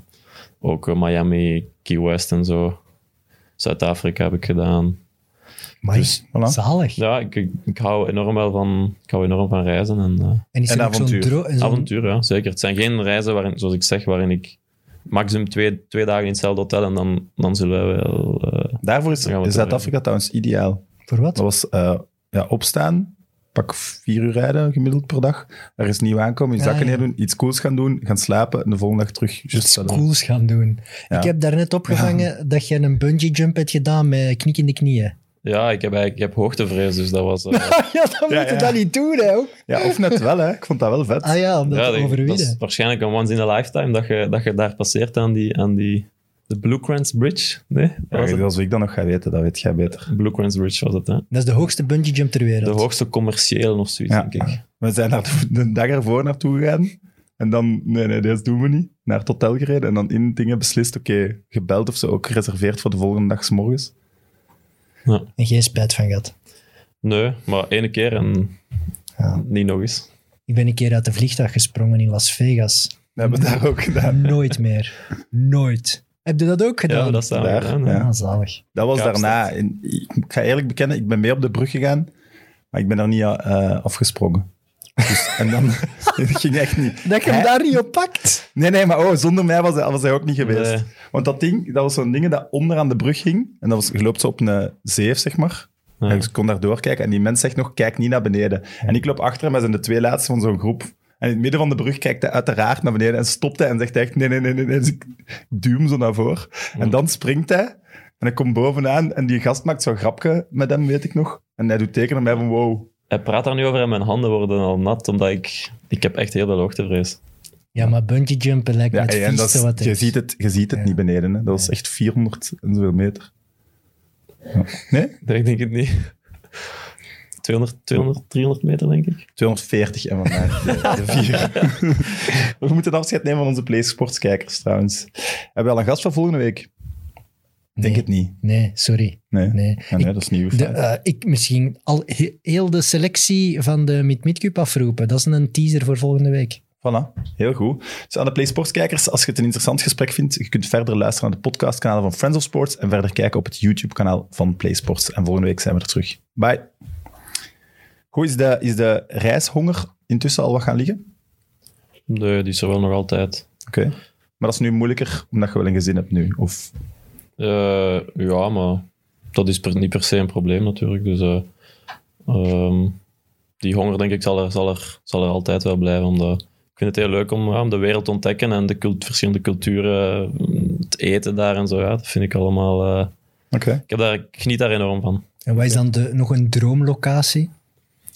Speaker 3: ook eh, Miami, Key West en zo. Zuid-Afrika heb ik gedaan.
Speaker 2: Amai,
Speaker 1: Dus, voilà.
Speaker 2: zalig.
Speaker 3: Ja, ik, ik, ik hou enorm wel van, ik hou enorm van reizen en eh
Speaker 2: En is
Speaker 1: En
Speaker 2: er ook zo'n
Speaker 1: avontuur.
Speaker 2: dro- en zo'n-
Speaker 3: avontuur, ja, zeker. Het zijn geen reizen waarin, zoals ik zeg, waarin ik maximum twee, twee dagen in hetzelfde hotel en dan, dan zullen we wel... eh,
Speaker 1: Daarvoor is
Speaker 3: Dan gaan we
Speaker 1: Zuid-Afrika trouwens ideaal.
Speaker 2: Voor wat?
Speaker 1: Dat was eh, ja, opstaan, pak vier uur rijden gemiddeld per dag, er is nieuw aankomen, je
Speaker 2: Ja,
Speaker 1: zakken
Speaker 2: ja.
Speaker 1: neer doen, iets cools gaan doen, gaan slapen en de volgende dag terug. Just
Speaker 2: Iets
Speaker 1: hetzelfde.
Speaker 2: cools gaan doen.
Speaker 1: Ja.
Speaker 2: Ik heb daarnet opgevangen dat je een bungee jump hebt gedaan met knik in de knieën.
Speaker 3: ja, ik heb, eigenlijk- ik heb hoogtevrees, dus dat was... eh,
Speaker 2: ja, dan
Speaker 1: Ja,
Speaker 2: moet je
Speaker 1: ja.
Speaker 2: dat niet doen, hè. ook.
Speaker 1: Ja, of net wel, hè. Ik vond dat wel vet.
Speaker 2: Ah ja, om dat
Speaker 3: ja,
Speaker 2: te
Speaker 3: dat, dat is
Speaker 2: overwinnen.
Speaker 3: waarschijnlijk een once in a lifetime dat je, dat je daar passeert aan die... Aan die de Blue Crans Bridge? Nee?
Speaker 1: Ja,
Speaker 3: Was het?
Speaker 1: als ik dat nog ga weten, dat weet jij beter.
Speaker 3: Blue Crans Bridge was het, hè?
Speaker 2: Dat is de hoogste bungee jump ter wereld.
Speaker 3: De hoogste commerciële of zoiets,
Speaker 1: Ja.
Speaker 3: denk ik.
Speaker 1: We zijn daar de- de dag ervoor naartoe gegaan. En dan, nee, nee, deze doen we niet. Naar het hotel gereden en dan in dingen beslist, oké, gebeld of zo, ook gereserveerd voor de volgende dag 's morgens.
Speaker 2: En geen spijt van gehad.
Speaker 3: Nee, maar ene keer en
Speaker 2: Ja.
Speaker 3: niet nog eens.
Speaker 2: Ik ben een keer uit de vliegtuig gesprongen in Las Vegas.
Speaker 1: Dat hebben we daar ook gedaan.
Speaker 2: Nooit meer. Nooit. Heb je dat ook gedaan?
Speaker 3: Ja, dat staan we
Speaker 1: Daar,
Speaker 3: gedaan, hè.
Speaker 1: ja.
Speaker 2: Ah, zalig.
Speaker 1: Dat was
Speaker 3: Kaapstad.
Speaker 1: daarna. En ik ga eerlijk bekennen, ik ben mee op de brug gegaan, maar ik ben er niet eh, afgesprongen. Dus, en dan <laughs> dat ging echt niet.
Speaker 2: Dat je hem
Speaker 1: Hij-
Speaker 2: daar niet op pakt.
Speaker 1: Nee, nee, maar oh, zonder mij was hij, was hij ook niet geweest.
Speaker 3: Nee.
Speaker 1: Want dat ding, dat was zo'n ding dat onderaan de brug ging. En dat was, je loopt zo op een zeef, zeg maar.
Speaker 3: Ja.
Speaker 1: En ik kon daar doorkijken. En die mens zegt nog, kijk niet naar beneden. En ik loop achter hem, wij zijn de twee laatste van zo'n groep. En in het midden van de brug kijkt hij uiteraard naar beneden en stopt hij en zegt echt, nee, nee, nee, nee. nee. Dus ik duw hem zo naar voren. En dan springt hij en hij komt bovenaan en die gast maakt zo'n grapje met hem, weet ik nog. En hij doet teken naar mij van, wow.
Speaker 3: Hij praat daar nu over en mijn handen worden al nat, omdat ik... Ik heb echt heel veel hoogtevrees.
Speaker 2: Ja, maar bungee jumpen lijkt me
Speaker 1: Ja,
Speaker 2: het
Speaker 1: en dat
Speaker 2: vieste
Speaker 1: is-
Speaker 2: wat er
Speaker 1: je,
Speaker 2: is.
Speaker 1: ziet het, je ziet het
Speaker 2: Ja.
Speaker 1: niet beneden. Hè. Dat is echt 400 en zoveel meter. Ja. Nee?
Speaker 3: Nee, ik denk het <laughs> niet. 200, 200, 300 meter, denk ik.
Speaker 1: 240 en <laughs> vandaag de, de vier. We moeten afscheid nemen van onze PlaySports-kijkers trouwens. Hebben we al een gast van volgende week? Ik Denk
Speaker 2: Nee.
Speaker 1: het niet.
Speaker 2: Nee, sorry.
Speaker 1: Nee.
Speaker 2: Nee.
Speaker 1: Ah, nee, dat is nieuw.
Speaker 2: De, eh, ik misschien al he- heel de selectie van de Mid-Mid Cup afroepen. Dat is een teaser voor volgende week.
Speaker 1: Voilà, heel goed. Dus aan de PlaySports-kijkers, als je het een interessant gesprek vindt, je kunt verder luisteren naar de podcastkanalen van Friends of Sports en verder kijken op het YouTube-kanaal van PlaySports. En volgende week zijn we er terug. Bye. Hoe is de, is de reishonger intussen al wat gaan liggen?
Speaker 3: Nee, die is er wel nog altijd.
Speaker 1: Oké. Maar dat is nu moeilijker, omdat je wel een gezin hebt nu. Of...
Speaker 3: Eh, ja, maar dat is per- niet per se een probleem natuurlijk. Dus eh, ehm, die honger, denk ik, zal er, zal, er, zal er altijd wel blijven. Omdat, ik vind het heel leuk om, ja, om de wereld te ontdekken en de cult- verschillende culturen, mm, het eten daar en zo. Ja, dat vind ik allemaal... eh,
Speaker 1: Oké.
Speaker 3: ik, heb daar, ik geniet daar enorm van.
Speaker 2: En wat is dan de, nog een droomlocatie?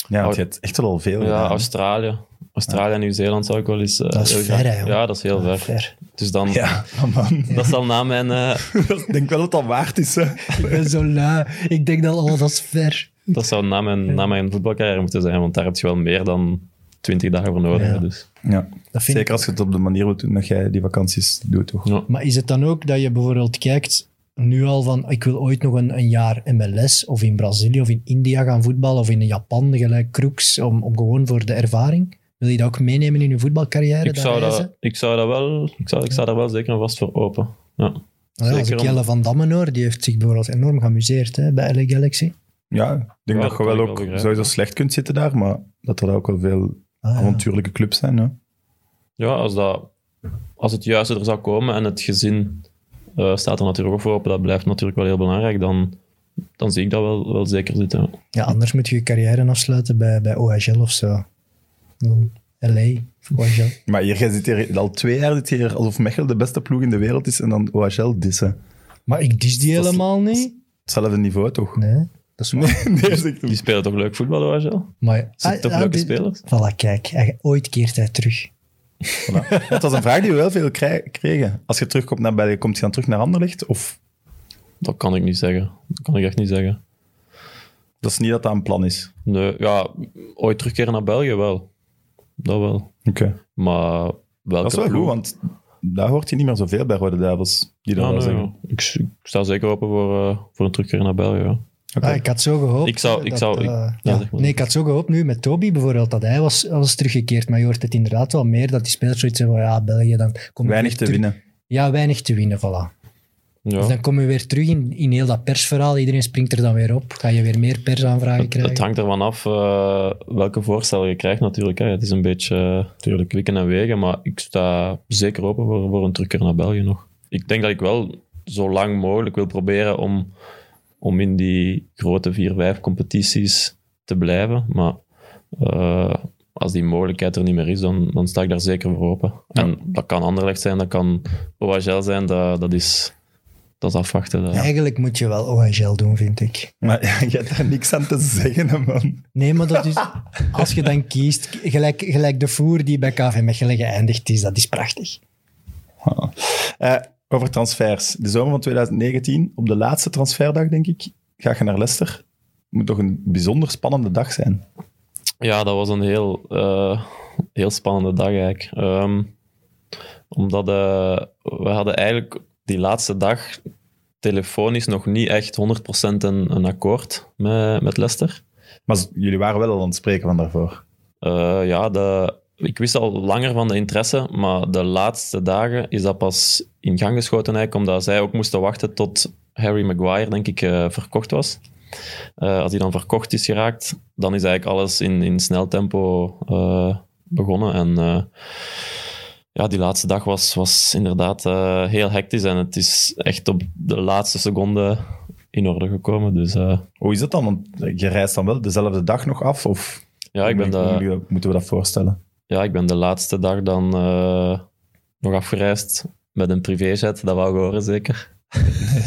Speaker 1: Ja, want
Speaker 3: Oh.
Speaker 1: je hebt echt wel al veel.
Speaker 3: Ja,
Speaker 1: gedaan.
Speaker 3: Australië. Australië en Nieuw-Zeeland zou ik wel eens... eh,
Speaker 2: Dat is
Speaker 3: heel
Speaker 2: ver,
Speaker 3: graag-
Speaker 2: hè, jongen.
Speaker 3: Ja, dat is heel ver.
Speaker 2: Ver.
Speaker 3: Dus dan...
Speaker 1: Ja, maar man.
Speaker 3: Dat zal na
Speaker 2: <laughs>
Speaker 3: mijn... eh,
Speaker 1: <laughs> Ik denk wel dat dat waard is. Hè.
Speaker 2: Ik ben <laughs> zo lui. Ik denk dat alles dat is ver.
Speaker 3: Dat zou na mijn, na mijn voetbalcarrière moeten zijn, want daar heb je wel meer dan 20 dagen voor nodig.
Speaker 2: Ja.
Speaker 3: hè, Dus.
Speaker 1: Ja.
Speaker 2: Dat vind
Speaker 1: Zeker als je het op de manier wilt doen dat jij die vakanties doet, toch?
Speaker 3: Ja.
Speaker 2: Maar is het dan ook dat je bijvoorbeeld kijkt nu al van ik wil ooit nog een, een jaar MLS of in Brazilië of in India gaan voetballen of in Japan, gelijk Kroeks, om, om gewoon voor de ervaring? Wil je dat ook meenemen in je voetbalcarrière?
Speaker 3: Ik, zou
Speaker 2: reizen?
Speaker 3: dat, ik zou dat wel... Ik, zou, ik sta daar wel zeker en vast voor open. Ja.
Speaker 2: Nou ja, als
Speaker 3: Zeker
Speaker 2: ik
Speaker 3: om-
Speaker 2: Jelle van Dammen hoor, die heeft zich bijvoorbeeld enorm geamuseerd hè, bij LA Galaxy.
Speaker 1: Ja, ik denk
Speaker 3: Ja,
Speaker 1: dat
Speaker 3: dat
Speaker 1: je
Speaker 3: kan ik
Speaker 1: wel
Speaker 3: wel
Speaker 1: ook
Speaker 3: begrijpen.
Speaker 1: sowieso slecht kunt zitten daar, maar dat er ook wel veel
Speaker 2: Ah, ja.
Speaker 1: avontuurlijke clubs zijn. Hè?
Speaker 3: Ja, als, dat, als het juiste er zou komen en het gezin eh, staat er natuurlijk ook voor open, dat blijft natuurlijk wel heel belangrijk, dan, dan zie ik dat wel, wel zeker zitten.
Speaker 2: Ja, anders moet je je carrière afsluiten bij, bij OHL of zo. Dan LA, of OHL.
Speaker 1: Maar hier, jij zit hier al twee jaar zit hier alsof Mechel de beste ploeg in de wereld is en dan OHL dissen.
Speaker 2: Maar ik dis die
Speaker 1: Dat is-
Speaker 2: helemaal niet.
Speaker 1: Hetzelfde niveau toch?
Speaker 2: Nee, dat is waar.
Speaker 1: <laughs> nee zegt
Speaker 3: Die
Speaker 1: hem.
Speaker 3: spelen toch leuk voetbal, hoor, Gilles?
Speaker 2: Maar, Ah,
Speaker 3: Zijn toch leuke
Speaker 2: dit-
Speaker 3: spelers?
Speaker 2: Voilà, kijk, hij- ooit keert hij terug.
Speaker 1: Voilà. Dat was een vraag die we wel veel krij- kregen. Als je terugkomt naar België, komt je dan terug naar Anderlecht? Of
Speaker 3: Dat kan ik niet zeggen. Dat kan ik echt niet zeggen.
Speaker 1: dat is niet dat dat een plan is?
Speaker 3: Nee, ja, ooit terugkeren naar België wel. Dat wel.
Speaker 1: Oké.
Speaker 3: Maar welke
Speaker 1: Dat is wel
Speaker 3: ploeg?
Speaker 1: goed, want daar hoort je niet meer zoveel bij Rode Duivels. Die dat
Speaker 3: Ja,
Speaker 1: wel
Speaker 3: Ah, nee,
Speaker 1: zeggen.
Speaker 3: ja. ik, ik sta zeker open voor, eh, voor een terugkeer naar België. Ja.
Speaker 1: Oké.
Speaker 2: Ah, ik had zo gehoopt.
Speaker 3: Ik zou-
Speaker 2: hè,
Speaker 3: ik
Speaker 2: dat,
Speaker 3: zou-
Speaker 2: eh,
Speaker 3: ik- ja,
Speaker 2: ja.
Speaker 3: zeg maar.
Speaker 2: Nee, ik had zo gehoopt nu met Toby bijvoorbeeld dat hij was, was teruggekeerd. Maar je hoort het inderdaad wel meer dat die spelers zoiets hebben van ja, België, dan kom je
Speaker 1: Weinig
Speaker 2: weer
Speaker 1: te
Speaker 2: terug-
Speaker 1: winnen.
Speaker 2: Ja, weinig te winnen, voilà.
Speaker 3: Ja.
Speaker 2: Dus dan kom je weer terug in, in heel dat persverhaal. Iedereen springt er dan weer op. Ga je weer meer persaanvragen
Speaker 3: Het,
Speaker 2: krijgen?
Speaker 3: het hangt ervan af eh, welke voorstel je krijgt natuurlijk. Hè. Het is een beetje eh, natuurlijk wikken en wegen, maar ik sta zeker open voor, voor een terugkeer naar België nog. Ik denk dat ik wel zo lang mogelijk wil proberen om, om in die grote 4-5 competities te blijven. Maar eh, als die mogelijkheid er niet meer is, dan, dan sta ik daar zeker voor open. En dat kan Anderlecht zijn, dat kan OHL zijn, dat, dat, is, dat is afwachten. Dat,
Speaker 2: Eigenlijk moet je wel OHL doen, vind ik.
Speaker 1: Maar <laughs> ja, je hebt daar niks aan te zeggen, hè, man.
Speaker 2: Nee, maar
Speaker 3: <laughs>
Speaker 2: dat is, als je dan kiest, gelijk, gelijk de voer die bij KV Mechelen geëindigd is, dat is prachtig. Ah.
Speaker 1: Eh, over transfers. De zomer van 2019, op de laatste transferdag, denk ik, ga je naar Leicester. Moet toch een bijzonder spannende dag zijn.
Speaker 3: Ja, dat was een heel, eh, heel spannende dag eigenlijk. Ehm, omdat eh, we hadden eigenlijk die laatste dag telefonisch nog niet echt 100% een, een akkoord met, met Leicester.
Speaker 1: Maar z- jullie waren wel al aan het spreken van daarvoor.
Speaker 3: Eh, ja, de, ik wist al langer van de interesse, maar de laatste dagen is dat pas in gang geschoten eigenlijk, omdat zij ook moesten wachten tot Harry Maguire, denk ik, eh, verkocht was. Eh, als hij dan verkocht is geraakt, dan is eigenlijk alles in, in snel tempo eh, begonnen. En eh, ja, die laatste dag was, was inderdaad eh, heel hectisch en het is echt op de laatste seconde in orde gekomen. Dus eh,
Speaker 1: Hoe is dat dan? Want eh, je reist dan wel dezelfde dag nog af? Of
Speaker 3: ja, ik ben
Speaker 1: Hoe
Speaker 3: daar...
Speaker 1: moeten we- moeten we dat voorstellen?
Speaker 3: Ja, ik ben de laatste dag dan eh, nog afgereisd met een privéjet. Dat wou je horen, zeker.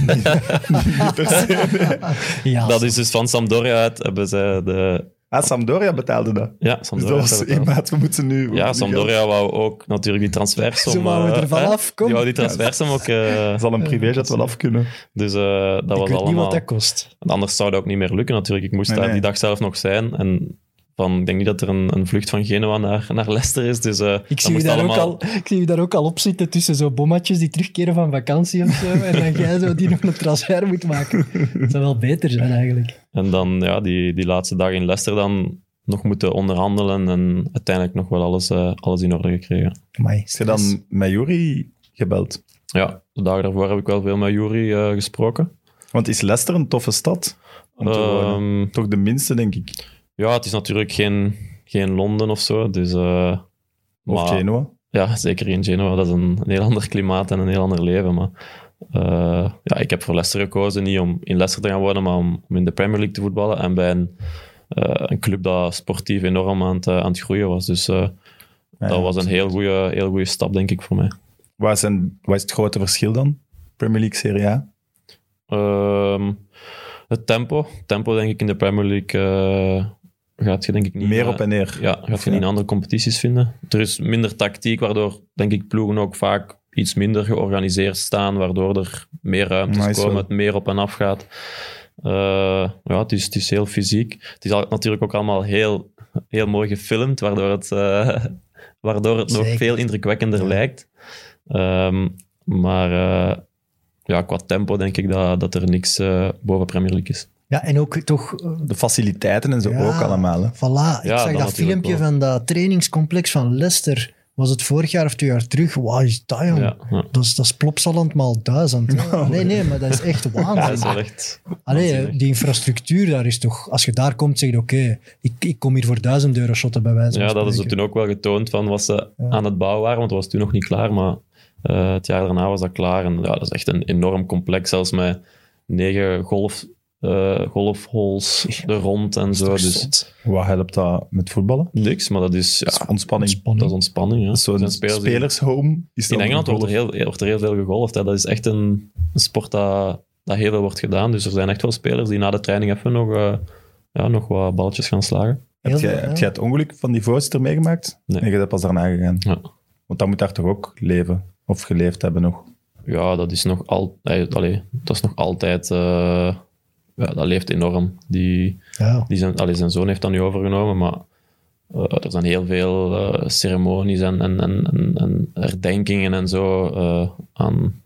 Speaker 1: Niet per se.
Speaker 2: Ja, Ah,
Speaker 3: Dat is dus van Sampdoria uit hebben ze de
Speaker 1: Ah, Sampdoria betaalde dat.
Speaker 3: Ja,
Speaker 1: Dus
Speaker 3: Sampdoria.
Speaker 1: dat was
Speaker 3: heeft dat
Speaker 1: één
Speaker 3: betaald.
Speaker 1: maat, we moeten nu... we moeten
Speaker 3: ja,
Speaker 1: nu geld-
Speaker 3: Sampdoria wou ook natuurlijk die transfersom...
Speaker 2: Ze wouden
Speaker 3: eh,
Speaker 2: er van
Speaker 3: hè?
Speaker 2: af, kom.
Speaker 3: Die wou die transfersom ook... eh,
Speaker 2: <laughs>
Speaker 1: Dat zal een privéjet wel af kunnen.
Speaker 3: dus eh, dat
Speaker 2: ik
Speaker 3: was
Speaker 2: weet niet
Speaker 3: allemaal...
Speaker 2: wat dat kost.
Speaker 3: Want Anders zou dat ook niet meer lukken natuurlijk. Ik moest
Speaker 1: Nee,
Speaker 3: daar
Speaker 1: nee.
Speaker 3: die dag zelf nog zijn. En van, ik denk niet dat er een, een vlucht van Genoa naar, naar Leicester is. Dus, eh,
Speaker 2: Ik
Speaker 3: dat
Speaker 2: zie, u
Speaker 3: moest
Speaker 2: daar
Speaker 3: allemaal...
Speaker 2: ook al, ik zie u daar ook al op zitten tussen zo bommatjes die terugkeren van vakantie of zo. En dan jij zo die nog een transfer moet maken. Dat zou wel beter zijn eigenlijk.
Speaker 3: En dan ja, die, die laatste dag in Leicester dan nog moeten onderhandelen. En uiteindelijk nog wel alles, eh, alles in orde gekregen.
Speaker 2: Amai,
Speaker 1: Is je dan met Jury gebeld?
Speaker 3: Ja, de dagen daarvoor heb ik wel veel met Jury eh, gesproken.
Speaker 1: Want is Leicester een toffe stad? Om te wonen?
Speaker 3: Ehm,
Speaker 1: Toch de minste, denk ik.
Speaker 3: ja, het is natuurlijk geen, geen Londen of zo. Dus, eh,
Speaker 1: Of
Speaker 3: maar-
Speaker 1: Genoa.
Speaker 3: Ja, zeker in Genoa. Dat is een, een heel ander klimaat en een heel ander leven. Maar eh, ja, ik heb voor Leicester gekozen. Niet om in Leicester te gaan wonen, maar om, om in de Premier League te voetballen. En bij een, eh, een club dat sportief enorm aan het, eh, aan het groeien was. Dus eh,
Speaker 1: Ja,
Speaker 3: dat was een heel goede heel goeie stap, denk ik, voor mij.
Speaker 1: Waar, zijn, waar is het grote verschil dan? Premier League, Serie A?
Speaker 3: Ehm, het tempo. Tempo, denk ik, in de Premier League eh, gaat je denk ik niet...
Speaker 1: Meer
Speaker 3: eh,
Speaker 1: op en neer.
Speaker 3: Ja, gaat je niet in andere competities vinden. Er is minder tactiek, waardoor denk ik ploegen ook vaak iets minder georganiseerd staan, waardoor er meer ruimtes
Speaker 1: Nice,
Speaker 3: komen,
Speaker 1: hoor.
Speaker 3: het meer op en af gaat. Eh, ja, het is, het is heel fysiek. Het is al- natuurlijk ook allemaal heel, heel mooi gefilmd, waardoor het, eh, <laughs> waardoor het nog
Speaker 2: Zeker.
Speaker 3: veel indrukwekkender lijkt. Ehm, maar eh, ja, qua tempo denk ik dat, dat er niks eh, boven Premier League is.
Speaker 2: Ja, en ook toch eh,
Speaker 1: De faciliteiten en zo
Speaker 2: Ja.
Speaker 1: ook allemaal. Hè.
Speaker 2: Voilà, ik zag
Speaker 3: Ja, dat
Speaker 2: dat
Speaker 3: natuurlijk
Speaker 2: filmpje
Speaker 3: wel.
Speaker 2: van dat trainingscomplex van Leicester. Was het vorig jaar of twee jaar terug? Wauw, is dat jong?
Speaker 3: Ja, ja.
Speaker 2: Dat, is, dat is Plopsaland maal duizend.
Speaker 3: <laughs>
Speaker 2: Nee, nee, maar dat is echt
Speaker 3: Dat is
Speaker 2: waanzin.
Speaker 3: wel echt...
Speaker 2: Allee,
Speaker 3: waanzinnig.
Speaker 2: die infrastructuur daar is toch... Als je daar komt, zeg je oké, ik, ik kom hier voor duizend euro shotten bij wijze van
Speaker 3: Ja, dat is
Speaker 2: spreken.
Speaker 3: toen ook wel getoond van wat ze aan het bouwen waren, want het was toen nog niet klaar, maar eh, het jaar daarna was dat klaar. En ja, dat is echt een enorm complex, zelfs met negen golf, eh, golfholes er rond en zo. Dus
Speaker 1: Wat helpt dat met voetballen?
Speaker 3: niks, maar dat is, ja,
Speaker 1: Dat is ontspanning.
Speaker 3: dat is ontspanning. Ja.
Speaker 1: Dat is
Speaker 3: Er
Speaker 1: Zo'n
Speaker 3: zijn
Speaker 1: spelershome. Is dan
Speaker 3: die- in Engeland wordt er,
Speaker 1: golf.
Speaker 3: heel, heel- wordt er heel veel gegolfd. Hè. Dat is echt een, een sport dat, dat heel veel wordt gedaan. Dus er zijn echt wel spelers die na de training even nog, eh, ja, nog wat balletjes gaan slagen.
Speaker 1: Heb
Speaker 2: Heel
Speaker 1: jij,
Speaker 2: veel,
Speaker 1: heb
Speaker 2: ja.
Speaker 1: jij het ongeluk van die voorzitter meegemaakt?
Speaker 3: Nee.
Speaker 1: je bent pas daarna gegaan.
Speaker 3: Ja.
Speaker 1: Want dan moet daar toch ook leven? Of geleefd hebben nog?
Speaker 3: Ja, dat is nog altijd. Allee, dat is nog altijd. eh, ja, dat leeft enorm. Die,
Speaker 2: Ja.
Speaker 3: die zijn, allee, zijn zoon heeft dat nu overgenomen, maar eh, er zijn heel veel eh, ceremonies en, en, en, en, en herdenkingen en zo eh, aan,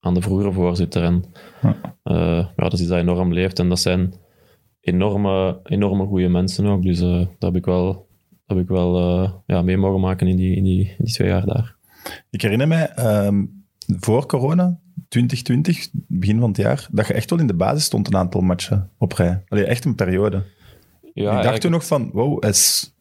Speaker 3: aan de vroegere voorzitter. En,
Speaker 1: Ja.
Speaker 3: eh, ja, dat is iets dat enorm leeft en dat zijn enorme, enorme goede mensen ook. Dus eh dat heb ik wel, dat heb ik wel eh, ja, mee mogen maken in die, in, die, in die twee jaar daar.
Speaker 1: Ik herinner mij, ehm, voor corona, 2020, begin van het jaar, dat je echt wel in de basis stond een aantal matchen op rij. Allee, echt een periode.
Speaker 3: Ja,
Speaker 1: ik dacht
Speaker 3: eigenlijk-
Speaker 1: toen nog van, wow, hij is,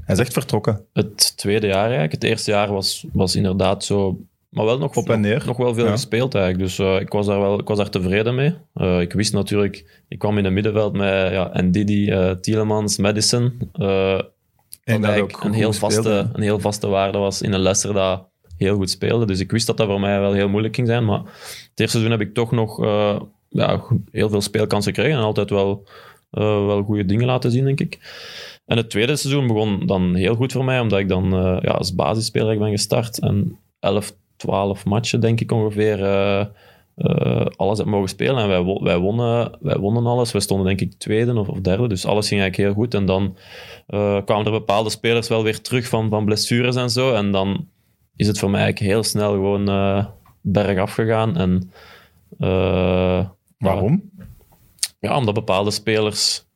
Speaker 1: hij is echt vertrokken.
Speaker 3: het tweede jaar eigenlijk. Het eerste jaar was, was inderdaad zo... Maar wel nog,
Speaker 1: Op en neer.
Speaker 3: nog wel veel
Speaker 1: Ja.
Speaker 3: gespeeld eigenlijk. Dus eh, ik, was daar wel, ik was daar tevreden mee. Eh, ik wist natuurlijk... Ik kwam in het middenveld met ja, Ndidi, eh Tielemans, Madison. eh
Speaker 1: En dat
Speaker 3: wat eigenlijk
Speaker 1: ook
Speaker 3: een
Speaker 1: goed
Speaker 3: heel,
Speaker 1: gespeeld,
Speaker 3: vaste,
Speaker 1: hè.
Speaker 3: een heel vaste waarde was in een Leicester dat heel goed speelde. Dus ik wist dat dat voor mij wel heel moeilijk ging zijn. Maar het eerste seizoen heb ik toch nog eh, ja, go- heel veel speelkansen gekregen. En altijd wel, eh, wel goede dingen laten zien, denk ik. En het tweede seizoen begon dan heel goed voor mij, omdat ik dan eh, ja, als basisspeler ik ben gestart. En 11, 12 matchen, denk ik ongeveer, eh, eh, alles heb mogen spelen. En wij, wo- wij, wonnen, wij wonnen alles. We stonden denk ik tweede of, of derde, dus alles ging eigenlijk heel goed. En dan eh, kwamen er bepaalde spelers wel weer terug van, van blessures en zo. En dan is het voor mij eigenlijk heel snel gewoon eh bergaf gegaan. En, eh,
Speaker 1: Waarom?
Speaker 3: ja, omdat bepaalde spelers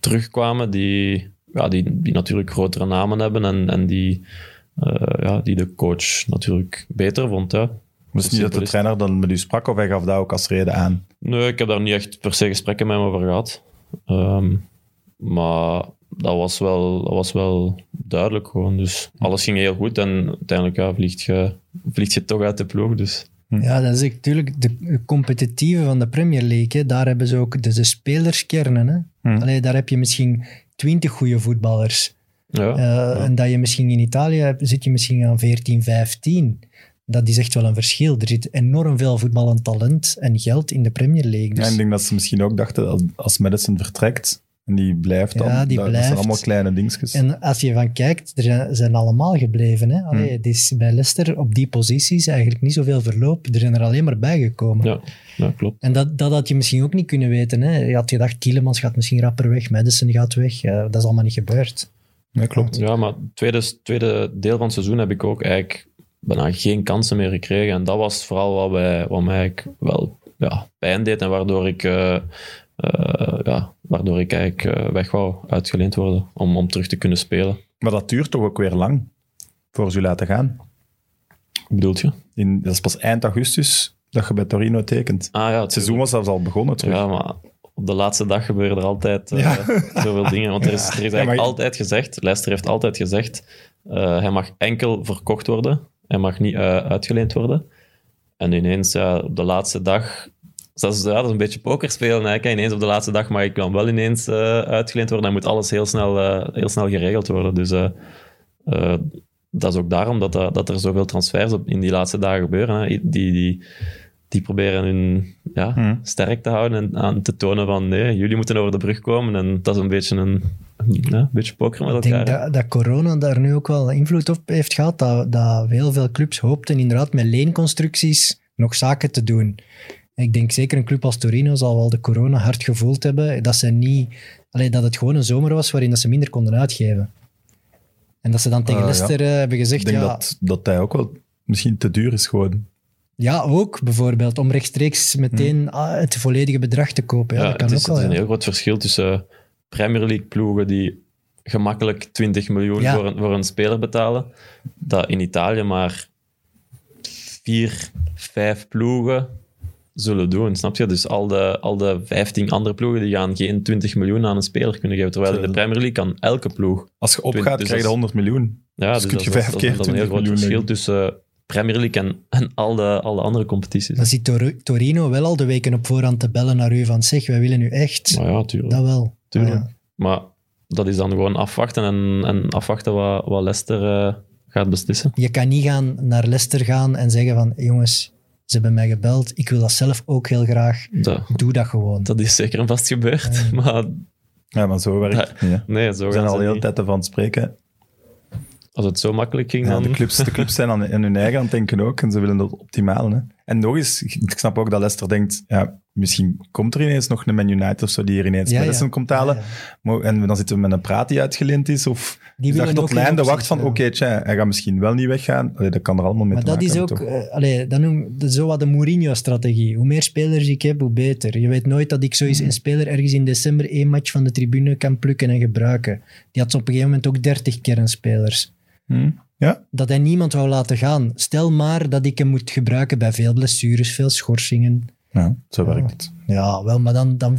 Speaker 3: terugkwamen die, ja, die, die natuurlijk grotere namen hebben en, en die, eh, ja, die de coach natuurlijk beter vond. Hè.
Speaker 1: Dus niet dat de
Speaker 3: simpel is
Speaker 1: trainer dan met u sprak of hij gaf dat ook als reden aan.
Speaker 3: Nee, ik heb daar niet echt per se gesprekken met hem over gehad. Ehm, maar dat was, wel, dat was wel duidelijk gewoon. Dus alles ging heel goed en uiteindelijk ja, vliegt, je, vliegt je toch uit de ploeg. Dus.
Speaker 2: Ja, dat is natuurlijk de competitieve van de Premier League. Hè. Daar hebben ze ook de, de spelerskernen. Hè.
Speaker 1: Hmm.
Speaker 2: Allee, daar heb je misschien twintig goede voetballers.
Speaker 3: Ja.
Speaker 2: Eh, En dat je misschien in Italië hebt, zit je misschien aan 14, 15. Dat is echt wel een verschil. Er zit enorm veel voetballend talent en geld in de Premier League.
Speaker 1: Ja,
Speaker 2: Dus
Speaker 1: ik denk dat ze misschien ook dachten, als- als Madison vertrekt, En die blijft dan.
Speaker 2: Ja,
Speaker 1: dat,
Speaker 2: die
Speaker 1: dat
Speaker 2: blijft.
Speaker 1: zijn allemaal kleine dingetjes.
Speaker 2: En als je van kijkt, er zijn, zijn allemaal gebleven. Hè? Allee, Het is bij Leicester op die posities eigenlijk niet zoveel verloop. Er zijn er alleen maar bijgekomen.
Speaker 3: Ja, ja klopt.
Speaker 2: En dat, dat had je misschien ook niet kunnen weten. Hè? Je had gedacht, Tielemans gaat misschien rapper weg, Madison gaat weg. Eh, dat is allemaal niet gebeurd.
Speaker 1: Ja, klopt.
Speaker 3: Ja, maar het tweede, tweede deel van het seizoen heb ik ook eigenlijk bijna geen kansen meer gekregen. En dat was vooral wat, wij, wat mij eigenlijk wel ja, pijn deed en waardoor ik, eh, eh, ja, waardoor ik eigenlijk eh, weg wou uitgeleend worden om, om terug te kunnen spelen.
Speaker 1: Maar dat duurt toch ook weer lang voor ze u laten gaan.
Speaker 3: Hoe bedoelt je?
Speaker 1: In, dat is pas eind augustus dat je bij Torino tekent.
Speaker 3: Ah ja, het
Speaker 1: Het seizoen was zelfs al begonnen terug.
Speaker 3: Ja, maar op de laatste dag gebeuren er altijd eh,
Speaker 1: Ja.
Speaker 3: <laughs> zoveel dingen. Want er is, er is eigenlijk
Speaker 1: <laughs> Ja, maar-
Speaker 3: altijd gezegd, Leicester heeft altijd gezegd, eh, hij mag enkel verkocht worden. Hij mag niet eh, uitgeleend worden. En ineens, ja, op de laatste dag... dus Dat is, ja, dat is een beetje poker spelen eigenlijk. hè. Ineens op de laatste dag mag ik dan wel ineens eh, uitgeleend worden. Dan moet alles heel snel, eh, heel snel geregeld worden. Dus eh, eh, dat is ook daarom dat, dat, dat er zoveel transfers op, in die laatste dagen gebeuren. Hè. Die, die, die proberen hun ja,
Speaker 1: Hmm.
Speaker 3: sterk te houden en aan te tonen van nee, jullie moeten over de brug komen. En dat is een beetje een, ja, een beetje poker met
Speaker 2: Ik
Speaker 3: elkaar.
Speaker 2: denk dat, dat corona daar nu ook wel invloed op heeft gehad. Dat, dat heel veel clubs hoopten inderdaad met leenconstructies nog zaken te doen. Ik denk zeker een club als Torino zal wel de corona hard gevoeld hebben. Dat, ze niet, allee, dat het gewoon een zomer was waarin dat ze minder konden uitgeven. En dat ze dan tegen
Speaker 1: Ah, ja.
Speaker 2: Leicester eh, hebben gezegd...
Speaker 1: Ik denk
Speaker 2: ja,
Speaker 1: dat, dat hij ook wel misschien te duur is gewoon.
Speaker 2: Ja, ook bijvoorbeeld om rechtstreeks meteen
Speaker 1: Hmm.
Speaker 2: ah, het volledige bedrag te kopen. Ja, dat kan
Speaker 3: het is,
Speaker 2: ook wel.
Speaker 3: het is een
Speaker 2: ja.
Speaker 3: heel groot verschil tussen eh, Premier League ploegen die gemakkelijk 20 miljoen
Speaker 2: Ja.
Speaker 3: voor, een, voor een speler betalen, dat in Italië maar vier, vijf ploegen zullen doen, snap je? Dus al de, al de 15 andere ploegen die gaan geen 20 miljoen aan een speler kunnen geven, terwijl in de Premier League kan elke ploeg.
Speaker 1: Als je
Speaker 3: Twint-
Speaker 1: opgaat,
Speaker 3: dus
Speaker 1: krijg je
Speaker 3: dat-
Speaker 1: 100 miljoen.
Speaker 3: Ja,
Speaker 1: Dus kun je vijf
Speaker 3: dat,
Speaker 1: keer
Speaker 3: dat is een
Speaker 1: 20
Speaker 3: heel groot
Speaker 1: miljoen
Speaker 3: verschil
Speaker 1: leggen.
Speaker 3: tussen Premier League en, en al, de, al de andere competities.
Speaker 2: Dan zit Tor- Torino wel al de weken op voorhand te bellen naar u van zeg, wij willen u echt.
Speaker 3: Maar ja, tuurlijk.
Speaker 2: Dat wel.
Speaker 3: Tuurlijk.
Speaker 2: Ja.
Speaker 3: Maar dat is dan gewoon afwachten en, en afwachten wat, wat Leicester eh, gaat beslissen.
Speaker 2: Je kan niet gaan naar Leicester gaan en zeggen van jongens, ze hebben mij gebeld, ik wil dat zelf ook heel graag.
Speaker 3: Dat,
Speaker 2: Doe dat gewoon.
Speaker 3: dat is zeker en vast gebeurd. <laughs> Maar
Speaker 1: Ja, maar zo werkt het niet, hè.
Speaker 3: nee, zo
Speaker 1: We zijn
Speaker 3: gaan
Speaker 1: al
Speaker 3: ze
Speaker 1: de hele
Speaker 3: niet.
Speaker 1: tijd ervan aan het spreken.
Speaker 3: Als het zo makkelijk ging,
Speaker 1: Ja,
Speaker 3: dan...
Speaker 1: de, clubs, de clubs zijn aan, aan hun eigen aan het denken ook. En ze willen dat optimaal. Hè. En nog eens, ik snap ook dat Leicester denkt... Ja, misschien komt er ineens nog een Man United of zo die hier ineens
Speaker 2: Ja, ja.
Speaker 1: Madison komt halen.
Speaker 2: Ja, ja.
Speaker 1: Maar- En dan zitten we met een praat die uitgeleend is. Of
Speaker 2: Die
Speaker 1: zag
Speaker 2: willen ook
Speaker 1: tot
Speaker 2: geen
Speaker 1: lijn de
Speaker 2: opties
Speaker 1: wacht van... Oké,
Speaker 2: hebben.
Speaker 1: tja, hij gaat misschien wel niet weggaan. Allee, dat kan er allemaal mee
Speaker 2: Maar
Speaker 1: te
Speaker 2: dat
Speaker 1: maken
Speaker 2: is ook,
Speaker 1: hebben, toch?
Speaker 2: eh, allee, dat noem, dat is zo wat de Mourinho-strategie. Hoe meer spelers ik heb, hoe beter. Je weet nooit dat ik zoiets
Speaker 1: Mm.
Speaker 2: een speler ergens in december één match van de tribune kan plukken en gebruiken. Die had ze op een gegeven moment ook 30 kernspelers.
Speaker 1: Hm? Ja,
Speaker 2: Dat hij niemand wou laten gaan. Stel maar dat ik hem moet gebruiken bij veel blessures, veel schorsingen.
Speaker 1: ja zo werkt het.
Speaker 2: Ja, wel, maar dan, dan,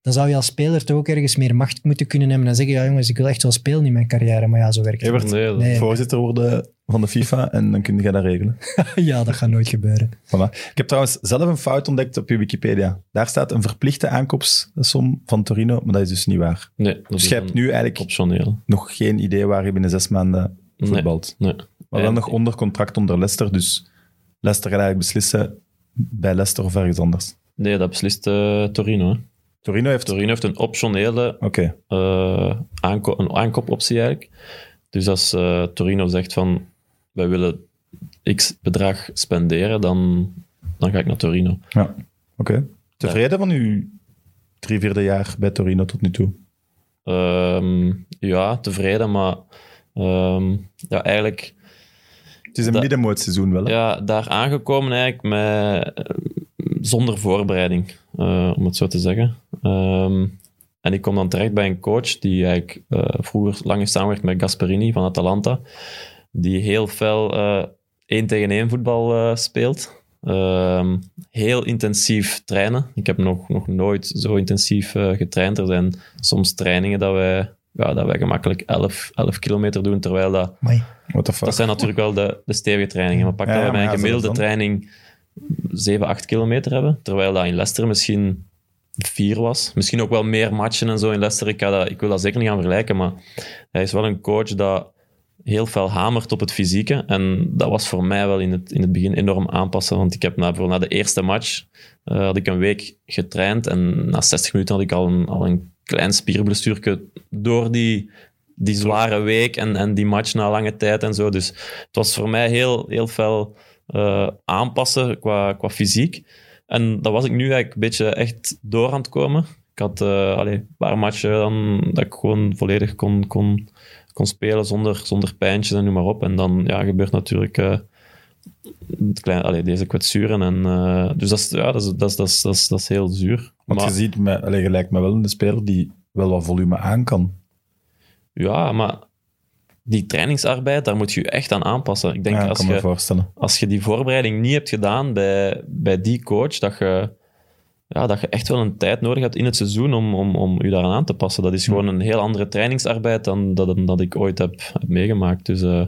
Speaker 2: dan zou je als speler toch ook ergens meer macht moeten kunnen hebben en zeggen, ja jongens, ik wil echt wel spelen in mijn carrière. Maar ja, zo werkt het.
Speaker 1: Evert,
Speaker 3: Nee, dat-
Speaker 2: Nee.
Speaker 1: voorzitter worden van de FIFA en dan kun je dat regelen.
Speaker 2: <laughs> Ja, dat gaat nooit gebeuren.
Speaker 1: Voilà. Ik heb trouwens zelf een fout ontdekt op je Wikipedia. Daar staat een verplichte aankoopssom van Torino, maar dat is dus niet waar.
Speaker 3: Nee, dat
Speaker 1: Dus
Speaker 3: is
Speaker 1: je hebt
Speaker 3: dan
Speaker 1: nu eigenlijk
Speaker 3: optioneel.
Speaker 1: nog geen idee waar je binnen zes maanden
Speaker 3: Nee.
Speaker 1: voetbalt.
Speaker 3: Nee.
Speaker 1: Maar wel
Speaker 3: En-
Speaker 1: nog onder contract onder Leicester, dus Leicester gaat eigenlijk beslissen bij Leicester of ergens anders.
Speaker 3: nee, dat beslist eh, Torino. Hè.
Speaker 1: Torino heeft...
Speaker 3: Torino heeft een optionele
Speaker 1: Oké,
Speaker 3: eh, aanko een aankoopoptie eigenlijk. Dus als eh, Torino zegt van wij willen x bedrag spenderen, dan, dan ga ik naar Torino.
Speaker 1: ja. Oké. Tevreden van uw drie vierde jaar bij Torino tot nu toe?
Speaker 3: Ehm, ja, tevreden, maar ehm, ja, eigenlijk
Speaker 1: Het is een
Speaker 3: Dat-
Speaker 1: middenmoot seizoen wel, hè?
Speaker 3: ja, daar aangekomen eigenlijk met, eh, zonder voorbereiding, eh, om het zo te zeggen. Ehm, en ik kom dan terecht bij een coach die eigenlijk eh, vroeger lang heeft samengewerkt met Gasperini van Atalanta, die heel fel eh, één tegen één voetbal eh, speelt. Ehm, heel intensief trainen. Ik heb nog, nog nooit zo intensief eh, getraind. Er zijn soms trainingen dat wij, ja, dat wij gemakkelijk 11, 11 kilometer doen, terwijl dat
Speaker 2: Amai.
Speaker 1: What the fuck?
Speaker 3: dat zijn natuurlijk wel de, de stevige trainingen. Maar pak
Speaker 1: Ja,
Speaker 3: dat
Speaker 1: ja,
Speaker 3: we bij een
Speaker 1: maar ja,
Speaker 3: gemiddelde
Speaker 1: zelfs dan.
Speaker 3: training 7, 8 kilometer hebben. Terwijl dat in Leicester misschien 4 was. Misschien ook wel meer matchen en zo in Leicester. Ik, ga dat, ik wil dat zeker niet gaan vergelijken. Maar hij is wel een coach dat heel veel hamert op het fysieke. En dat was voor mij wel in het, in het begin enorm aanpassen. Want ik heb na, bijvoorbeeld na de eerste match eh, had ik een week getraind. En na 60 minuten had ik al een, al een klein spierblessuurke door die, die zware week en, en die match na lange tijd en zo. Dus het was voor mij heel, heel veel eh, aanpassen qua, qua fysiek. En dat was ik nu eigenlijk een beetje echt door aan het komen. Ik had eh, allee, een paar matchen dan, dat ik gewoon volledig kon, kon, kon spelen zonder, zonder pijntjes en noem maar op. En dan ja, gebeurt natuurlijk eh, het klein, allee, deze kwetsuren. En, eh, dus dat is, ja, dat, is, dat, is, dat, is, dat, is, dat is heel zuur.
Speaker 1: Want
Speaker 3: Maar-
Speaker 1: je ziet, me, allee, je lijkt me wel een speler die wel wat volume aan kan.
Speaker 3: Ja, maar die trainingsarbeid, daar moet je je echt aan aanpassen. Ik denk
Speaker 1: ja, ik
Speaker 3: als,
Speaker 1: kan me
Speaker 3: je,
Speaker 1: voorstellen.
Speaker 3: als je die voorbereiding niet hebt gedaan bij, bij die coach, dat je, ja, dat je echt wel een tijd nodig hebt in het seizoen om, om, om je daaraan aan te passen. Dat is gewoon een heel andere trainingsarbeid dan dat, dan dat ik ooit heb, heb meegemaakt. Dus, eh,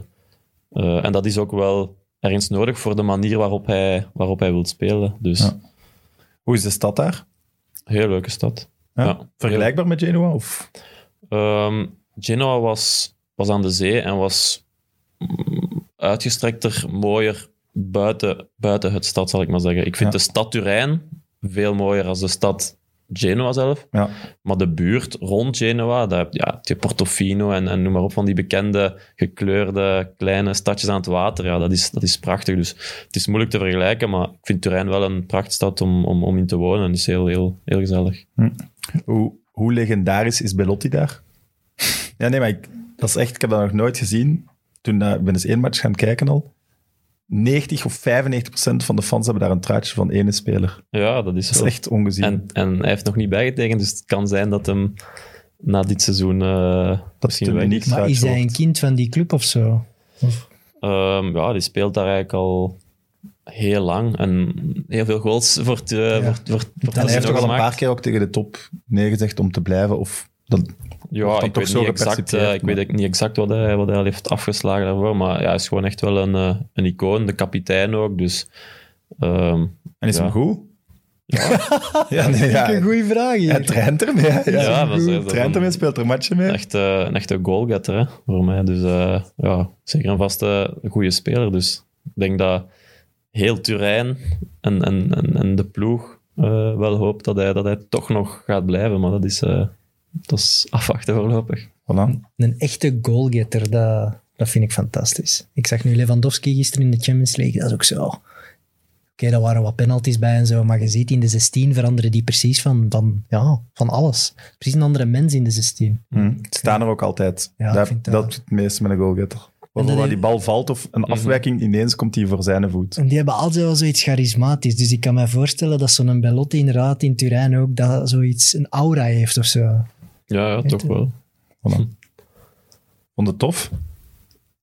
Speaker 3: eh, en dat is ook wel ergens nodig voor de manier waarop hij, waarop hij wil spelen. Dus
Speaker 1: Ja. Hoe is de stad daar?
Speaker 3: heel leuke stad.
Speaker 1: Ja.
Speaker 3: Ja.
Speaker 1: Vergelijkbaar met Genoa? Of?
Speaker 3: Ehm, Genoa was, was aan de zee en was mm, uitgestrekter, mooier buiten, buiten het stad, zal ik maar zeggen. Ik vind
Speaker 1: Ja.
Speaker 3: de stad Turijn veel mooier dan de stad Genoa zelf.
Speaker 1: Ja.
Speaker 3: Maar de buurt rond Genoa, daar heb je, ja, heb je Portofino en, en noem maar op, van die bekende gekleurde kleine stadjes aan het water. Ja, dat is, dat is prachtig. Dus het is moeilijk te vergelijken, maar ik vind Turijn wel een prachtstad om, om, om in te wonen. Het is heel, heel, heel gezellig.
Speaker 1: Hoe, hoe legendarisch is Belotti daar? ja, nee, maar ik, dat is echt, ik heb dat nog nooit gezien. Toen eh, ik ben eens één match gaan kijken al. 90 of 95 procent van de fans hebben daar een truitje van ene speler.
Speaker 3: Ja, dat is
Speaker 1: Dat is
Speaker 3: wel-
Speaker 1: echt ongezien.
Speaker 3: En, en hij heeft nog niet bijgetekend, dus het kan zijn dat hem na dit seizoen eh, misschien
Speaker 1: het
Speaker 3: weg
Speaker 1: een
Speaker 3: is.
Speaker 1: uniek-
Speaker 2: Maar is
Speaker 1: Uitgehoord.
Speaker 2: hij een kind van die club of zo?
Speaker 3: Ehm, ja, die speelt daar eigenlijk al heel lang en heel veel goals voor het, eh, voor, voor, voor het
Speaker 1: En hij heeft
Speaker 3: seizoen
Speaker 1: toch al een
Speaker 3: gemaakt.
Speaker 1: paar keer ook tegen de top nee gezegd om te blijven. Of dat,
Speaker 3: Ja,
Speaker 1: dan
Speaker 3: ik
Speaker 1: toch
Speaker 3: weet,
Speaker 1: zo
Speaker 3: niet exact,
Speaker 1: gepercipieerd,
Speaker 3: eh, ik
Speaker 1: maar-
Speaker 3: weet ook niet exact wat hij, wat hij al heeft afgeslagen daarvoor, maar ja, hij is gewoon echt wel een, eh, een icoon, de kapitein ook, dus... ehm,
Speaker 1: en is
Speaker 3: Ja.
Speaker 1: hem goed? <laughs> Ja, nee, ja.
Speaker 2: Een goede vraag hier.
Speaker 1: Hij traint ermee. hè. Ja,
Speaker 3: Ja, dat is- dat is
Speaker 1: traint
Speaker 3: een-
Speaker 1: ermee, speelt er matchen mee.
Speaker 3: Een echte, een echte goalgetter hè, voor mij. Dus eh, ja, zeker eh, een vaste goede speler. Dus ik denk dat heel Turijn en, en, en, en de ploeg eh, wel hoopt dat hij, dat hij toch nog gaat blijven. Maar dat is, eh, dat is afwachten voorlopig.
Speaker 1: Voilà.
Speaker 2: Een echte goalgetter, dat, dat vind ik fantastisch. Ik zag nu Lewandowski gisteren in de Champions League, dat is ook zo. Oké, daar waren wat penalties bij en zo, maar je ziet in de 16 veranderen die precies van, van, ja, van alles. Precies een andere mens in de 16.
Speaker 1: Hm. Staan er ook altijd.
Speaker 2: Ja, ik
Speaker 1: dat,
Speaker 2: vind
Speaker 1: dat...
Speaker 2: dat-
Speaker 1: is het meeste met een goalgetter. Of
Speaker 2: dat
Speaker 1: waar
Speaker 2: is-
Speaker 1: die bal valt of een
Speaker 3: Mhm.
Speaker 1: afwijking, ineens komt hij voor zijn voet.
Speaker 2: En die hebben altijd wel zoiets charismatisch, dus ik kan me voorstellen dat zo'n Belotti inderdaad in Turijn ook dat zoiets een aura heeft of zo.
Speaker 3: Ja, ja toch wel.
Speaker 1: Voilà. Vond het tof?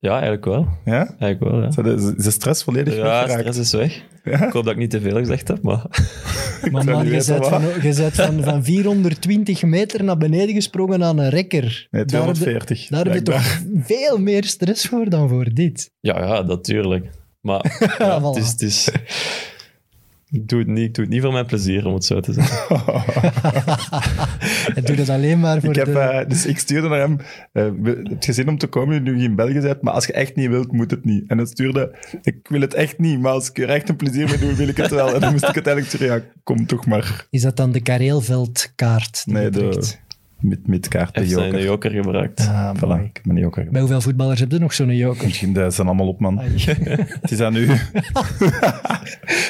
Speaker 3: Ja, eigenlijk wel.
Speaker 1: Ja?
Speaker 3: Eigenlijk wel ja.
Speaker 1: Ze hadden- Is de stress volledig
Speaker 3: Ja,
Speaker 1: weggeraakt?
Speaker 3: stress is weg. Ik hoop dat ik niet te veel gezegd heb, maar <laughs>
Speaker 2: Maar
Speaker 1: zou
Speaker 2: man,
Speaker 1: niet
Speaker 2: je
Speaker 1: weten
Speaker 2: bent,
Speaker 1: waar.
Speaker 2: van, je bent
Speaker 1: <laughs>
Speaker 2: van, van 420 meter naar beneden gesprongen aan een rekker.
Speaker 1: Nee,
Speaker 2: Daar heb je-
Speaker 1: 240.
Speaker 2: Daar heb je
Speaker 1: blijkbaar.
Speaker 2: toch veel meer stress voor dan voor
Speaker 1: <laughs>
Speaker 2: dit.
Speaker 3: ja, ja, natuurlijk. Maar ja, het is... Het is ik doe, het niet, ik doe het niet voor mijn plezier, om het zo te zeggen.
Speaker 2: En doe dat alleen maar voor
Speaker 1: Ik heb,
Speaker 2: de...
Speaker 1: eh, dus ik stuurde naar hem, eh, we- heb je zin om te komen nu je in België bent, maar als je echt niet wilt, moet het niet. En dan stuurde, ik wil het echt niet, maar als ik er echt een plezier mee doe, wil ik het wel. En dan moest ik uiteindelijk zeggen, ja, kom toch maar.
Speaker 2: Is dat dan de kareelveldkaart? Die
Speaker 1: Nee,
Speaker 2: je
Speaker 1: de-
Speaker 2: trekt?
Speaker 1: Met, met kaart, de
Speaker 3: Heeft hij de
Speaker 1: joker.
Speaker 3: joker gebruikt.
Speaker 2: Ah,
Speaker 1: Voilà,
Speaker 2: mooi.
Speaker 1: ik ben een joker.
Speaker 2: Bij hoeveel voetballers heb je nog
Speaker 1: <laughs>
Speaker 2: zo'n joker?
Speaker 1: Dat zijn allemaal op, man.
Speaker 2: Ai.
Speaker 1: <laughs> Het is aan u.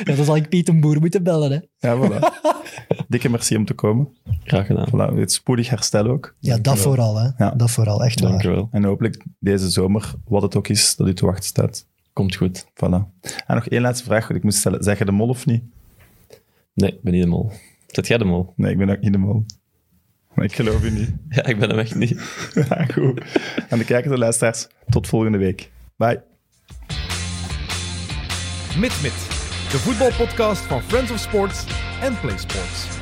Speaker 2: Ja, dan zal ik Piet een Boer moeten bellen. Hè.
Speaker 1: Ja, voilà. <laughs> Dikke merci om te komen.
Speaker 3: Graag gedaan.
Speaker 1: Voilà, het spoedig herstel ook.
Speaker 2: Ja, dat vooral. Hè.
Speaker 1: Ja.
Speaker 2: Dat vooral, echt waar.
Speaker 3: Dankjewel.
Speaker 1: En hopelijk deze zomer, wat het ook is, dat u te wachten staat.
Speaker 3: Komt goed.
Speaker 1: Voilà. En nog één laatste vraag, want ik moest stellen. Zeg je de mol of niet?
Speaker 3: Nee, ik ben niet de mol. Zet jij de mol?
Speaker 1: Nee, ik ben ook niet de mol. Maar ik geloof u niet. <laughs>
Speaker 3: Ja, ik ben hem echt niet.
Speaker 1: Ja, goed. Aan de kijkers en luisteraars, tot volgende week. Bye.
Speaker 4: MidMid, de voetbalpodcast van Friends of Sports en Play Sports.